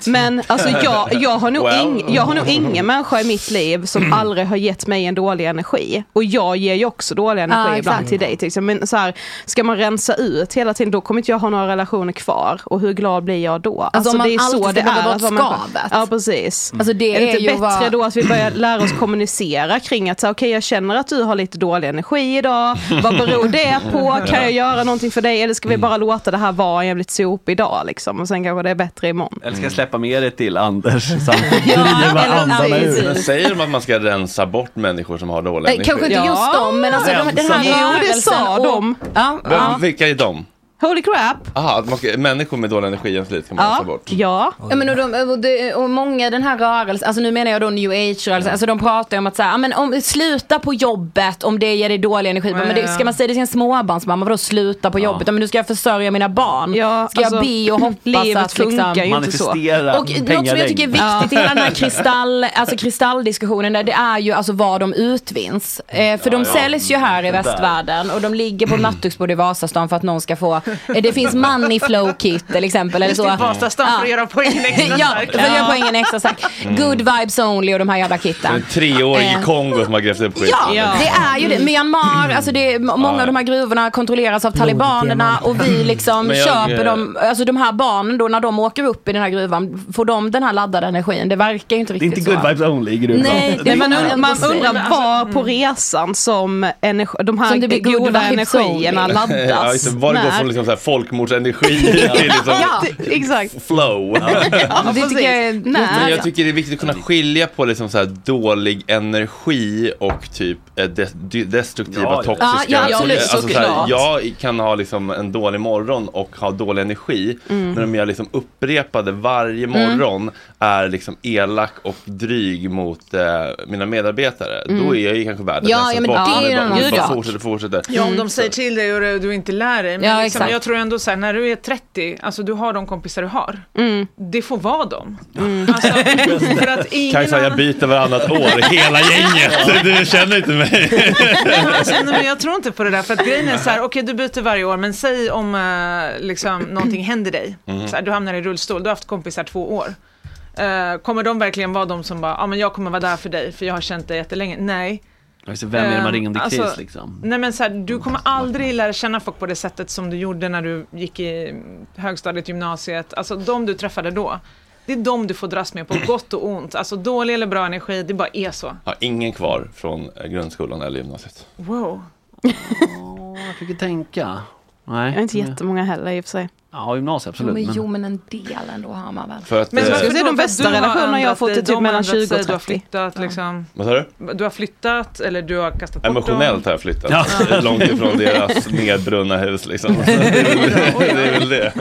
[SPEAKER 8] Men alltså jag, jag, har, nog
[SPEAKER 6] Well.
[SPEAKER 8] ing, jag har nog ingen människa i mitt liv som aldrig har gett mig en dålig energi. Och jag ger ju också dålig energi
[SPEAKER 6] Ja,
[SPEAKER 8] ibland
[SPEAKER 6] exakt.
[SPEAKER 8] till dig till exempel. Men så här, ska man rensa ut hela tiden då kommer inte jag ha några relationer kvar och hur glad blir jag då?
[SPEAKER 6] Alltså, om man alltid ska plocka bort
[SPEAKER 8] vara människa.
[SPEAKER 6] skavet.
[SPEAKER 8] Ja precis.
[SPEAKER 6] Alltså, det
[SPEAKER 8] är det
[SPEAKER 6] är
[SPEAKER 8] inte
[SPEAKER 6] ju
[SPEAKER 8] bättre
[SPEAKER 6] vad-
[SPEAKER 8] då att vi börjar lära oss kommunicera kring att så här, okej jag känner att du har lite dålig energi idag, vad beror det på, kan jag göra någonting för dig eller ska vi bara låta det här vara en jävligt sopig dag liksom och sen kanske det är bättre imorgon.
[SPEAKER 7] Eller ska jag släppa med det till Anders? Så han
[SPEAKER 8] driver eller- andarna ur.
[SPEAKER 1] Men säger de att man ska rensa bort människor som har dålig
[SPEAKER 6] Nej, kanske inte just dem, men alltså de- den här
[SPEAKER 8] Jo, det
[SPEAKER 6] rörelsen
[SPEAKER 8] sa
[SPEAKER 6] och-
[SPEAKER 8] de.
[SPEAKER 6] Ja,
[SPEAKER 1] Vem,
[SPEAKER 6] ja.
[SPEAKER 1] Vilka är de?
[SPEAKER 8] Holy crap!
[SPEAKER 1] Aha, att man ska, människor med dålig energi i ens liv ska man rensa bort.
[SPEAKER 8] Ja.
[SPEAKER 6] Ja, men och, de, och, det- och många i den här rörelsen, alltså nu menar jag då new age-rörelsen, alltså de pratar ju om att så här, "Ah, men om, sluta på jobbet om det ger dig dålig energi.
[SPEAKER 8] Ja,
[SPEAKER 6] men det,
[SPEAKER 8] ja.
[SPEAKER 6] ska man säga det till en småbarnsmamma, vadå sluta på jobbet? Ja, men nu ska jag försörja mina barn. ska
[SPEAKER 8] alltså,
[SPEAKER 6] jag be och hoppas
[SPEAKER 8] livet
[SPEAKER 6] att liksom...
[SPEAKER 8] funkar ju inte så. Manifestera
[SPEAKER 6] Och något som jag
[SPEAKER 8] pengaregn.
[SPEAKER 6] tycker är viktigt i
[SPEAKER 8] Ja.
[SPEAKER 6] hela den här kristall, alltså kristalldiskussionen, där, det är ju alltså var de utvinns. Eh, för de
[SPEAKER 8] ja.
[SPEAKER 6] säljs ju här i
[SPEAKER 8] Det där.
[SPEAKER 6] västvärlden och de ligger på ett nattduksbord i Vasastan för att någon ska få, eh, det finns money flow kit till exempel. Eller
[SPEAKER 5] Just
[SPEAKER 6] så.
[SPEAKER 5] det, Vasastan för att göra poängen extra
[SPEAKER 6] ja,
[SPEAKER 5] stark.
[SPEAKER 6] för att göra
[SPEAKER 5] Ja.
[SPEAKER 6] poängen extra stark.
[SPEAKER 1] Mm.
[SPEAKER 6] Good vibes only och de här jävla
[SPEAKER 1] En
[SPEAKER 6] kitten.
[SPEAKER 1] treårig i
[SPEAKER 6] Eh.
[SPEAKER 1] Kongo som har grävt upp skiten.
[SPEAKER 6] Ja, det är ju det.
[SPEAKER 1] Mm.
[SPEAKER 6] Myanmar, alltså det är, må- många av de här gruvorna kontrolleras av talibanerna och vi liksom
[SPEAKER 1] Men jag-
[SPEAKER 6] köper dem, alltså de här barnen då när de åker upp i den här gruvan, får de den här laddade energin? Det verkar ju inte
[SPEAKER 7] Det är
[SPEAKER 6] riktigt
[SPEAKER 7] inte good
[SPEAKER 6] så.
[SPEAKER 7] vibes only i gruvan.
[SPEAKER 6] Nej,
[SPEAKER 8] Men man, und- man
[SPEAKER 6] precis.
[SPEAKER 8] undrar var på resan som energi, de här
[SPEAKER 6] alltså- Mm. Som det blir good
[SPEAKER 8] goda
[SPEAKER 6] vibes only.
[SPEAKER 8] energierna laddas.
[SPEAKER 1] Ja, just det. Var det går
[SPEAKER 8] När?
[SPEAKER 1] från liksom så här folkmordsenergi till liksom
[SPEAKER 8] Ja, exakt.
[SPEAKER 1] flow.
[SPEAKER 8] Ja,
[SPEAKER 6] Det tycker jag är-
[SPEAKER 8] precis.
[SPEAKER 1] Men
[SPEAKER 6] Nej.
[SPEAKER 1] jag tycker det är viktigt att kunna skilja på liksom så här dålig energi och typ eh, de- de- destruktiva,
[SPEAKER 6] Ja, ja.
[SPEAKER 1] toxiska.
[SPEAKER 6] Ja, ja, absolut,
[SPEAKER 1] alltså så här,
[SPEAKER 6] såklart.
[SPEAKER 1] jag kan ha liksom en dålig morgon och ha dålig energi.
[SPEAKER 6] Mm.
[SPEAKER 1] Men om jag liksom upprepade varje
[SPEAKER 6] Mm.
[SPEAKER 1] morgon är liksom elak och dryg mot eh, mina medarbetare.
[SPEAKER 5] Mm.
[SPEAKER 1] Då är jag ju kanske värd
[SPEAKER 5] Ja, ja, men det är ju en
[SPEAKER 1] bara,
[SPEAKER 5] annan
[SPEAKER 1] bara
[SPEAKER 5] sak.
[SPEAKER 1] fortsätter, fortsätter.
[SPEAKER 5] Ja, om de säger till dig och du- du inte lär dig. Men
[SPEAKER 6] Mm. Ja,
[SPEAKER 5] liksom,
[SPEAKER 6] exakt.
[SPEAKER 5] jag tror ändå så här, när du är 30, alltså du har de kompisar du har.
[SPEAKER 6] Mm.
[SPEAKER 5] Det får vara dem. Alltså, för att ingen
[SPEAKER 1] Kajsa, jag byter varannat år, hela gänget. Du känner inte mig.
[SPEAKER 5] Alltså, nej, men jag tror inte på det där. För att grejen är så här, okej du byter varje år, men säg om eh, liksom, någonting händer dig.
[SPEAKER 8] Mhm.
[SPEAKER 9] Mm.
[SPEAKER 5] Så här, du hamnar i rullstol, du har haft kompisar två år. Eh, kommer de verkligen vara de som bara, ja men jag kommer vara där för dig, för jag har känt dig jättelänge. Nej.
[SPEAKER 7] Alltså, vem är det man
[SPEAKER 5] Ehm,
[SPEAKER 7] ringer om det är kris
[SPEAKER 5] alltså,
[SPEAKER 7] liksom?
[SPEAKER 5] Nej men så här, du kommer aldrig lära känna folk på det sättet som du gjorde när du gick i högstadiet, gymnasiet. Alltså de du träffade då. Det är de du får dras med
[SPEAKER 8] Mm.
[SPEAKER 5] på gott och ont. Alltså dålig eller bra energi, det bara är så.
[SPEAKER 1] Jag har ingen kvar från eh, grundskolan eller gymnasiet.
[SPEAKER 5] Wow.
[SPEAKER 7] jag fick ju tänka.
[SPEAKER 1] Nej.
[SPEAKER 8] Jag har
[SPEAKER 7] Mm.
[SPEAKER 8] inte jättemånga heller i och för sig.
[SPEAKER 7] Ja, gymnasiet
[SPEAKER 6] Jo
[SPEAKER 7] absolut.
[SPEAKER 6] men,
[SPEAKER 7] men-
[SPEAKER 6] jo men en del ändå har man väl.
[SPEAKER 1] För att,
[SPEAKER 8] Men
[SPEAKER 1] eh,
[SPEAKER 8] varför Det är de
[SPEAKER 5] För att
[SPEAKER 8] bästa
[SPEAKER 5] du har
[SPEAKER 8] relationerna jag har
[SPEAKER 5] ändrat
[SPEAKER 8] fått är
[SPEAKER 5] dig,
[SPEAKER 8] typ
[SPEAKER 5] de har
[SPEAKER 8] mellan
[SPEAKER 5] ändrat
[SPEAKER 8] 20 och
[SPEAKER 5] sig, Du har
[SPEAKER 8] 30.
[SPEAKER 5] flyttat liksom.
[SPEAKER 1] Vad sa du?
[SPEAKER 5] Du har flyttat eller du har kastat bort
[SPEAKER 1] Emotionellt har
[SPEAKER 5] dem.
[SPEAKER 1] jag flyttat långt ifrån deras nedbrunna hus liksom. Så det, är väl det, det är väl det.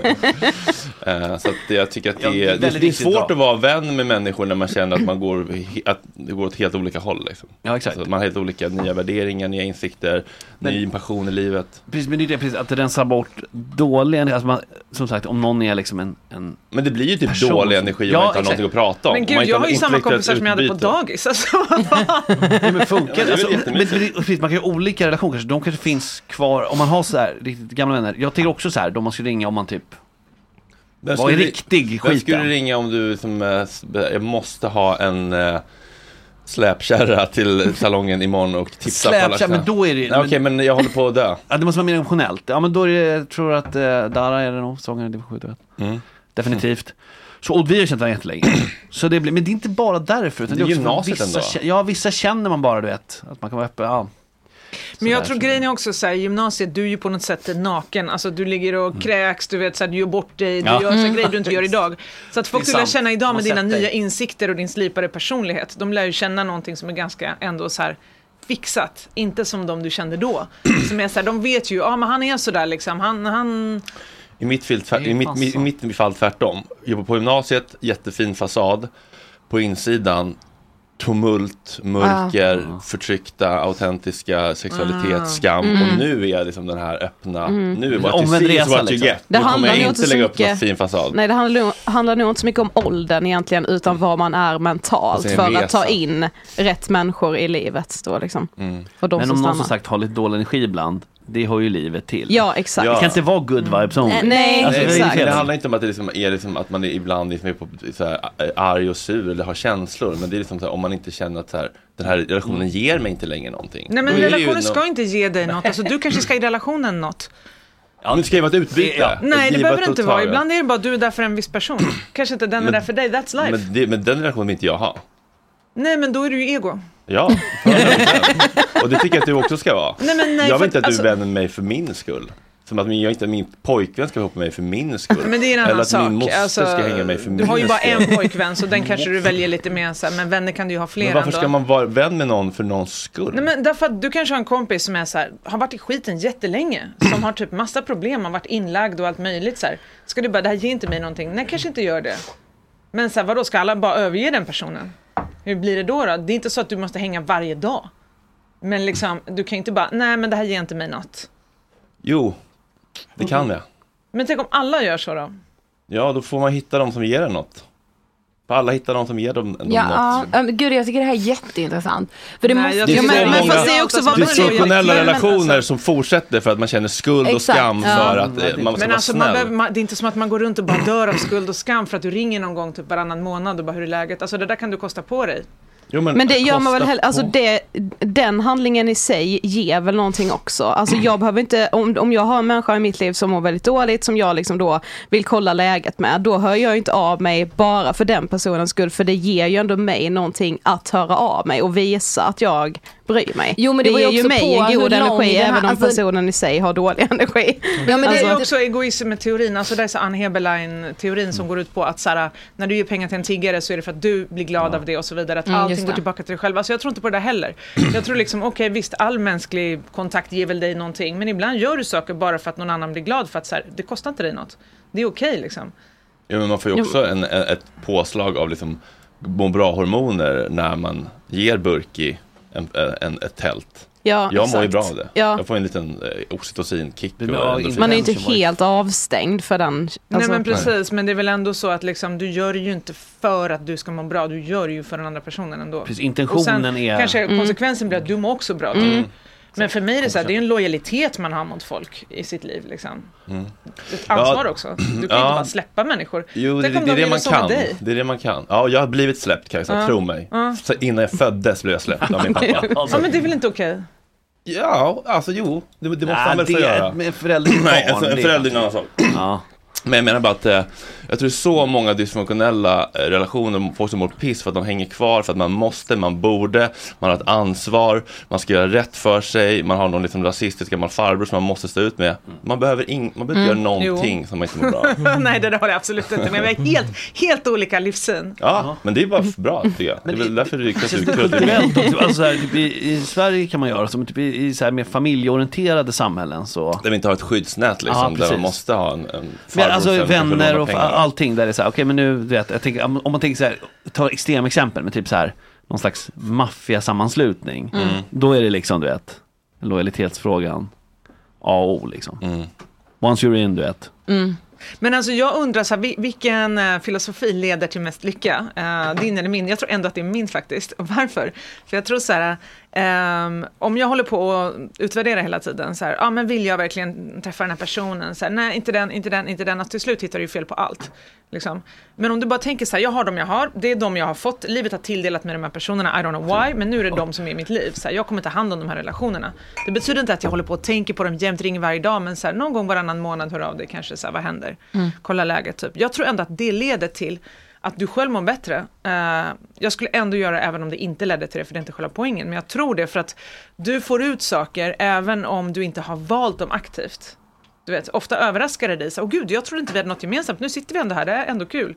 [SPEAKER 1] Eh, Så att jag tycker att det
[SPEAKER 7] Ja, det är
[SPEAKER 1] är, det,
[SPEAKER 7] väldigt
[SPEAKER 1] det är
[SPEAKER 7] viktigt
[SPEAKER 1] svårt
[SPEAKER 7] att
[SPEAKER 1] att vara vän med människor när man känner att man går, he- att det går åt helt olika håll. Liksom.
[SPEAKER 7] Ja, exakt.
[SPEAKER 1] man har helt olika nya värderingar, nya insikter, ny passion i livet.
[SPEAKER 7] Precis, men det är det, precis, att rensa bort dålig energi. Alltså man, som sagt, om någon är liksom en, en
[SPEAKER 1] Men det blir ju typ
[SPEAKER 7] person
[SPEAKER 1] dålig
[SPEAKER 7] som-
[SPEAKER 1] energi om man inte har någonting att prata om.
[SPEAKER 5] Men
[SPEAKER 1] Om man
[SPEAKER 5] gud,
[SPEAKER 1] inte
[SPEAKER 5] jag har ju samma
[SPEAKER 1] intellektuellt
[SPEAKER 5] kompisar som jag hade på
[SPEAKER 1] utbyte.
[SPEAKER 5] dagis. Alltså,
[SPEAKER 7] Nej, men
[SPEAKER 1] Ja, men det är
[SPEAKER 7] funkar
[SPEAKER 1] väl
[SPEAKER 7] alltså, men,
[SPEAKER 1] jättemysigt.
[SPEAKER 7] men, precis, Man kan ju ha olika relationer, kanske. de kanske finns kvar, om man har så här riktigt gamla vänner. Jag tänker också så här, de man skulle ringa om man typ
[SPEAKER 1] Vem
[SPEAKER 7] var i
[SPEAKER 1] skulle-
[SPEAKER 7] riktig
[SPEAKER 1] Vem skulle du
[SPEAKER 7] skiten.
[SPEAKER 1] ringa om du som, eh, s- jag måste ha en eh, släpkärra till salongen imorgon och tipsa på alla
[SPEAKER 7] Släpkärra, men då är det ju-
[SPEAKER 1] Nej, Okej, men jag håller på att dö.
[SPEAKER 7] Ja, det måste vara mer emotionellt. Ja, men då är det, jag tror att eh, Dara är det nog, sångaren i Division 7
[SPEAKER 1] Mm.
[SPEAKER 7] Definitivt. Så, och vi har känt varandra jättelänge. Så det blir, men det är inte bara därför. Utan
[SPEAKER 1] Det
[SPEAKER 7] det
[SPEAKER 1] är
[SPEAKER 7] är också för att
[SPEAKER 1] gymnasiet
[SPEAKER 7] vissa,
[SPEAKER 1] ändå.
[SPEAKER 7] kä- Ja, vissa känner man bara, du vet. Att man kan vara öppen. Ja.
[SPEAKER 5] Men jag
[SPEAKER 7] där,
[SPEAKER 5] tror
[SPEAKER 7] så
[SPEAKER 5] grejen är också så här, i gymnasiet, du är ju på något sätt naken. Alltså du ligger och kräks, du vet så här, du gör bort dig, du
[SPEAKER 7] Mm. Ja.
[SPEAKER 5] gör så här,
[SPEAKER 7] Mm.
[SPEAKER 5] grejer du inte gör idag. Så att folk
[SPEAKER 7] Det är
[SPEAKER 5] du lär
[SPEAKER 7] sant.
[SPEAKER 5] känna idag
[SPEAKER 7] Man
[SPEAKER 5] med
[SPEAKER 7] har
[SPEAKER 5] dina
[SPEAKER 7] sett dig.
[SPEAKER 5] nya insikter och din slipade personlighet, de lär ju känna någonting som är ganska ändå så här fixat, inte som de du kände då. Som är så här, de vet ju, ja men han är sådär liksom, han, han...
[SPEAKER 1] I mitt, fall, tvär,
[SPEAKER 5] Det är
[SPEAKER 1] i, mitt,
[SPEAKER 5] fan
[SPEAKER 1] mi- i
[SPEAKER 5] sant.
[SPEAKER 1] mitt fall tvärtom. Jobbar på gymnasiet, jättefin fasad. På insidan, tumult, mörker, förtryckta, autentiska, sexualitet,
[SPEAKER 8] Ah.
[SPEAKER 1] skam. Och
[SPEAKER 8] Mm.
[SPEAKER 1] nu är jag liksom den här öppna,
[SPEAKER 8] Mm.
[SPEAKER 1] nu är
[SPEAKER 7] En
[SPEAKER 1] bara till
[SPEAKER 7] omvänd
[SPEAKER 1] sist
[SPEAKER 7] resa,
[SPEAKER 1] what you
[SPEAKER 7] liksom.
[SPEAKER 1] get. Nu
[SPEAKER 8] Det
[SPEAKER 1] kommer
[SPEAKER 8] handlar
[SPEAKER 1] jag
[SPEAKER 8] ju inte
[SPEAKER 1] inte
[SPEAKER 8] så
[SPEAKER 1] lägga upp någon
[SPEAKER 8] mycket-
[SPEAKER 1] fin fasad.
[SPEAKER 8] Nej, det handlar nog, handlar nog inte så mycket om åldern egentligen,
[SPEAKER 5] Mm.
[SPEAKER 8] utan var man är mentalt
[SPEAKER 7] Alltså, en
[SPEAKER 8] för
[SPEAKER 7] resa.
[SPEAKER 8] att ta in rätt människor i livet. Då, liksom. Och de
[SPEAKER 7] Mm. men
[SPEAKER 8] som
[SPEAKER 7] om någon
[SPEAKER 8] stannar.
[SPEAKER 7] som sagt har lite dålig energi ibland, det hör ju livet till.
[SPEAKER 8] Ja, exakt.
[SPEAKER 7] Det kan inte vara good vibes only.
[SPEAKER 8] Nej, nej,
[SPEAKER 1] Alltså, det,
[SPEAKER 8] exakt.
[SPEAKER 1] det handlar inte om att, det liksom är liksom att man är ibland liksom är på, så här, arg och sur eller har känslor. Men det är liksom så här, om man inte känner att så här, den här relationen ger mig inte längre någonting.
[SPEAKER 5] Nej men
[SPEAKER 1] Då är det ju
[SPEAKER 5] relationen
[SPEAKER 1] någon-
[SPEAKER 5] ska inte ge dig något, alltså du kanske ska ge relationen något.
[SPEAKER 1] Ja, men det ska ju vara ett utbyte.
[SPEAKER 5] Nej, det
[SPEAKER 1] givet
[SPEAKER 5] behöver det
[SPEAKER 1] och
[SPEAKER 5] inte vara.
[SPEAKER 1] taget.
[SPEAKER 5] Ibland är det bara du är där för en viss person. Kanske inte den är
[SPEAKER 1] Men-
[SPEAKER 5] där för dig, that's life.
[SPEAKER 1] Men, det, men den relationen vill inte jag ha.
[SPEAKER 5] Nej, men då är du ju ego.
[SPEAKER 1] Ja, för den. och det tycker jag att du också ska vara.
[SPEAKER 5] Nej, men nej,
[SPEAKER 1] jag
[SPEAKER 5] för
[SPEAKER 1] vill inte att
[SPEAKER 5] att-
[SPEAKER 1] du är
[SPEAKER 5] alltså-
[SPEAKER 1] vän med mig för min skull. Som att min, jag inte min pojkvän ska vara ihop med mig för min skull.
[SPEAKER 5] Men det är en
[SPEAKER 1] Eller
[SPEAKER 5] annan
[SPEAKER 1] att
[SPEAKER 5] sak.
[SPEAKER 1] min moster
[SPEAKER 5] Alltså,
[SPEAKER 1] ska hänga med mig för min
[SPEAKER 5] Du har ju bara
[SPEAKER 1] skull.
[SPEAKER 5] en pojkvän så den kanske du väljer lite mer så här, men vänner kan du ju ha fler
[SPEAKER 1] Men varför ska
[SPEAKER 5] ändå.
[SPEAKER 1] man vara vän med någon för någons skull?
[SPEAKER 5] Nej men därför att du kanske har en kompis som är så här, har varit i skiten jättelänge, som har typ massa problem, har varit inlagd och allt möjligt så här. Ska du bara, det här ger inte mig någonting, nej kanske inte gör det. Men så här, vadå, ska alla bara överge den personen? Hur blir det då då? Det är inte så att du måste hänga varje dag. Men liksom, du kan ju inte bara, nej men det här ger inte mig något.
[SPEAKER 1] Jo, det kan jag.
[SPEAKER 5] Men tänk om alla gör så då?
[SPEAKER 1] Ja, då får man hitta de som ger en något. För alla hittar de som ger dem, dem något.
[SPEAKER 6] Ja, ja, men gud jag tycker det här är jätteintressant. För det
[SPEAKER 5] Nej,
[SPEAKER 6] måste
[SPEAKER 5] jag
[SPEAKER 6] ju...
[SPEAKER 5] tycker
[SPEAKER 6] Men,
[SPEAKER 5] det är
[SPEAKER 6] men
[SPEAKER 5] många-
[SPEAKER 6] fast det är också vad
[SPEAKER 1] Dysfunktionella
[SPEAKER 6] Men- men-
[SPEAKER 1] relationer som fortsätter för att man känner skuld och
[SPEAKER 6] Exakt,
[SPEAKER 1] skam
[SPEAKER 6] ja.
[SPEAKER 1] för att eh, man ska
[SPEAKER 5] Men
[SPEAKER 1] vara
[SPEAKER 5] alltså, man
[SPEAKER 1] snäll.
[SPEAKER 5] behöver, man, det är inte som att man går runt och bara dör av skuld och skam för att du ringer någon gång typ varannan månad och bara hur är läget? Alltså det där kan du kosta på dig.
[SPEAKER 1] Jo,
[SPEAKER 8] Men det gör man väl
[SPEAKER 1] kosta
[SPEAKER 8] heller, alltså
[SPEAKER 1] på.
[SPEAKER 8] det, den handlingen i sig ger väl någonting också. Alltså jag behöver inte, om, om jag har en människa i mitt liv som mår väldigt dåligt, som jag liksom då vill kolla läget med, då hör jag ju inte av mig bara för den personens skull, för det ger ju ändå mig någonting att höra av mig och visa att jag bryr mig.
[SPEAKER 6] Jo, men det
[SPEAKER 8] det
[SPEAKER 6] beror ju
[SPEAKER 8] ger ju
[SPEAKER 6] också
[SPEAKER 8] mig
[SPEAKER 6] på
[SPEAKER 8] en
[SPEAKER 6] hur
[SPEAKER 8] god
[SPEAKER 6] lång
[SPEAKER 8] energi,
[SPEAKER 6] den här-
[SPEAKER 8] även om
[SPEAKER 6] alltså-
[SPEAKER 8] personen i sig har dålig energi.
[SPEAKER 6] Ja, men
[SPEAKER 5] det är ju också
[SPEAKER 8] Alltså-
[SPEAKER 5] egoism med teorin, alltså det är så Ann Heberlein-teorin som går ut på att så här, när du ger pengar till en tiggare så är det för att du blir glad av det och så vidare, att
[SPEAKER 6] Mm, just
[SPEAKER 5] allting går
[SPEAKER 6] det.
[SPEAKER 5] tillbaka till dig själv. Alltså jag tror inte på det där heller. Jag tror liksom, okej visst, all mänsklig kontakt ger väl dig någonting, men ibland gör du saker bara för att någon annan blir glad för att så här, det kostar inte dig något. Det är okej liksom.
[SPEAKER 1] Ja, men man får ju också en, en, ett påslag av liksom må bra-hormoner när man ger Burki en, eh, en, ett tält.
[SPEAKER 8] Ja,
[SPEAKER 1] jag mår ju
[SPEAKER 8] exakt.
[SPEAKER 1] bra av det.
[SPEAKER 8] Ja.
[SPEAKER 1] Jag får en liten eh, oxytocinkick. och endorfin.
[SPEAKER 8] Man är ju inte helt avstängd för den. alltså-
[SPEAKER 5] Nej men precis, men det är väl ändå så att liksom, du gör det ju inte för att du ska må bra, du gör det ju för den andra personen ändå.
[SPEAKER 7] Precis, intentionen
[SPEAKER 5] och sen
[SPEAKER 7] är-
[SPEAKER 5] kanske
[SPEAKER 7] Mm.
[SPEAKER 5] konsekvensen blir att du mår också bra.
[SPEAKER 7] Mm.
[SPEAKER 5] Mm. Men för mig är det så här, det är en lojalitet man har mot folk i sitt liv. Liksom.
[SPEAKER 1] Mm.
[SPEAKER 5] Ett ansvar
[SPEAKER 1] Ja,
[SPEAKER 5] också. Du kan ju inte
[SPEAKER 1] ja.
[SPEAKER 5] bara släppa människor.
[SPEAKER 1] Jo, det,
[SPEAKER 5] Tänk
[SPEAKER 1] det,
[SPEAKER 5] om
[SPEAKER 1] det är det
[SPEAKER 5] de ville
[SPEAKER 1] man
[SPEAKER 5] så med
[SPEAKER 1] kan.
[SPEAKER 5] dig.
[SPEAKER 1] Det är det man kan. Ja, jag har blivit släppt Kajsa,
[SPEAKER 5] Ja.
[SPEAKER 1] tro mig.
[SPEAKER 5] Ja.
[SPEAKER 1] Så innan jag föddes blev jag släppt av min pappa.
[SPEAKER 5] ja, men det är väl inte okej?
[SPEAKER 1] Ja, alltså jo, det, det måste
[SPEAKER 7] Nej,
[SPEAKER 1] han väl få
[SPEAKER 7] det är-
[SPEAKER 1] göra.
[SPEAKER 7] men förälder till
[SPEAKER 1] Nej,
[SPEAKER 7] barn,
[SPEAKER 1] alltså, en
[SPEAKER 7] det är
[SPEAKER 1] förälder är en annan
[SPEAKER 7] någonting.
[SPEAKER 1] sak. Men jag menar bara att eh, jag tror så många dysfunktionella eh, relationer, folk som mår piss för att de hänger kvar, för att man måste, man borde, man har ett ansvar, man ska göra rätt för sig, man har någon liksom rasistisk gammal farbror som man måste stå ut med. Man behöver, ing- man behöver
[SPEAKER 5] Mm.
[SPEAKER 1] inte göra någonting som man inte mår bra av.
[SPEAKER 5] Nej, det där har jag absolut inte. Men vi har helt, helt olika livssyn.
[SPEAKER 1] Ja, men det är bara f- bra tycker jag. Det är väl därför det är
[SPEAKER 7] Känns
[SPEAKER 1] kul.
[SPEAKER 7] det
[SPEAKER 1] kul att det är-
[SPEAKER 7] kulturellt också? Alltså, så här, typ i, I Sverige kan man göra så, men typ i, i så här, mer familjeorienterade samhällen så...
[SPEAKER 1] Där vi inte har ett skyddsnät liksom, där man
[SPEAKER 7] precis.
[SPEAKER 1] måste ha en, en
[SPEAKER 7] Men
[SPEAKER 1] farbror
[SPEAKER 7] alltså
[SPEAKER 1] som kanske
[SPEAKER 7] vänner
[SPEAKER 1] lånar
[SPEAKER 7] och fa-
[SPEAKER 1] pengar.
[SPEAKER 7] allting där det är så här, okej men nu, du vet, jag tänker, om om man tänker så här, ta extremexempel med typ så här, någon slags maffiasammanslutning.
[SPEAKER 1] Mm.
[SPEAKER 7] Då är det liksom, du vet, lojalitetsfrågan A och O liksom. Once you're in, du vet.
[SPEAKER 5] Men alltså jag undrar, så här, vi- vilken eh, filosofi leder till mest lycka? Eh, din eller min? Jag tror ändå att det är min faktiskt. Och varför? För jag tror så här, ehm, om jag håller på att utvärdera hela tiden, så här, ah, men vill jag verkligen träffa den här personen? Så här, Nej, inte den, inte den, inte den. Alltså, till slut hittar du ju fel på allt. Liksom. Men om du bara tänker så här, jag har dem jag har, det är de jag har fått, livet har tilldelat mig de här personerna, I don't know
[SPEAKER 6] Typ.
[SPEAKER 5] why, men nu är det de som är i mitt liv. Så här, jag kommer ta hand om de här relationerna. Det betyder inte att jag håller på och tänker på dem jämt, ringer varje dag, men så här, någon gång varannan månad hör av dig kanske, så här, vad händer?
[SPEAKER 6] Mm.
[SPEAKER 5] kolla läget. Typ. Jag tror ändå att det leder till att du själv mår bättre. Eh, jag skulle ändå göra det även om det inte ledde till det, för det är inte själva poängen. Men jag tror det för att du får ut saker även om du inte har valt dem aktivt. Du vet, ofta överraskar det dig. Så, Åh gud, jag trodde inte vi hade något gemensamt. Nu sitter vi ändå här, det är ändå kul.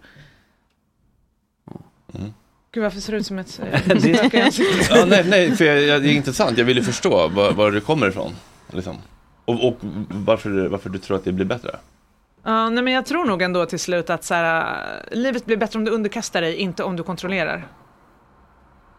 [SPEAKER 5] Gud, varför ser det ut som ett... eh,
[SPEAKER 1] ja, nej, nej, för jag, jag, det är intressant. Jag vill ju förstå var, var du kommer ifrån. Liksom. Och, och varför, du- varför du tror att det blir bättre.
[SPEAKER 5] Ja, nej, men jag tror nog ändå till slut att så här, eh, livet blir bättre om du underkastar dig, inte om du kontrollerar.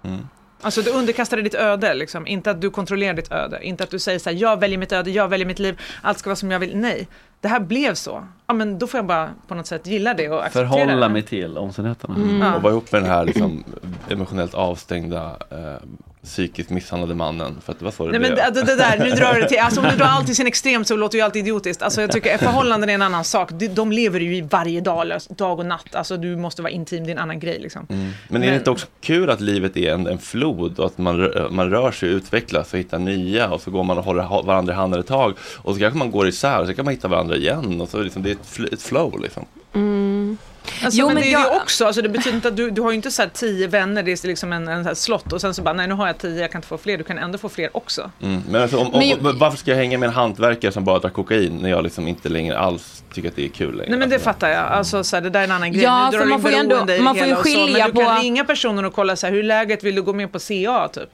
[SPEAKER 1] Mm.
[SPEAKER 5] Alltså du underkastar dig ditt öde, liksom. inte att du kontrollerar ditt öde. Inte att du säger så här, jag väljer mitt öde, jag väljer mitt liv, allt ska vara som jag vill. Nej, det här blev så. Ja, men då får jag bara på något sätt gilla det och acceptera
[SPEAKER 7] Förhålla
[SPEAKER 5] det.
[SPEAKER 7] mig till omständigheterna.
[SPEAKER 5] Mm. Ja.
[SPEAKER 1] Och vara ihop med den här liksom, emotionellt avstängda, eh, psykiskt misshandlade mannen. För att det var så det
[SPEAKER 5] Nej men
[SPEAKER 1] blev.
[SPEAKER 5] alltså, det, det det där, nu drar det till, alltså om du drar allt till sin extrem så låter ju allt idiotiskt. Alltså jag tycker förhållanden är en annan sak. De, de lever ju i varje dag, lös- dag och natt. Alltså du måste vara intim, det är en annan grej liksom.
[SPEAKER 1] Mm. Men är det
[SPEAKER 5] Men-
[SPEAKER 1] inte också kul att livet är en, en flod och att man, rö- man rör sig och utvecklas och hittar nya och så går man och håller ha- varandra i handen ett tag och så kanske man går isär och så kan man hitta varandra igen och så liksom, det är ett, fl- ett flow liksom.
[SPEAKER 8] Mm.
[SPEAKER 5] Alltså,
[SPEAKER 6] Jo,
[SPEAKER 5] men,
[SPEAKER 6] men
[SPEAKER 5] det är
[SPEAKER 6] jag-
[SPEAKER 5] det också, alltså, det betyder inte att du, du har ju inte så här tio vänner, det är liksom en, en så här slott och sen så bara, nej nu har jag tio, jag kan inte få fler, du kan ändå få fler också.
[SPEAKER 1] Mm. Men, alltså, om, om,
[SPEAKER 5] Men ju-
[SPEAKER 1] varför ska jag hänga med en hantverkare som bara tar kokain när jag liksom inte längre alls tycker att det är kul längre?
[SPEAKER 5] Nej men det fattar jag, alltså, så här, det där är en annan grej.
[SPEAKER 6] Ja,
[SPEAKER 5] Nu drar
[SPEAKER 6] för
[SPEAKER 5] du
[SPEAKER 6] man
[SPEAKER 5] in
[SPEAKER 6] får ju ändå-
[SPEAKER 5] beroende i det
[SPEAKER 6] man får ju
[SPEAKER 5] hela och så,
[SPEAKER 6] skilja
[SPEAKER 5] men du
[SPEAKER 6] på-
[SPEAKER 5] kan ringa personen och kolla så här, hur är läget, vill du gå med på CA typ?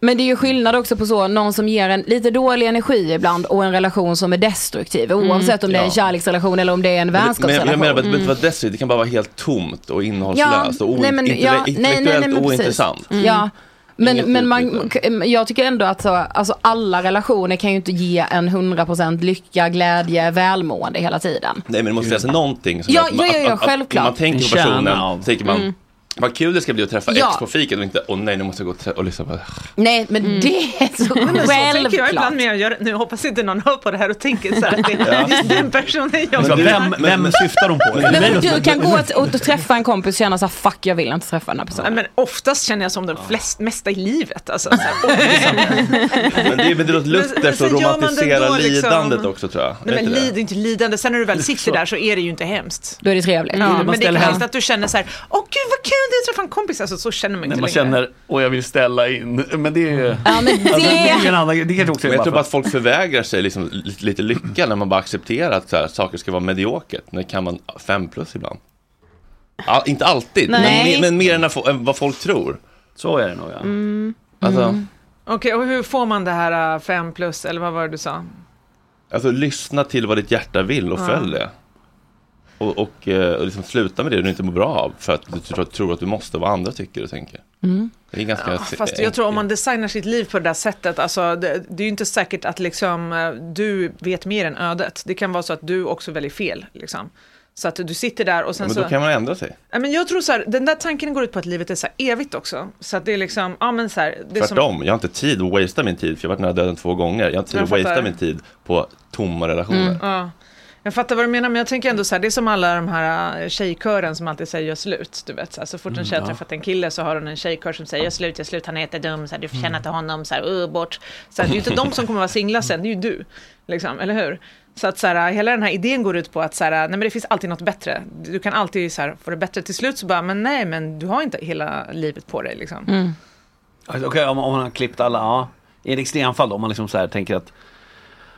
[SPEAKER 6] Men det är ju skillnad också på så, någon som ger en lite dålig energi ibland och en relation som är destruktiv.
[SPEAKER 5] Mm,
[SPEAKER 6] Oavsett om det är en
[SPEAKER 1] Ja.
[SPEAKER 6] kärleksrelation eller om det är en
[SPEAKER 1] Men det- men jag-
[SPEAKER 6] vänskapsrelation.
[SPEAKER 1] jag menar att det behöver inte vara destruktivt, det kan bara vara helt tomt och innehållslöst och
[SPEAKER 6] nej, men- ja,
[SPEAKER 1] ointellektuellt
[SPEAKER 6] nej, nej, nej, men precis. Mm.
[SPEAKER 1] ointressant.
[SPEAKER 6] Ja.
[SPEAKER 1] Inget liksom.
[SPEAKER 6] Men, men man, k- jag tycker ändå att så, alltså alla relationer kan ju inte ge en 100% lycka, glädje, välmående hela tiden.
[SPEAKER 1] Nej men det måste finnas någonting som
[SPEAKER 6] Ja,
[SPEAKER 1] gör att man-
[SPEAKER 6] ja, ja, ja,
[SPEAKER 1] att- att-
[SPEAKER 6] självklart.
[SPEAKER 1] Att, man tänker på
[SPEAKER 4] En kärna
[SPEAKER 1] personen,
[SPEAKER 4] av-
[SPEAKER 1] så tänker man
[SPEAKER 6] Mm.
[SPEAKER 1] vad kul det ska bli att träffa
[SPEAKER 6] Ja.
[SPEAKER 1] X på fiket och inte åh nej nu måste jag gå och, trä- och liksom lyssna på
[SPEAKER 6] Nej, Mm. men det är så
[SPEAKER 5] Nej, men så tänker jag
[SPEAKER 6] självklart.
[SPEAKER 5] ibland när jag gör Nu hoppas inte någon hör på det här och tänker så här att det är just den personen jag
[SPEAKER 7] Men vem, vem syftar de på?
[SPEAKER 6] Men du kan gå åt- åt och träffa en kompis och känna så här, fuck jag vill inte träffa den här personen.
[SPEAKER 5] Ja, men oftast känner jag som den flest, mesta i livet. Alltså, så här, oj,
[SPEAKER 1] Men det, men det låter Luther
[SPEAKER 5] men
[SPEAKER 1] som
[SPEAKER 5] sen gör man det
[SPEAKER 1] romantiserar
[SPEAKER 5] då, liksom.
[SPEAKER 1] lidandet också tror jag.
[SPEAKER 5] Nej,
[SPEAKER 1] Vet
[SPEAKER 5] men
[SPEAKER 1] du det?
[SPEAKER 5] lid, det är inte lidande. Sen när du väl sitter där så är det ju inte hemskt.
[SPEAKER 6] Då är det trevligt.
[SPEAKER 5] Ja, men det är kanske
[SPEAKER 7] hem-
[SPEAKER 5] inte att du känner så här, åh gud vad kul det är att träffa en kompis. Alltså så känner man
[SPEAKER 7] När
[SPEAKER 5] inte
[SPEAKER 7] man
[SPEAKER 5] längre.
[SPEAKER 7] känner, och jag vill ställa in. Men det är ju...
[SPEAKER 6] men
[SPEAKER 7] Alltså, det är en annan, det kanske också
[SPEAKER 1] Men
[SPEAKER 7] är
[SPEAKER 1] jag tror bara
[SPEAKER 7] bara
[SPEAKER 1] att folk förvägrar sig liksom li- lite lycka när man bara accepterar att så här, saker ska vara mediokert. När kan man fem plus ibland? All, inte alltid, men,
[SPEAKER 5] Nej.
[SPEAKER 1] mer- men mer än när fo- än vad folk tror.
[SPEAKER 7] Så är det nog ja.
[SPEAKER 5] Mm.
[SPEAKER 1] Alltså,
[SPEAKER 5] Okej, och hur får man det här äh, fem plus, eller vad var det du sa?
[SPEAKER 1] alltså lyssna till vad ditt hjärta vill och
[SPEAKER 5] Ja.
[SPEAKER 1] följ det. Och, och, eh, och liksom sluta med det du inte mår bra av för att du tror, tror att du måste vad andra tycker och tänker.
[SPEAKER 5] Mm.
[SPEAKER 1] Det är ganska...
[SPEAKER 5] Ja, Fast jag tror om man designar sitt liv på det där sättet, alltså, det, det är ju inte säkert att liksom, eh, du vet mer än ödet. Det kan vara så att du också väljer fel. Liksom. Så att du sitter där och
[SPEAKER 1] Ja,
[SPEAKER 5] sen
[SPEAKER 1] men
[SPEAKER 5] så...
[SPEAKER 1] då kan man ändra sig.
[SPEAKER 5] Ja, men jag tror så här, den där tanken går ut på att livet är så här evigt också. Så att det är liksom, ja men så här, det är som-
[SPEAKER 1] Tvärtom, jag har inte tid att wastea min tid för jag har varit nära döden två gånger. Jag har inte tid
[SPEAKER 5] Jag
[SPEAKER 1] att wastea
[SPEAKER 5] fattar. Mm,
[SPEAKER 1] min tid på tomma relationer.
[SPEAKER 5] Ja. Jag fattar vad du menar, men jag tänker ändå så här, det är som alla de här äh, tjejkören som alltid säger gör slut. Du vet, så, här, så fort en
[SPEAKER 1] Mm,
[SPEAKER 5] tjej
[SPEAKER 1] ja.
[SPEAKER 5] har träffat en kille så har hon en tjejkör som säger gör slut, gör slut, han är jättedum, så här, du förtjänar
[SPEAKER 1] Mm.
[SPEAKER 5] inte honom, så här, uh, bort. Så här, det är ju inte de som kommer vara singlar sen, det är ju du. Liksom, eller hur? Så att så här, hela den här idén går ut på att så här, nej, men det finns alltid något bättre. Du kan alltid så här, få det bättre. Till slut så bara, men nej, men du har inte hela livet på dig. Liksom.
[SPEAKER 7] Okej, om, om man har klippt alla, ja. I ett extremfall då, om man liksom så här tänker att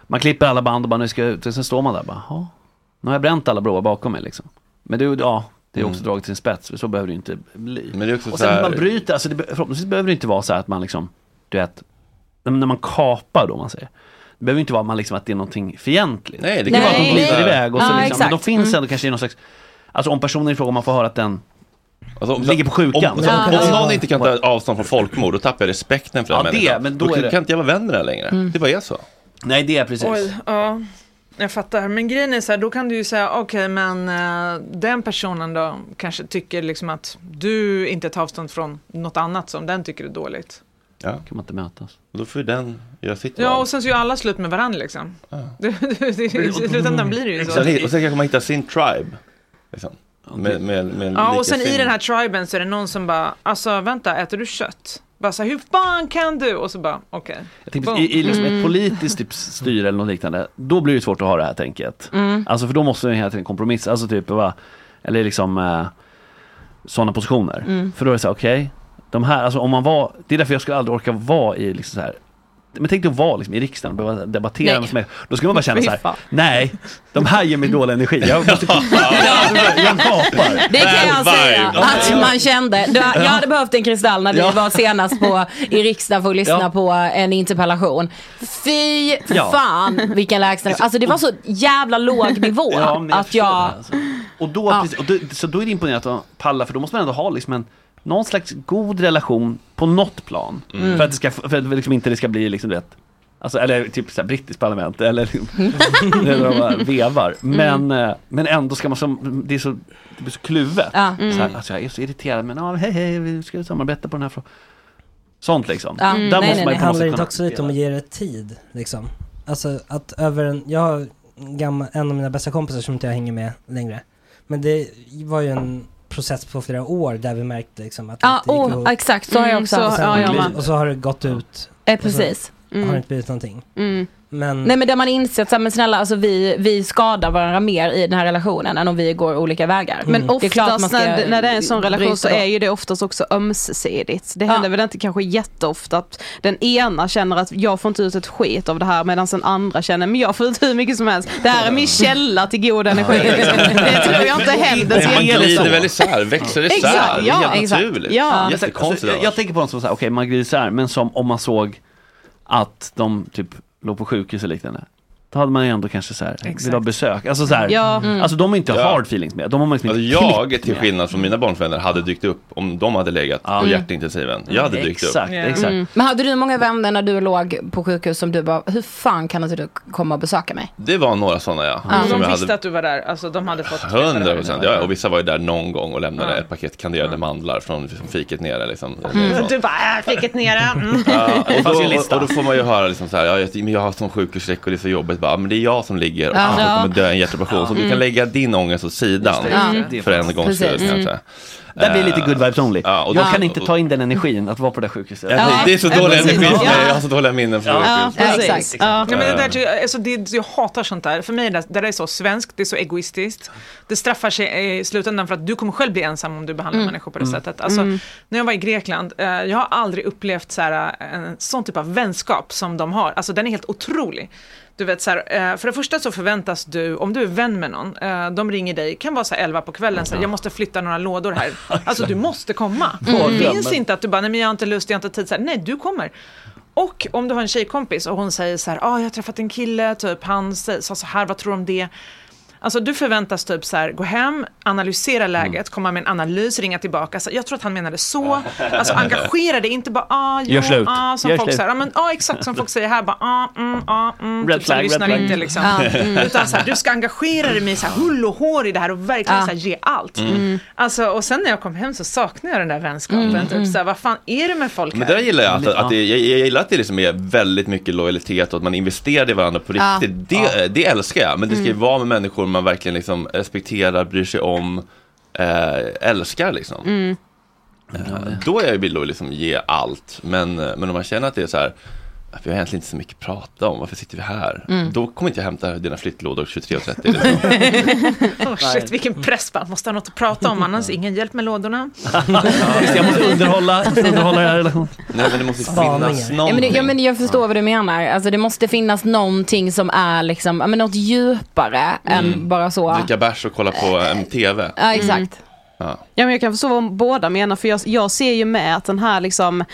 [SPEAKER 7] man klipper alla band och bara nu ska jag ut och sen står man där bara, ja. Nu har jag bränt alla broar bakom mig liksom. Men det, är ju- ja, det är också
[SPEAKER 1] Mm.
[SPEAKER 7] draget till sin spets, för så behöver det ju inte bli.
[SPEAKER 1] Men det är också så
[SPEAKER 7] och sen
[SPEAKER 1] här...
[SPEAKER 7] när man bryter, alltså det, be- förhoppningsvis behöver det inte vara så här att man liksom, du vet, när när man kapar då om man säger. Det behöver ju inte vara man liksom att det är någonting fientligt.
[SPEAKER 1] Nej,
[SPEAKER 7] det kan vara att de
[SPEAKER 1] Nej.
[SPEAKER 7] glider
[SPEAKER 1] Nej.
[SPEAKER 7] iväg och så
[SPEAKER 1] Ja,
[SPEAKER 7] liksom, men de
[SPEAKER 1] exakt.
[SPEAKER 7] finns
[SPEAKER 1] Mm.
[SPEAKER 7] ändå kanske i någon slags, alltså om personen i fråga, man får höra att den
[SPEAKER 1] Alltså, om-
[SPEAKER 7] ligger på sjukan.
[SPEAKER 1] Om, om, om någon inte kan ta avstånd från folkmord, då tappar jag respekten för den
[SPEAKER 7] Ja, det,
[SPEAKER 1] människan.
[SPEAKER 7] men då är
[SPEAKER 1] kan,
[SPEAKER 7] det-
[SPEAKER 1] kan inte jag vara vän med den längre.
[SPEAKER 5] Mm.
[SPEAKER 1] Det bara är så.
[SPEAKER 7] Nej, det är precis.
[SPEAKER 5] Oj, ja. Jag fattar. Men grejen är så här, då kan du ju säga, okej men eh, den personen då kanske tycker liksom att du inte tar avstånd från något annat som den tycker är dåligt.
[SPEAKER 1] Ja.
[SPEAKER 7] Kan man inte mötas.
[SPEAKER 1] Då får ju den göra sitt
[SPEAKER 5] Ja,
[SPEAKER 1] val.
[SPEAKER 5] och sen så gör alla slut med varandra liksom. Det- det- det- I slutändan blir det ju så.
[SPEAKER 1] Sen, och sen kanske man hittar sin tribe. Liksom. Med, med, med
[SPEAKER 5] Ja, och sen i
[SPEAKER 1] likasin.
[SPEAKER 5] den här triben så är det någon som bara, alltså vänta, äter du kött? Bara så här, hur fan kan du? Och så bara, okej.
[SPEAKER 7] Jag tänkte,
[SPEAKER 5] Boom.
[SPEAKER 7] I i liksom ett
[SPEAKER 5] Mm.
[SPEAKER 7] politiskt typ styre eller något liknande, då blir det svårt att ha det här tänket.
[SPEAKER 5] Mm.
[SPEAKER 7] Alltså för då måste man hela tiden kompromissa, alltså typ, va? eller liksom eh, sådana positioner.
[SPEAKER 4] Mm.
[SPEAKER 7] För då är det så här, okej, de här, alltså om man var, det är därför jag skulle aldrig orka vara i liksom så här men tänk dig att vara liksom i riksdagen och behöva debattera
[SPEAKER 4] Nej.
[SPEAKER 7] med mig. Då skulle man bara känna
[SPEAKER 4] Fy
[SPEAKER 7] så här,
[SPEAKER 4] fan.
[SPEAKER 7] nej, de här ger mig dålig energi. Jag, måste, jag kapar.
[SPEAKER 6] Det kan jag säga att man kände. Du, jag hade behövt en kristall när vi
[SPEAKER 7] Ja.
[SPEAKER 6] var senast på, i riksdagen för att lyssna
[SPEAKER 7] Ja.
[SPEAKER 6] på en interpellation. Fy
[SPEAKER 7] Ja.
[SPEAKER 6] fan vilken lägstanivå. Alltså det var så jävla låg nivå
[SPEAKER 7] Ja, men jag
[SPEAKER 6] att
[SPEAKER 7] förstår
[SPEAKER 6] jag...
[SPEAKER 7] det, alltså. Och då, precis, och då, så då är det imponerande att palla, för då måste man ändå ha liksom en, någon slags god relation på något plan.
[SPEAKER 4] Mm.
[SPEAKER 7] För att det ska, för att liksom inte det ska bli liksom, du vet, alltså, eller typ så här, brittiskt parlament, eller liksom, när de bara vevar.
[SPEAKER 4] Mm.
[SPEAKER 7] Men, eh, men ändå ska man, som, det, är så, det blir så kluvet.
[SPEAKER 4] Ja.
[SPEAKER 7] Så här,
[SPEAKER 4] Mm.
[SPEAKER 7] alltså, jag är så irriterad, men ja, hej hej, vi ska samarbeta på den här frågan. Sånt liksom.
[SPEAKER 3] Ja.
[SPEAKER 7] Där måste man ju
[SPEAKER 3] Det
[SPEAKER 7] på något
[SPEAKER 3] handlar
[SPEAKER 7] sätt
[SPEAKER 3] inte
[SPEAKER 7] kunna...
[SPEAKER 3] också lite om att ge det tid, liksom. Alltså att över en, jag har en gammal, en av mina bästa kompisar som inte jag hänger med längre. Men det var ju en process på flera år där vi märkte liksom att det
[SPEAKER 6] Ja,
[SPEAKER 3] inte gick
[SPEAKER 6] åh,
[SPEAKER 3] ihop.
[SPEAKER 6] exakt, så har jag också
[SPEAKER 3] Och
[SPEAKER 6] haft.
[SPEAKER 3] sen-
[SPEAKER 6] Ja, jag med.
[SPEAKER 3] Och så har det gått ut.
[SPEAKER 6] Eh,
[SPEAKER 3] Och så
[SPEAKER 6] precis.
[SPEAKER 3] Har
[SPEAKER 6] Mm.
[SPEAKER 3] det inte blivit någonting.
[SPEAKER 6] Mm.
[SPEAKER 3] Men,
[SPEAKER 6] Nej men där man inser att så här, men snälla, alltså, vi, vi skadar varandra mer i den här relationen än om vi går olika vägar.
[SPEAKER 5] Mm.
[SPEAKER 8] Men
[SPEAKER 6] Det är klart man
[SPEAKER 8] oftast
[SPEAKER 6] ska
[SPEAKER 8] när, när det är en sån relation
[SPEAKER 6] bryta
[SPEAKER 8] så
[SPEAKER 6] då.
[SPEAKER 8] är ju det oftast också ömsesidigt. Det händer väl inte kanske jätteofta att den ena känner att jag får inte ut ett skit av det här medan den andra känner men jag får ut hur mycket som helst. Det här är min källa till god energi. liksom. Det tror jag inte händer.
[SPEAKER 3] Alltså,
[SPEAKER 1] Man
[SPEAKER 8] till-
[SPEAKER 1] glider väl isär, växer isär.
[SPEAKER 8] Exakt,
[SPEAKER 1] det är
[SPEAKER 8] ja,
[SPEAKER 1] helt
[SPEAKER 8] exakt.
[SPEAKER 1] naturligt.
[SPEAKER 8] Ja.
[SPEAKER 7] Alltså,
[SPEAKER 1] Jättekonstigt
[SPEAKER 13] alltså, jag, jag tänker på något som så här, okej man glider isär, men som om man såg att de typ låg på sjukhus eller liknande. Då hade man ju ändå kanske så här,
[SPEAKER 1] Exakt.
[SPEAKER 13] vill ha besök. Alltså så här,
[SPEAKER 1] Ja. Mm.
[SPEAKER 13] alltså de är inte
[SPEAKER 1] Ja.
[SPEAKER 13] hard feelings med. De har man liksom
[SPEAKER 1] Alltså
[SPEAKER 13] inte
[SPEAKER 1] jag,
[SPEAKER 13] klick
[SPEAKER 1] till
[SPEAKER 13] med.
[SPEAKER 1] skillnad från mina barnfränder, hade dykt upp om de hade legat på
[SPEAKER 13] Mm.
[SPEAKER 1] hjärtintensiven. Jag hade dykt
[SPEAKER 13] Exakt,
[SPEAKER 1] upp.
[SPEAKER 13] Ja. exakt.
[SPEAKER 6] Mm. Men hade du många vänner när du låg på sjukhus som du bara, hur fan kan inte du komma och besöka mig?
[SPEAKER 1] Det var några sådana ja.
[SPEAKER 5] Och
[SPEAKER 1] Som
[SPEAKER 5] de
[SPEAKER 1] jag
[SPEAKER 5] visste
[SPEAKER 1] hade
[SPEAKER 5] att du var där, alltså de hade fått...
[SPEAKER 1] hundra procent. Ja, och vissa var ju där någon gång och lämnade
[SPEAKER 5] Ja.
[SPEAKER 1] ett paket kanderade mandlar från från fiket nere. Liksom.
[SPEAKER 5] Mm. Du bara, äh, fick ett nere. Mm.
[SPEAKER 1] Ja,
[SPEAKER 5] Det
[SPEAKER 1] och, då,
[SPEAKER 5] fanns ju en
[SPEAKER 1] och,
[SPEAKER 5] lista.
[SPEAKER 1] och då får man ju höra liksom så här, ja, jag, men jag har sån sjukhusskräck och det är så jobbigt. Bara, men det är jag som ligger och
[SPEAKER 5] Ja.
[SPEAKER 1] han
[SPEAKER 5] Ja.
[SPEAKER 1] kommer dö i en hjärtoperation. Så du
[SPEAKER 13] Mm.
[SPEAKER 1] kan lägga din ångest åt sidan
[SPEAKER 13] Just det, just det.
[SPEAKER 1] för en gångs skull
[SPEAKER 13] Precis.
[SPEAKER 1] kanske.
[SPEAKER 13] Mm. Där blir det lite good vibes only.
[SPEAKER 1] Ja, och då-
[SPEAKER 13] jag kan inte
[SPEAKER 1] och-
[SPEAKER 13] ta in den energin att vara på det där sjukhuset.
[SPEAKER 5] Mm.
[SPEAKER 1] Ja, Mm. det är så dålig energi för mig, jag har så dåliga minnen från
[SPEAKER 13] Ja,
[SPEAKER 1] sjukhus.
[SPEAKER 13] precis.
[SPEAKER 5] Ja, men det där,
[SPEAKER 1] Eh,
[SPEAKER 5] tycker jag- alltså, det, jag hatar sånt där. För mig är det, det där är så svenskt, det är så egoistiskt. Det straffar sig eh, i slutändan för att du kommer själv bli ensam om du behandlar
[SPEAKER 14] Mm.
[SPEAKER 5] människor på det
[SPEAKER 14] Mm.
[SPEAKER 5] sättet. Alltså,
[SPEAKER 14] Mm.
[SPEAKER 5] När jag var i Grekland, eh, jag har aldrig upplevt så här, eh, en sån typ av vänskap som de har. Alltså den är helt otrolig. Du vet, så här, eh, för det första så förväntas du, om du är vän med någon, eh, de ringer dig, kan vara så här 11 på kvällen, så här, jag måste flytta några lådor här. Alltså du måste komma.
[SPEAKER 14] Mm.
[SPEAKER 5] Det finns inte att du bara, nej men jag har inte lust, jag har inte tid. Så här, nej, du kommer. Och om du har en tjejkompis och hon säger så här, ah, jag har träffat en kille, typ, han sä- sa så här, vad tror du om det? Alltså du förväntas typ så här, gå hem,
[SPEAKER 14] Mm.
[SPEAKER 5] analysera läget, komma med en analys, ringa tillbaka. Så, jag tror att han menade så. Alltså engagera dig, inte bara ah, jo,
[SPEAKER 14] Gör slut.
[SPEAKER 5] ah, som
[SPEAKER 14] Gör
[SPEAKER 5] folk
[SPEAKER 14] slut.
[SPEAKER 5] säger. Ja, men ah, exakt som folk säger här, bara ah, mm, ah, mm.
[SPEAKER 14] Red
[SPEAKER 5] typ, så här,
[SPEAKER 14] flag, red
[SPEAKER 5] lyssnar
[SPEAKER 14] flag.
[SPEAKER 5] inte liksom.
[SPEAKER 14] Ja. Mm.
[SPEAKER 5] Utan så här, du ska engagera dig med så här, hull och hår i det här och verkligen
[SPEAKER 14] Ja.
[SPEAKER 5] så här, ge allt.
[SPEAKER 1] Mm.
[SPEAKER 5] Alltså, och sen när jag kom hem så saknade jag den där vänskapen.
[SPEAKER 1] Mm.
[SPEAKER 5] Typ så här, vad fan är det med folk
[SPEAKER 1] Men
[SPEAKER 5] här?
[SPEAKER 1] det där gillar jag, att, att det, jag, jag gillar att det liksom är väldigt mycket lojalitet och att man investerar i varandra på
[SPEAKER 5] Ja.
[SPEAKER 1] riktigt. Det, eh, det älskar jag, men det ska ju
[SPEAKER 5] Mm.
[SPEAKER 1] vara med människor man verkligen liksom respekterar, bryr sig om, eh, älskar liksom.
[SPEAKER 8] Mm.
[SPEAKER 1] Eh, Då är jag ju villig att liksom ge allt, men, eh, men om man känner att det är så här vi har egentligen inte så mycket att prata om, varför sitter vi här?
[SPEAKER 5] Mm.
[SPEAKER 1] Då kommer inte jag hämta dina flyttlådor 23.30. Liksom.
[SPEAKER 5] oh, shit, vilken press bara. Måste ha något att prata om, annars ingen hjälp med lådorna.
[SPEAKER 13] Visst, jag måste underhålla, jag måste underhålla den här relationen.
[SPEAKER 1] Nej men det måste finnas
[SPEAKER 6] Ja, men, det-
[SPEAKER 1] någonting.
[SPEAKER 6] ja, men jag förstår vad du menar. Alltså, det måste finnas någonting som är liksom, ja, men något djupare
[SPEAKER 5] Mm.
[SPEAKER 6] än bara så.
[SPEAKER 1] Dricka bärs och kolla på eh, en TV.
[SPEAKER 13] Mm.
[SPEAKER 6] Ja, exakt.
[SPEAKER 1] Ja.
[SPEAKER 8] Ja, men jag kan förstå vad båda menar, för jag, jag ser ju med att den här liksom,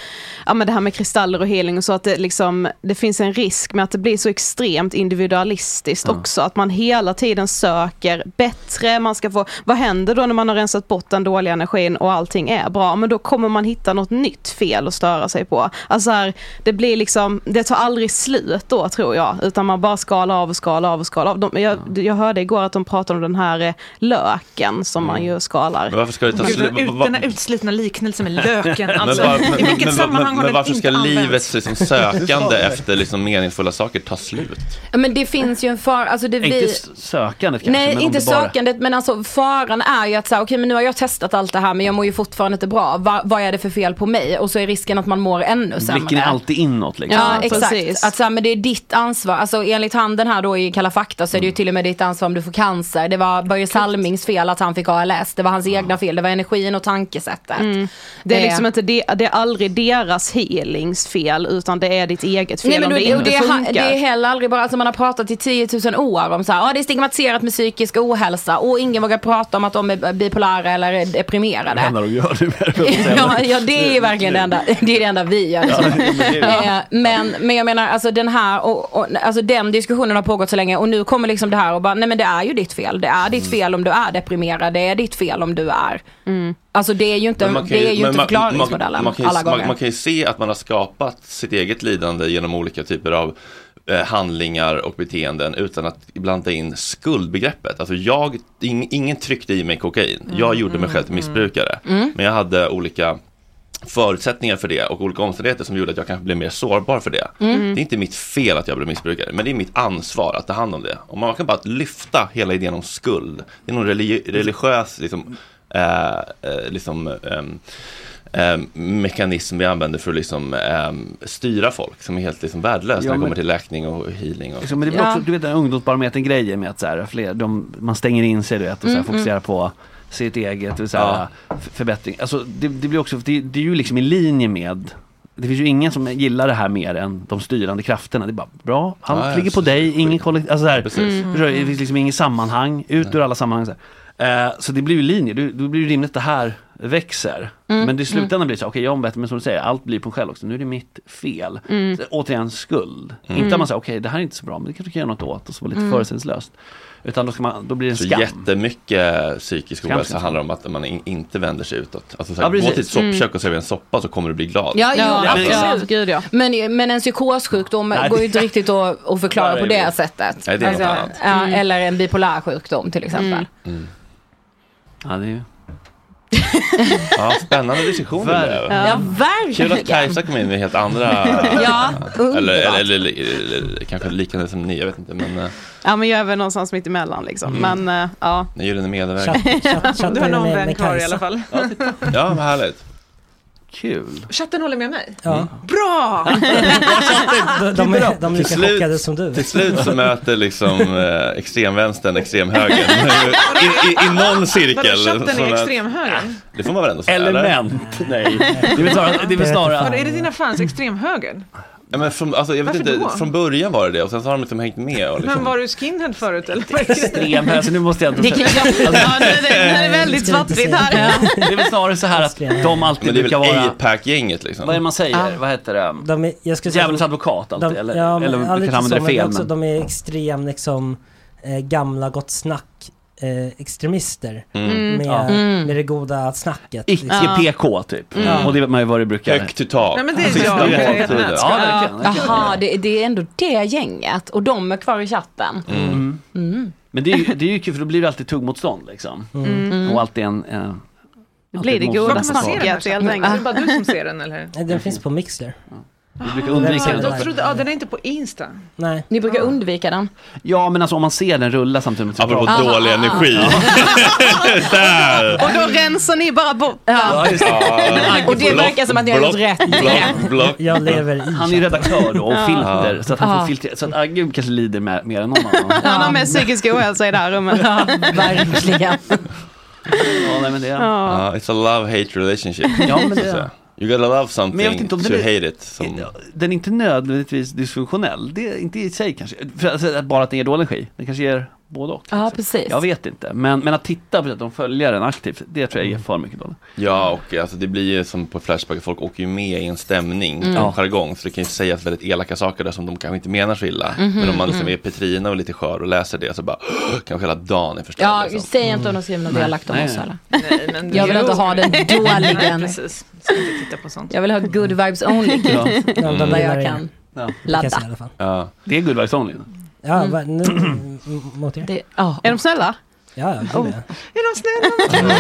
[SPEAKER 8] ja, men det här med kristaller och healing och så, att det, liksom, det finns en risk med att det blir så extremt individualistiskt också, att man hela tiden söker bättre, man ska få, vad händer då när man har rensat bort den dåliga energin och allting är bra? Men då kommer man hitta något nytt fel att störa sig på. Alltså här, det blir liksom, det tar aldrig slut då tror jag, utan man bara skalar av och skalar av och skalar av. De, jag, jag hörde igår att de pratade om den här eh, löken som man ju skalar.
[SPEAKER 1] Men varför ska Alltså, det ta
[SPEAKER 5] Gud,
[SPEAKER 1] slut?
[SPEAKER 5] den, ut, den här utslitna liknelsen med löken.
[SPEAKER 1] Men
[SPEAKER 5] Alltså,
[SPEAKER 1] var-
[SPEAKER 5] I vilket
[SPEAKER 1] men-
[SPEAKER 5] sammanhang
[SPEAKER 1] men,
[SPEAKER 5] har
[SPEAKER 1] men
[SPEAKER 5] den
[SPEAKER 1] varför ska
[SPEAKER 5] inte använts?
[SPEAKER 1] livets liksom sökande efter liksom meningsfulla saker ta slut?
[SPEAKER 6] Ja, Men det finns ju en fara. Alltså, det,
[SPEAKER 1] Inte
[SPEAKER 6] vi...
[SPEAKER 1] s-
[SPEAKER 13] Sökandet kanske,
[SPEAKER 6] Nej,
[SPEAKER 13] men om
[SPEAKER 6] inte
[SPEAKER 13] det bara-
[SPEAKER 6] sökandet, men alltså faran är ju att så här, okej men nu har jag testat allt det här men jag mår ju fortfarande inte bra. Va, vad är det för fel på mig? Och så är risken att man mår ännu sämre.
[SPEAKER 13] Blicken är alltid inåt liksom.
[SPEAKER 6] Ja, exakt. Att så här, men det är ditt ansvar. Alltså, enligt han den här då i Kalla fakta så är det
[SPEAKER 13] Mm.
[SPEAKER 6] ju till och med ditt ansvar om du får cancer. Det var Börje Salmings fel att han fick ALS. Det var hans egna fel. Det var energin och tankesättet. Eh.
[SPEAKER 8] Mm. Det är liksom inte det, det är aldrig deras healings fel utan det är ditt eget fel
[SPEAKER 6] Nej, men
[SPEAKER 8] om
[SPEAKER 6] då,
[SPEAKER 8] det
[SPEAKER 6] det, och
[SPEAKER 8] inte
[SPEAKER 6] det, är, ha-
[SPEAKER 8] funkar.
[SPEAKER 6] det är heller aldrig bara, alltså man har pratat i 10 000 år om så här, ah, det är stigmatiserat med psykisk ohälsa och ingen vågar prata om att de är bipolära eller är
[SPEAKER 13] Det
[SPEAKER 6] deprimerade.
[SPEAKER 13] enda de gör nu.
[SPEAKER 6] ja, ja, det är ju verkligen det enda, det, är det enda vi gör.
[SPEAKER 13] Ja, men det är ju-
[SPEAKER 6] Eh, men, men jag menar, alltså den här, och, och, alltså den diskussionen har pågått så länge och nu kommer liksom det här och bara, nej men det är ju ditt fel. Det är
[SPEAKER 1] Mm.
[SPEAKER 6] ditt fel om du är deprimerad, det är ditt fel om du är.
[SPEAKER 8] Mm.
[SPEAKER 6] Alltså det är ju inte,
[SPEAKER 1] Men man kan
[SPEAKER 6] det är ju
[SPEAKER 1] men
[SPEAKER 6] inte
[SPEAKER 1] man-
[SPEAKER 6] förklaringsmodellen
[SPEAKER 1] man, man, kan ju,
[SPEAKER 6] alla gånger.
[SPEAKER 1] Man, man kan ju se att man har skapat sitt eget lidande genom olika typer av eh, handlingar och beteenden utan att blanda in skuldbegreppet. Alltså jag, ing, ingen tryckte i mig kokain. Jag
[SPEAKER 6] Mm,
[SPEAKER 1] gjorde mig själv till missbrukare.
[SPEAKER 13] Mm.
[SPEAKER 1] Men jag hade olika förutsättningar för det och olika omständigheter som gjorde att jag kanske blev mer sårbar för det.
[SPEAKER 13] Mm.
[SPEAKER 1] Det är inte mitt fel att jag blev missbrukare, men det är mitt ansvar att ta hand om det. Och man kan bara lyfta hela idén om skuld. Det är någon religi- religiös liksom, eh, eh, liksom, ehm, ehm, mekanism vi använder för att liksom, ehm, styra folk som är helt liksom, värdelös när
[SPEAKER 7] Ja,
[SPEAKER 1] det
[SPEAKER 7] men-
[SPEAKER 1] kommer till läkning och healing. Och
[SPEAKER 7] Liksom, men det blir
[SPEAKER 1] Ja.
[SPEAKER 7] också, du vet den här ungdomsbarometern-grejen med att så här, fler, de, man stänger in sig du vet, och så här,
[SPEAKER 1] Mm,
[SPEAKER 7] fokuserar
[SPEAKER 1] mm.
[SPEAKER 7] på sitt eget, och så här, f- förbättring. Alltså, det, det, blir också, det, det är ju liksom i linje med det finns ju ingen som gillar det här mer än de styrande krafterna. Det är bara bra, han
[SPEAKER 1] Ja, ja,
[SPEAKER 7] ligger på dig, ingen kollektiv, alltså så här,
[SPEAKER 1] Precis. Mm.
[SPEAKER 7] förstår du? det finns liksom inget sammanhang, ut ur alla sammanhang. Så, här. Eh, så det blir ju linje, Du- då blir det rimligt att det här växer.
[SPEAKER 4] Mm,
[SPEAKER 7] Men det
[SPEAKER 4] mm.
[SPEAKER 7] i slutändan blir det så, här, okej jag har bättre, men som du säger, allt blir på en själv också, nu är det mitt fel.
[SPEAKER 4] Mm.
[SPEAKER 7] Så, återigen skuld.
[SPEAKER 4] Mm.
[SPEAKER 7] Inte att man säger okej det här är inte så bra men det kanske kan göra något åt och så vara lite
[SPEAKER 1] Mm.
[SPEAKER 7] förutsägelselöst. Utan då, ska man, då blir det en
[SPEAKER 1] Så
[SPEAKER 7] skam.
[SPEAKER 1] jättemycket psykisk
[SPEAKER 7] Skam,
[SPEAKER 1] ohälsa
[SPEAKER 7] skam, skam.
[SPEAKER 1] handlar om att man in, inte vänder sig utåt. Alltså, så
[SPEAKER 7] Ja,
[SPEAKER 1] här, gå
[SPEAKER 7] precis.
[SPEAKER 1] till ett soppkök
[SPEAKER 6] Mm.
[SPEAKER 1] och servera en soppa så kommer du bli glad.
[SPEAKER 6] Ja, jo,
[SPEAKER 8] absolut. Gud, ja.
[SPEAKER 6] Men, men en psykossjukdom
[SPEAKER 1] Nej,
[SPEAKER 6] går
[SPEAKER 1] det-
[SPEAKER 6] ju inte riktigt att, att förklara
[SPEAKER 1] Nej,
[SPEAKER 6] på
[SPEAKER 1] det är
[SPEAKER 6] det
[SPEAKER 1] det.
[SPEAKER 6] sättet. Alltså,
[SPEAKER 1] Nej, det är något annat.
[SPEAKER 6] ja, Eller en bipolär sjukdom till exempel.
[SPEAKER 7] Ja, det är ju...
[SPEAKER 1] ja, spännande diskussion. det
[SPEAKER 7] Ver-
[SPEAKER 1] där.
[SPEAKER 6] Ja, verkligen.
[SPEAKER 1] Kul att Kajsa kom in med helt andra...
[SPEAKER 8] Ja,
[SPEAKER 1] eller,
[SPEAKER 8] underbart.
[SPEAKER 1] eller, eller, eller, eller kanske liknande som ni, jag vet inte. Men eh,
[SPEAKER 8] Ja, men jag är väl någonstans mitt emellan liksom.
[SPEAKER 1] Mm.
[SPEAKER 8] Men eh, ja.
[SPEAKER 1] ni gjorde en medverkan.
[SPEAKER 5] Du har någon vän kvar i alla fall.
[SPEAKER 1] Ja, vad härligt.
[SPEAKER 7] Kul.
[SPEAKER 5] Chatten håller med mig.
[SPEAKER 3] Ja.
[SPEAKER 5] Bra!
[SPEAKER 3] De, de, är- de är lika
[SPEAKER 1] Till slut-
[SPEAKER 3] chockade som du.
[SPEAKER 1] Till slut så möter liksom eh, extremvänstern extremhögern I, i, i någon cirkel.
[SPEAKER 5] Chatten
[SPEAKER 1] som
[SPEAKER 5] är
[SPEAKER 1] är-
[SPEAKER 5] extremhögern.
[SPEAKER 1] Det får man väl ändå säga?
[SPEAKER 7] Element, nej.
[SPEAKER 1] Det är väl snarare- det är väl snarare-
[SPEAKER 5] Vadå, Är det dina fans extremhögern?
[SPEAKER 1] Ja, men från, alltså, jag vet
[SPEAKER 5] Varför
[SPEAKER 1] inte,
[SPEAKER 5] då?
[SPEAKER 1] från början var det det och sen så har de liksom hängt med. Och liksom,
[SPEAKER 5] Men var du skinhead förut eller? vad är det?
[SPEAKER 7] extrem här, så nu måste jag...
[SPEAKER 5] Det kan- Ja, nu är det- nu är det väldigt Ska inte svartvitt här. säga.
[SPEAKER 7] Det är väl snarare så här att de alltid
[SPEAKER 1] Men det är
[SPEAKER 7] brukar
[SPEAKER 1] väl
[SPEAKER 7] vara...
[SPEAKER 1] APAC-gänget liksom.
[SPEAKER 7] Vad är det man säger?
[SPEAKER 3] Ja.
[SPEAKER 7] Vad heter det?
[SPEAKER 3] De är, jag skulle säga
[SPEAKER 7] Djävulens advokat alltid, eller?
[SPEAKER 3] men-
[SPEAKER 7] eller
[SPEAKER 3] ja,
[SPEAKER 7] vi
[SPEAKER 3] lite
[SPEAKER 7] kan använda
[SPEAKER 3] så,
[SPEAKER 7] det
[SPEAKER 3] men
[SPEAKER 7] fel,
[SPEAKER 3] också,
[SPEAKER 7] men...
[SPEAKER 3] De är extrem liksom eh, gamla gott snack eh, extremister.
[SPEAKER 7] Mm.
[SPEAKER 3] Med,
[SPEAKER 7] Ja. Mm.
[SPEAKER 3] med det goda snacket.
[SPEAKER 7] Icke-PK typ.
[SPEAKER 3] Ja.
[SPEAKER 7] Och det vet man ju vad det brukar... Högt
[SPEAKER 1] i tak.
[SPEAKER 3] Nej, men
[SPEAKER 6] det är
[SPEAKER 3] jag.
[SPEAKER 7] Ja, verkligen. verkligen.
[SPEAKER 6] Jaha, det, det är ändå det gänget och de är kvar i chatten.
[SPEAKER 7] Mm.
[SPEAKER 6] Mm.
[SPEAKER 7] Men det är, ju, det är ju kul för då blir det alltid tuggmotstånd liksom.
[SPEAKER 6] Mm. Mm.
[SPEAKER 7] Och alltid en... Eh,
[SPEAKER 8] Det
[SPEAKER 7] alltid
[SPEAKER 8] blir det
[SPEAKER 7] ett
[SPEAKER 8] goda
[SPEAKER 7] motstånd.
[SPEAKER 8] snacket helt enkelt.
[SPEAKER 5] Är det bara du som ser den eller?
[SPEAKER 3] Nej, Eh, Den finns på Mixler.
[SPEAKER 7] Vi
[SPEAKER 3] Ah,
[SPEAKER 7] brukar undvika
[SPEAKER 5] Då
[SPEAKER 7] den.
[SPEAKER 5] trodde, ja, den är inte på Insta.
[SPEAKER 3] Nej.
[SPEAKER 6] Ni brukar undvika den.
[SPEAKER 7] Ja, men alltså om man ser den rulla samtidigt som
[SPEAKER 1] Apropå dålig energi. Där!
[SPEAKER 8] Och då rensar ni bara bort
[SPEAKER 7] Ja, just det.
[SPEAKER 1] Ja.
[SPEAKER 6] Och det verkar som att ni har gjort rätt.
[SPEAKER 7] Block,
[SPEAKER 1] block, block.
[SPEAKER 3] Jag lever i
[SPEAKER 7] Han är ju redaktör då, och
[SPEAKER 8] Ja.
[SPEAKER 7] filter. Så att han
[SPEAKER 8] Ja.
[SPEAKER 7] får filtrera. Så att Agge kanske lider mer, mer än någon annan.
[SPEAKER 8] Han har med psykisk ohälsa i det här rummet.
[SPEAKER 6] Ja, verkligen.
[SPEAKER 7] Ja, nej, men det...
[SPEAKER 1] Ja, it's a love-hate relationship.
[SPEAKER 7] Ja, men det-
[SPEAKER 1] Så, You gotta love something
[SPEAKER 7] Men jag vet inte om
[SPEAKER 1] to
[SPEAKER 7] det blir-
[SPEAKER 1] hate it. Som,
[SPEAKER 7] Den är inte nödvändigtvis dysfunktionell. Det är inte i sig kanske. För, alltså, att bara att den ger dålig energi. Den kanske ger både och.
[SPEAKER 6] Ja, precis.
[SPEAKER 7] Jag vet inte. Men, men att titta på att de följer den aktivt, det tror jag ger för mycket dåligt.
[SPEAKER 1] ja, och alltså, det blir ju som på Flashback, folk åker ju med i en stämning,
[SPEAKER 7] Mm.
[SPEAKER 1] en jargong, så det kan ju sägas väldigt elaka saker där som de kanske inte menar så illa.
[SPEAKER 6] Mhm,
[SPEAKER 1] Men om man liksom
[SPEAKER 6] mhm.
[SPEAKER 1] är Petrina och lite skör och läser det så bara, kanske hela dagen är förstörd. liksom."
[SPEAKER 6] Ja, säg inte om de skriver något
[SPEAKER 1] alltså. Nej.
[SPEAKER 6] elakt om
[SPEAKER 1] Nej.
[SPEAKER 6] oss alla.
[SPEAKER 5] Nej, men
[SPEAKER 6] Jag vill
[SPEAKER 5] Jo.
[SPEAKER 6] inte ha den
[SPEAKER 5] Nej,
[SPEAKER 6] dåligen.
[SPEAKER 5] precis. Ska inte titta på sånt.
[SPEAKER 6] Jag vill ha good vibes only.
[SPEAKER 7] Ja.
[SPEAKER 3] Ja, de
[SPEAKER 6] Där
[SPEAKER 3] gillar
[SPEAKER 6] jag
[SPEAKER 3] det.
[SPEAKER 6] kan
[SPEAKER 3] Ja. Det kan jag
[SPEAKER 6] ladda. Mm.
[SPEAKER 3] säga i alla fall.
[SPEAKER 1] Ja.
[SPEAKER 7] Det är good vibes only.
[SPEAKER 3] Ja, va, nu, m- mot er.
[SPEAKER 8] Är de snälla?
[SPEAKER 3] Ja, ja, gud,
[SPEAKER 6] Oh.
[SPEAKER 3] ja.
[SPEAKER 8] Är de snälla?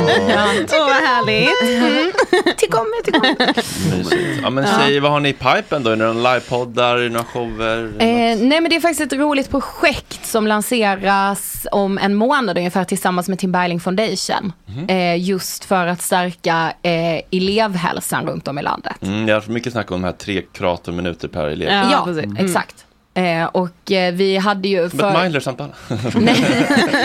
[SPEAKER 8] Åh, vad härligt. Mm. Tyck om mig, tyck
[SPEAKER 6] Eh,
[SPEAKER 8] om mig.
[SPEAKER 1] Mysigt. Ja, men
[SPEAKER 6] Ja.
[SPEAKER 1] säg, vad har ni i pipen då? Är det några livepoddar, är det några shower?
[SPEAKER 6] Eh, nej men det är faktiskt ett roligt projekt som lanseras om en månad ungefär tillsammans med Tim Bergling Foundation. Eh, just för att stärka eh, elevhälsan runt om i landet.
[SPEAKER 1] Mm, jag har haft mycket snack om de här tre kraterminuter per elev.
[SPEAKER 6] Ja, exakt. Eh, och eh, vi hade ju
[SPEAKER 1] Som ett
[SPEAKER 6] för...
[SPEAKER 1] Mindler-samtal.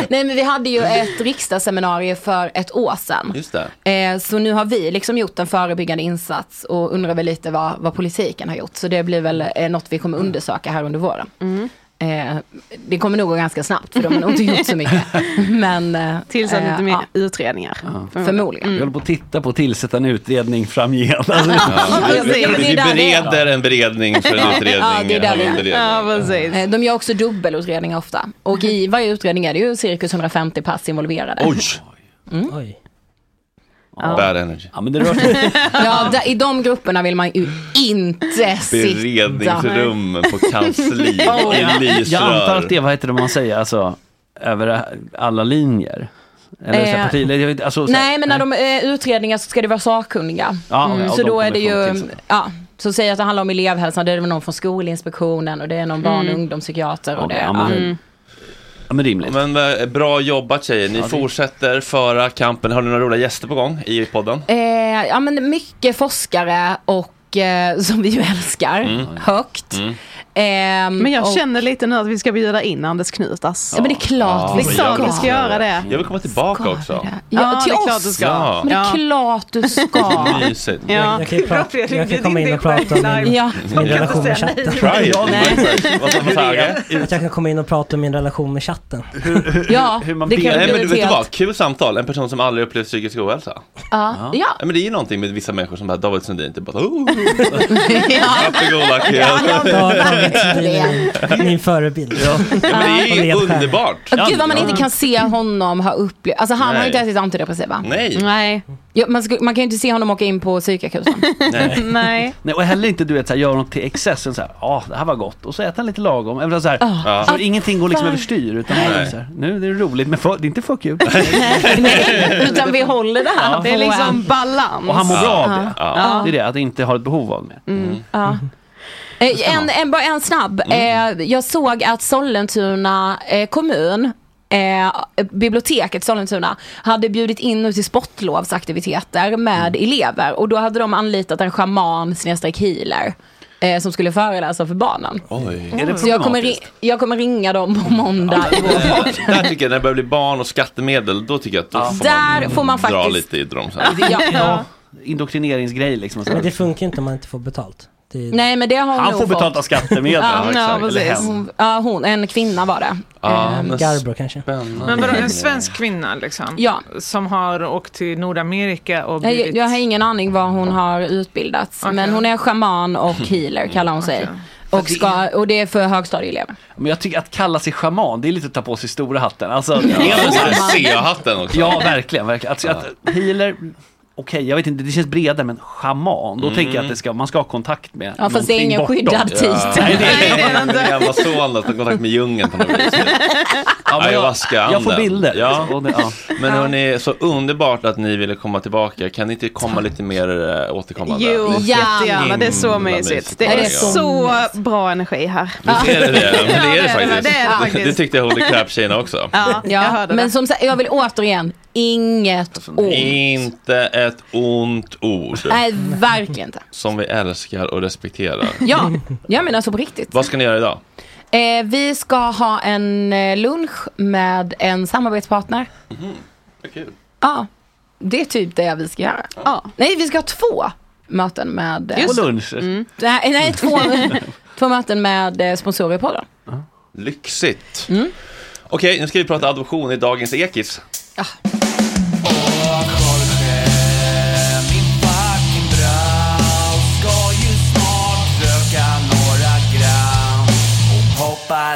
[SPEAKER 6] Nej men vi hade ju ett riksdagsseminarium för ett år sedan.
[SPEAKER 1] Just det.
[SPEAKER 6] Eh, så nu har vi liksom gjort en förebyggande insats och undrar väl lite vad, vad politiken har gjort. Så det blir väl eh, något vi kommer undersöka här under våren. Eh, det kommer nog gå ganska snabbt för de har nog inte gjort så mycket. Men, eh,
[SPEAKER 8] Tillsatt lite
[SPEAKER 6] eh,
[SPEAKER 8] mer
[SPEAKER 6] ja.
[SPEAKER 8] utredningar.
[SPEAKER 6] Förmodligen.
[SPEAKER 7] Jag håller på att titta på att tillsätta en utredning framgent. Alltså,
[SPEAKER 1] Ja, vi, vi,
[SPEAKER 6] precis.
[SPEAKER 1] vi
[SPEAKER 6] Det är där det är.
[SPEAKER 1] bereder en beredning för en utredning.
[SPEAKER 6] Ja, det är där
[SPEAKER 1] av en
[SPEAKER 6] vi
[SPEAKER 1] beredning.
[SPEAKER 6] är. Eh, De gör också dubbelutredningar ofta. Och i varje utredning är det ju cirkus 150 pass involverade.
[SPEAKER 1] Oj!
[SPEAKER 6] Mm.
[SPEAKER 3] Oj.
[SPEAKER 1] Bad energy.
[SPEAKER 7] Ja, men det rör sig.
[SPEAKER 6] Ja, där, i de grupperna vill man ju inte sitta.
[SPEAKER 1] Beredningsrum på kansli
[SPEAKER 6] Oh, ja.
[SPEAKER 1] i lysrör.
[SPEAKER 7] Jag antar att det, vad heter det man säger, alltså över alla linjer? Eller så här
[SPEAKER 6] Eh,
[SPEAKER 7] partiledare, jag vet inte, alltså, så här-
[SPEAKER 6] Nej, men när de är utredningar så ska det vara sakkunniga.
[SPEAKER 7] Ja, Ah, ja, och
[SPEAKER 6] Mm, Så
[SPEAKER 7] de
[SPEAKER 6] då är
[SPEAKER 7] kommer
[SPEAKER 6] det
[SPEAKER 7] från
[SPEAKER 6] ju,
[SPEAKER 7] tillsättning.
[SPEAKER 6] ja, så säger jag att det handlar om elevhälsan, det är väl någon från Skolinspektionen och det är någon barn och
[SPEAKER 8] Mm.
[SPEAKER 6] ungdomspsykiater och
[SPEAKER 7] Okej,
[SPEAKER 6] det.
[SPEAKER 7] ja, men-
[SPEAKER 6] ja.
[SPEAKER 7] Mm.
[SPEAKER 13] Ja, men rimligt.
[SPEAKER 1] Men eh, bra jobbat tjejer, ni
[SPEAKER 6] Ja, det-
[SPEAKER 1] fortsätter föra kampen. Har ni några roliga gäster på gång i podden?
[SPEAKER 6] Eh, ja, men mycket forskare och eh, som vi ju älskar
[SPEAKER 1] Mm.
[SPEAKER 6] högt. Ehm,
[SPEAKER 1] Mm.
[SPEAKER 8] Men jag
[SPEAKER 6] och-
[SPEAKER 8] känner lite nu att vi ska bjuda in Anders alltså. Knutas.
[SPEAKER 6] Ja, men det är klart
[SPEAKER 8] vi ska. Vi ska göra det.
[SPEAKER 1] Ah, Jag vill komma tillbaka också.
[SPEAKER 6] Ja,
[SPEAKER 8] Ja,
[SPEAKER 6] till
[SPEAKER 8] det är
[SPEAKER 6] oss.
[SPEAKER 8] klart du ska.
[SPEAKER 1] Ja.
[SPEAKER 6] Men det är klart du ska.
[SPEAKER 1] Mysigt.
[SPEAKER 6] Ja. Jag kan ju prata-
[SPEAKER 3] jag kan komma in och prata om min,
[SPEAKER 6] Ja.
[SPEAKER 3] min relation med chatten.
[SPEAKER 1] Try it. Vad sa- vad sa Agge?
[SPEAKER 3] Att jag kan komma in och prata om min relation med chatten.
[SPEAKER 6] Ja, hur man det kan
[SPEAKER 1] Nej,
[SPEAKER 6] bli
[SPEAKER 1] men du
[SPEAKER 6] ett
[SPEAKER 1] vet du
[SPEAKER 6] helt-
[SPEAKER 1] vad, kul samtal. En person som aldrig upplevt psykisk ohälsa.
[SPEAKER 6] Ja. Ja.
[SPEAKER 1] Men det är ju någonting med vissa människor som bara David Sundin, typ bara oh, varsågoda kul.
[SPEAKER 3] David, min förebild. Ja,
[SPEAKER 1] men det är ju
[SPEAKER 3] Och ledstjärna.
[SPEAKER 1] underbart.
[SPEAKER 6] Ja, gud vad man inte kan se honom ha upplevt, alltså han har
[SPEAKER 1] Nej.
[SPEAKER 6] ju inte ätit antidepressiva.
[SPEAKER 1] Nej.
[SPEAKER 6] Nej. Ja, man, sku- man kan ju inte se honom åka in på psykakuten.
[SPEAKER 13] Nej.
[SPEAKER 6] Nej.
[SPEAKER 13] Nej, och heller inte du vet, så här, göra något till excessen så här, ja det här var gott och så äter han lite lagom. Även så här,
[SPEAKER 6] Ja.
[SPEAKER 13] så ingenting går liksom
[SPEAKER 6] Varför?
[SPEAKER 13] överstyr utan bara
[SPEAKER 6] Nej.
[SPEAKER 13] så här, nu är det roligt men för, det är inte för kul.
[SPEAKER 8] Nej, utan vi håller det här
[SPEAKER 13] Ja.
[SPEAKER 8] Det är liksom balans.
[SPEAKER 13] och han mår bra av det.
[SPEAKER 8] Ja.
[SPEAKER 13] Det är det, att inte ha ett behov av mer.
[SPEAKER 6] Ja. Eh, En, en, bara en snabb. Eh, jag såg att Sollentuna eh, kommun, eh, biblioteket Sollentuna, hade bjudit in nu till sportlovsaktiviteter med elever och då hade de anlitat en schaman snedstreck healer. eh, Som skulle föreläsa för barnen.
[SPEAKER 1] Oj. Är det
[SPEAKER 6] Så jag kommer, ri-
[SPEAKER 1] problematiskt?
[SPEAKER 6] jag kommer ringa dem på måndag.
[SPEAKER 1] Där tycker jag när det börjar bli barn och skattemedel, då tycker jag att då får
[SPEAKER 6] Där
[SPEAKER 1] man
[SPEAKER 6] får man
[SPEAKER 1] dra
[SPEAKER 6] faktiskt-
[SPEAKER 1] lite i dem sen.
[SPEAKER 6] Ja.
[SPEAKER 13] Indoktrineringsgrej liksom. Så
[SPEAKER 3] Men det
[SPEAKER 13] här.
[SPEAKER 3] funkar inte om man inte får betalt. Det är-
[SPEAKER 6] Nej men det har hon
[SPEAKER 13] Han
[SPEAKER 6] nog
[SPEAKER 13] får
[SPEAKER 6] fått.
[SPEAKER 13] betalt av skattemedel.
[SPEAKER 6] Ja,
[SPEAKER 13] exakt.
[SPEAKER 6] ja,
[SPEAKER 13] Eller
[SPEAKER 6] precis.
[SPEAKER 13] hem.
[SPEAKER 6] Hon, ja, hon, en kvinna var det.
[SPEAKER 1] Ja, men
[SPEAKER 3] Garbro kanske.
[SPEAKER 5] Men vadå, en svensk kvinna liksom?
[SPEAKER 6] Ja.
[SPEAKER 5] Som har åkt till Nordamerika och
[SPEAKER 6] Nej, Jag,
[SPEAKER 5] blivit...
[SPEAKER 6] jag har ingen aning vad hon har utbildats. Men hon är schaman och
[SPEAKER 5] Mm,
[SPEAKER 6] healer kallar hon sig. Och, ska, och det är för högstadieelever.
[SPEAKER 13] Men jag tycker att kalla sig schaman, det är lite att ta på sig stora hatten. Alltså,
[SPEAKER 1] Ja,
[SPEAKER 13] är
[SPEAKER 1] och
[SPEAKER 13] så här-
[SPEAKER 1] sen CA-hatten också.
[SPEAKER 13] Ja, verkligen. verkligen. Alltså, att healer, okej, jag vet inte, det känns bredare, men schaman, då
[SPEAKER 1] Mm.
[SPEAKER 13] tänker jag att det ska, man ska ha kontakt med
[SPEAKER 6] Ja, fast det är
[SPEAKER 13] någonting
[SPEAKER 6] ingen
[SPEAKER 13] bortom.
[SPEAKER 6] skyddad titel.
[SPEAKER 13] Ja. Nej, det är det inte.
[SPEAKER 1] Min gamla son har tagit kontakt med djungeln på något vis.
[SPEAKER 13] men jag-
[SPEAKER 1] Ayahuasca-anden.
[SPEAKER 13] jag får bilder.
[SPEAKER 1] Ja.
[SPEAKER 13] Och det- ja.
[SPEAKER 1] Men hörni, så underbart att ni ville komma tillbaka. Kan ni inte komma lite mer eh, återkommande?
[SPEAKER 8] Jo,
[SPEAKER 1] Ni-
[SPEAKER 8] jättegärna. Det är så
[SPEAKER 1] Himla
[SPEAKER 8] mysigt. Det är
[SPEAKER 1] Ja.
[SPEAKER 8] så bra energi här.
[SPEAKER 1] Visst är det det? Men
[SPEAKER 8] Ja,
[SPEAKER 1] det är det
[SPEAKER 8] väl.
[SPEAKER 1] faktiskt.
[SPEAKER 8] Det är det faktiskt.
[SPEAKER 1] Det tyckte jag Holy Crap-tjejerna också.
[SPEAKER 8] Ja, jag hörde det.
[SPEAKER 6] Men som sagt, jag vill återigen, inget ont.
[SPEAKER 1] Inte ett ont ord.
[SPEAKER 6] Nej, verkligen inte.
[SPEAKER 1] Som vi älskar och respekterar.
[SPEAKER 6] Ja, jag menar så på riktigt.
[SPEAKER 1] Vad ska ni göra idag?
[SPEAKER 6] Eh, vi ska ha en eh, lunch med en samarbetspartner. Ja, det är typ det vi ska göra. Ja. Nej, vi ska ha två möten med... eh,
[SPEAKER 13] Och luncher.
[SPEAKER 6] Nej, nej två, två möten med eh, sponsorer i podden.
[SPEAKER 1] Lyxigt.
[SPEAKER 8] Mm.
[SPEAKER 1] Okej, nu ska vi prata adoption i dagens Ekis.
[SPEAKER 4] Hoppa